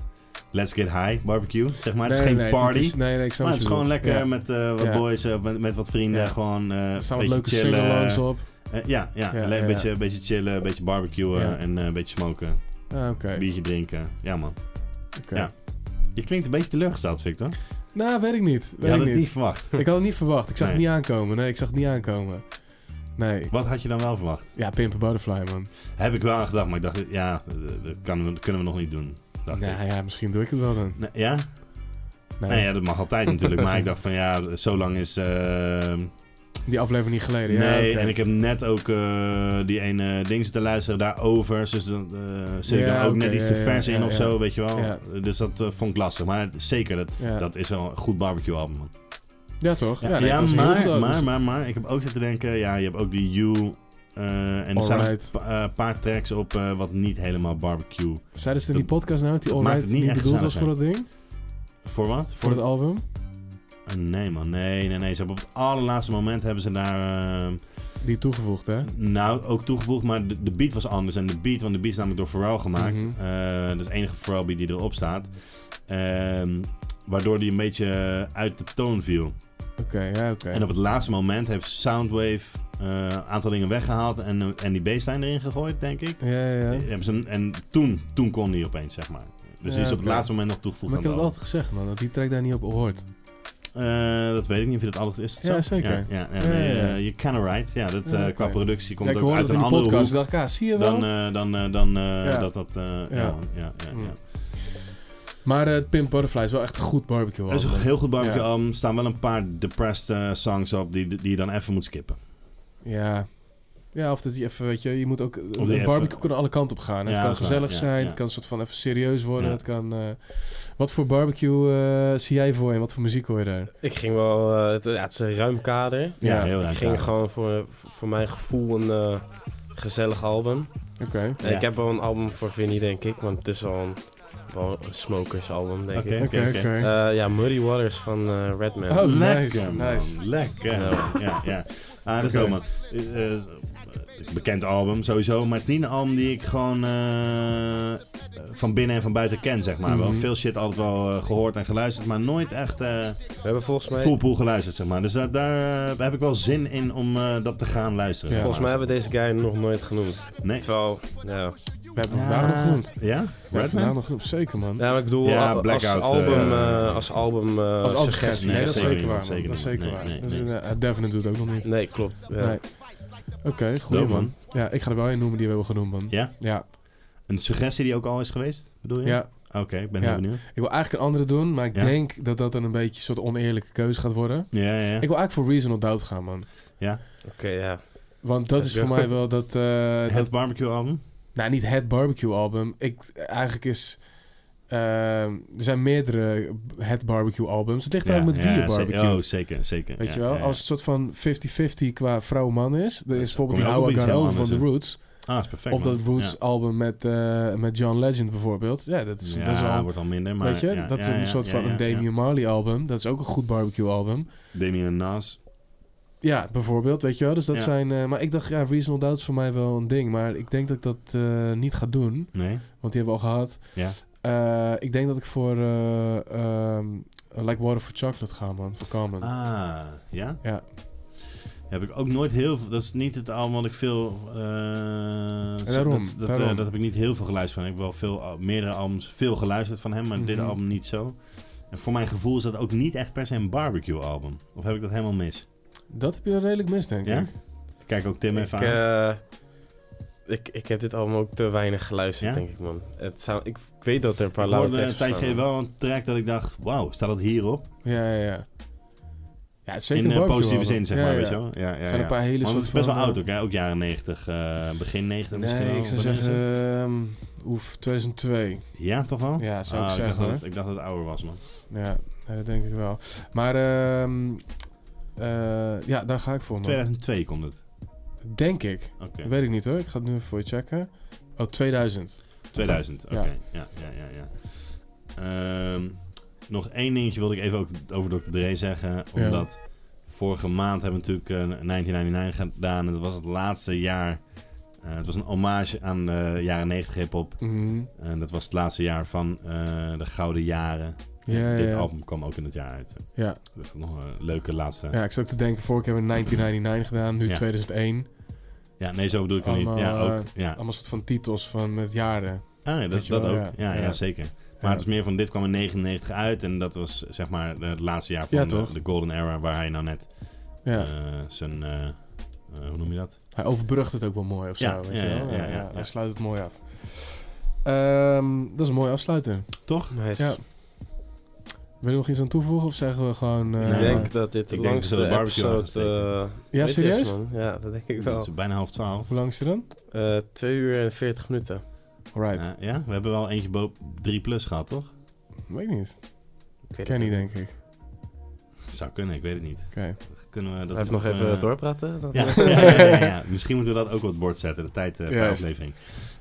let's get high barbecue, zeg maar. Het
Nee,
is geen
nee, het is-
party,
het is- nee, nee, ik snap
maar
wat
het is
je
gewoon
bedoelt.
lekker
Ja.
met eh, wat
Ja.
boys, eh, met, met wat vrienden,
Ja.
gewoon eh,
Er staan
een
wat
beetje
leuke
chillen.
sing-alongs op.
Eh, ja, ja,
Ja,
alleen een
ja,
beetje,
ja.
beetje chillen, een beetje barbecuen
Ja.
en eh, een beetje smoken.
Ah, oké.
Biertje drinken, ja man.
Oké.
Ja. Je klinkt een beetje teleurgesteld, Victor.
Nou, weet ik niet. Weet
had
ik
het niet verwacht.
Ik had het niet verwacht. Ik zag
Nee.
het niet aankomen. Nee, ik zag het niet aankomen. Nee.
Wat had je dan wel verwacht?
Ja, Pimp a Butterfly, man.
Heb ik wel aan gedacht, maar ik dacht, ja, eh, dat, kan, dat kunnen we nog niet doen. Dacht ik.
Nou ja, misschien doe ik het wel dan.
Nee, ja? Nee, ja, dat mag altijd natuurlijk. maar ik dacht van ja, zo lang is. eh,
Die aflevering niet geleden. ja,
nee,
oké.
en ik heb net ook eh, die ene ding zitten luisteren daarover. Dus dan eh, zit ik
Ja,
dan ook
oké,
net iets
ja,
te
ja,
vers in
ja,
of
ja.
zo, weet je wel.
Ja.
Dus dat eh, vond ik lastig. Maar zeker, dat,
Ja.
dat is wel een goed barbecue album. man.
Ja, toch?
Ja,
nee,
ja,
het was heel
maar,
goed ook.
maar, maar, maar, ik heb ook zitten denken, ja, je hebt ook die You. eh, en er staan een
Alright.
pa- eh, paar tracks op eh, wat niet helemaal barbecue.
Zeiden ze in die
Dat-
podcast nou dat die
dat maakt
Alright
het niet
niet
echt
bedoeld was voor
gezellig,
dat ding?
Voor wat?
Voor het album?
Eh, Nee man, nee, nee, nee. Ze hebben op het allerlaatste moment hebben ze daar... eh,
Die toegevoegd, hè?
nou, ook toegevoegd, maar de, de beat was anders. En de beat, want de beat is namelijk door Pharrell gemaakt.
Mhm.
Eh, dat is de enige Pharrell beat die erop staat. Ehm, waardoor die een beetje uit de toon viel.
Oké, ja, oké.
En op het laatste moment heeft Soundwave eh, een aantal dingen weggehaald en, eh, en die baseline erin gegooid, denk ik.
Ja, ja, ja.
Hebben ze hem- en toen, toen kon die opeens, zeg maar. Dus die
Ja,
is op
oké.
het laatste moment nog toegevoegd
Maar ik
aan
heb
de
het altijd gezegd, man. Dat die track daar niet op hoort.
Eh, dat weet ik niet of je dat altijd is. dat
Ja,
zo?
zeker.
Ja, ja, ja,
Ja,
nee,
ja, ja.
eh, Je kind of right. Ja, dat,
Ja,
eh,
oké.
qua productie komt
Ja, ik
ook
hoorde
uit
dat
een
in die
andere
podcast.
hoek.
Ik dacht, ja, zie je wel?
Dan, eh, dan, eh, dan eh,
Ja.
dat dat... eh, ja,
Ja.
man, ja, ja, ja.
Maar eh Pimp Butterfly is wel echt een goed barbecue
Er is
album.
een heel goed barbecue
Ja.
album. Er staan wel een paar depressed eh, songs op die, die je dan even moet skippen.
Ja. Ja, of dat je even, weet je, je moet ook...
die
Een
even-
barbecue kan alle kanten op gaan. hè.
Ja,
het kan
dat is waar.
gezellig
Ja,
zijn,
ja.
het kan een soort van even serieus worden.
Ja.
Het kan... eh, wat voor barbecue eh, zie jij voor je en wat voor muziek hoor je daar?
Ik ging wel, eh, het, ja, het is een ruim kader.
Ja, heel ruim
Ik ging
kader.
gewoon voor, voor mijn gevoel een eh, gezellig album.
Oké.
Nee,
Ja.
Ik heb wel een album voor Vinnie, denk ik, want het is wel een, wel een smokers album, denk
Oké,
ik.
oké, Oké, oké. oké.
Eh, ja, Muddy Waters van eh, Redman.
Oh,
lekker,
nice,
man.
nice.
Lekker,
Ja.
man. Ja, ja. Ah, dat is
Oké.
wel, man. Eh, eh, bekend album, sowieso. Maar het is niet een album die ik gewoon eh, eh, van binnen en van buiten ken, zeg maar. Wel
Mhm.
veel shit altijd wel eh, gehoord en geluisterd, maar nooit echt eh We
hebben volgens mij-
full pool geluisterd, zeg maar. Dus daar- daar heb ik wel zin in om eh, dat te gaan luisteren. zeg
Volgens mij
maar.
hebben we deze guy nog nooit genoemd.
Nee.
Terwijl, ja.
We hebben hem vandaag nog genoemd.
Ja?
We hebben
Redman?
vandaag nog genoemd, zeker man.
Ja, maar ik bedoel,
Ja,
al- als,
Blackout,
album,
eh,
eh, als album, eh,
Als altijd
suggestie.
Nee, dat is zeker waar.
zeker
man. Dat is
niet.
zeker
Nee,
waar.
nee,
Dat is een, eh, Devin doet het ook nog niet.
Nee, klopt. Ja.
Nee. Oké, goed
Dope,
man.
man.
Ja, ik ga er wel een noemen die we hebben genoemd man.
Ja?
Ja.
Een suggestie die ook al is geweest, bedoel je?
Ja.
Oké, ik ben
Ja.
heel benieuwd.
Ik wil eigenlijk een andere doen, maar ik
Ja.
denk dat dat dan een beetje een soort oneerlijke keuze gaat worden.
Ja, ja, ja.
Ik wil eigenlijk voor Reason or Doubt gaan, man.
Ja?
Oké, ja.
Want dat is voor mij wel dat... eh,
Het
dat-
barbecue album?
Nou, niet het barbecue album. Ik, eigenlijk is... eh, er zijn meerdere het barbecue albums. Het ligt
Ja,
ook met
ja,
wie je
ze-
barbecue.
oh, zeker, zeker.
Weet
Ja,
je wel?
ja, ja.
Als het soort van 50-50 qua vrouw-man is. Dan is
kom je
bijvoorbeeld
ook
How
op
I
iets
Got
heel
Over van The
anders, hè?
Roots.
Ah, is perfect,
Of dat
man.
Roots
Ja.
album met, eh, met John Legend bijvoorbeeld. Ja, dat is,
Ja,
dat is al,
wordt al minder, maar
Weet je?
ja,
dat is
ja,
een
ja,
soort
ja,
van
ja,
een Damian Marley album. Dat is ook een goed barbecue album.
Damien en Nas.
Ja, bijvoorbeeld, weet je wel. Dus dat
Ja.
zijn... eh, maar ik dacht, ja, Reasonable Doubt is voor mij wel een ding. Maar ik denk dat ik dat eh, niet ga doen.
Nee.
Want die hebben we al gehad.
Ja.
Eh, ik denk dat ik voor eh, ehm, Like Water for Chocolate ga, man. Voor Carmen.
Ah, ja?
Ja.
Heb ik ook nooit heel veel... Dat is niet het album wat ik veel... eh, zo-
daarom,
dat, dat,
daarom.
eh, dat heb ik niet heel veel geluisterd van. Ik heb wel veel, al- meerdere albums veel geluisterd van hem, maar dit
Mhm.
album niet zo. En voor mijn gevoel is dat ook niet echt per se een barbecue album. Of heb ik dat helemaal mis?
Dat heb je redelijk mis, denk
Ja?
ik.
Ik Kijk ook Tim even
Ik,
aan.
eh, ik, ik heb dit album ook te weinig geluisterd,
Ja?
denk ik, man. Het zou, ik, ik weet dat er een paar
Ik
lauwe
hoorde een
teksten
tijdje
staan.
geleden wel een track dat ik dacht... Wauw, staat dat hierop?
Ja, ja, ja. Ja, het is zeker
in
een
eh,
barbecue
positieve
album.
zin, zeg
Ja,
maar,
ja.
weet je wel? Ja, ja,
Er zijn
ja.
een paar hele
Want het is
soort
best wel
van, eh,
oud ook, hè? Ook jaren 90, eh, begin 90 misschien
Nee,
wel.
ik zou
Wanneer is
zeggen...
het?
ehm, Oef, 2002.
Ja, toch wel?
Ja, zou
Ah,
ik
dacht
zeggen,
dat
hoor.
het- Ik dacht dat het ouder was, man.
Ja, eh, dat denk ik wel. Maar ehm, eh, ja, daar ga ik voor, man.
2002 komt het.
Denk ik.
Oké.
Weet ik niet hoor. Ik ga het nu even voor je checken. Oh, 2000.
2000, oké.
Ja.
Ja, ja, ja, ja. Ehm, nog één dingetje wilde ik even ook over Dr. Dre zeggen.
Ja.
Omdat vorige maand hebben we natuurlijk eh, 1999 gedaan. En dat was het laatste jaar. eh, het was een hommage aan de jaren 90 hip-hop.
Mhm.
En dat was het laatste jaar van eh, de Gouden Jaren.
Ja, ja,
Dit
ja.
album kwam ook in het jaar uit.
Ja.
Dat is nog een leuke laatste.
Ja, ik zat te denken, vorige keer hebben we 1999 gedaan, nu
Ja.
2001.
Ja, nee, zo bedoel ik het niet.
allemaal,
Ja, ook.
eh,
Ja.
Allemaal soort van titels van met jaren.
Ah, ja,
Weet
dat,
je
dat
wel,
ook. Ja, ja, zeker. Maar het is meer van, dit kwam in 99 uit en dat was zeg maar het laatste jaar van
Ja,
de-
toch?
de, Golden Era waar hij nou net
Ja.
eh, zijn, eh, eh, hoe noem je dat?
Hij overbrugt het ook wel mooi of zo,
Ja,
weet
ja,
je wel.
ja, ja, ja.
Hij sluit het mooi af. Ehm, dat is een mooie afsluiter.
Toch?
Nice.
Ja. Wil je nog iets aan toevoegen of zeggen we gewoon... eh,
ik denk dat dit de
ik denk dat
langste
ze de barbecue aan gaan
episode... eh,
Ja,
ooit is,
serieus?
man. Ja, dat denk ik
Het
wel.
is bijna half twaalf.
Hoe lang is het dan?
Eh 2 uur en 40 minuten.
Right.
Eh, ja, we hebben wel eentje boven 3 plus gehad, toch?
Weet ik niet.
Ik weet
Kenny,
het
denk ik.
Zou kunnen, ik weet het niet.
Oké.
Kunnen we dat
Blijf nog even
eh,
doorpraten, dan? (laughs)
(laughs) Ja, ja, ja, ja, ja. misschien moeten we dat ook op het bord zetten, de tijd eh, per
Juist.
aflevering.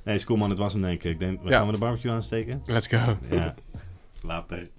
Nee, is cool man, het was hem denk ik. ik denk,
Ja.
Gaan we de barbecue aansteken?
Let's go.
Ja, later.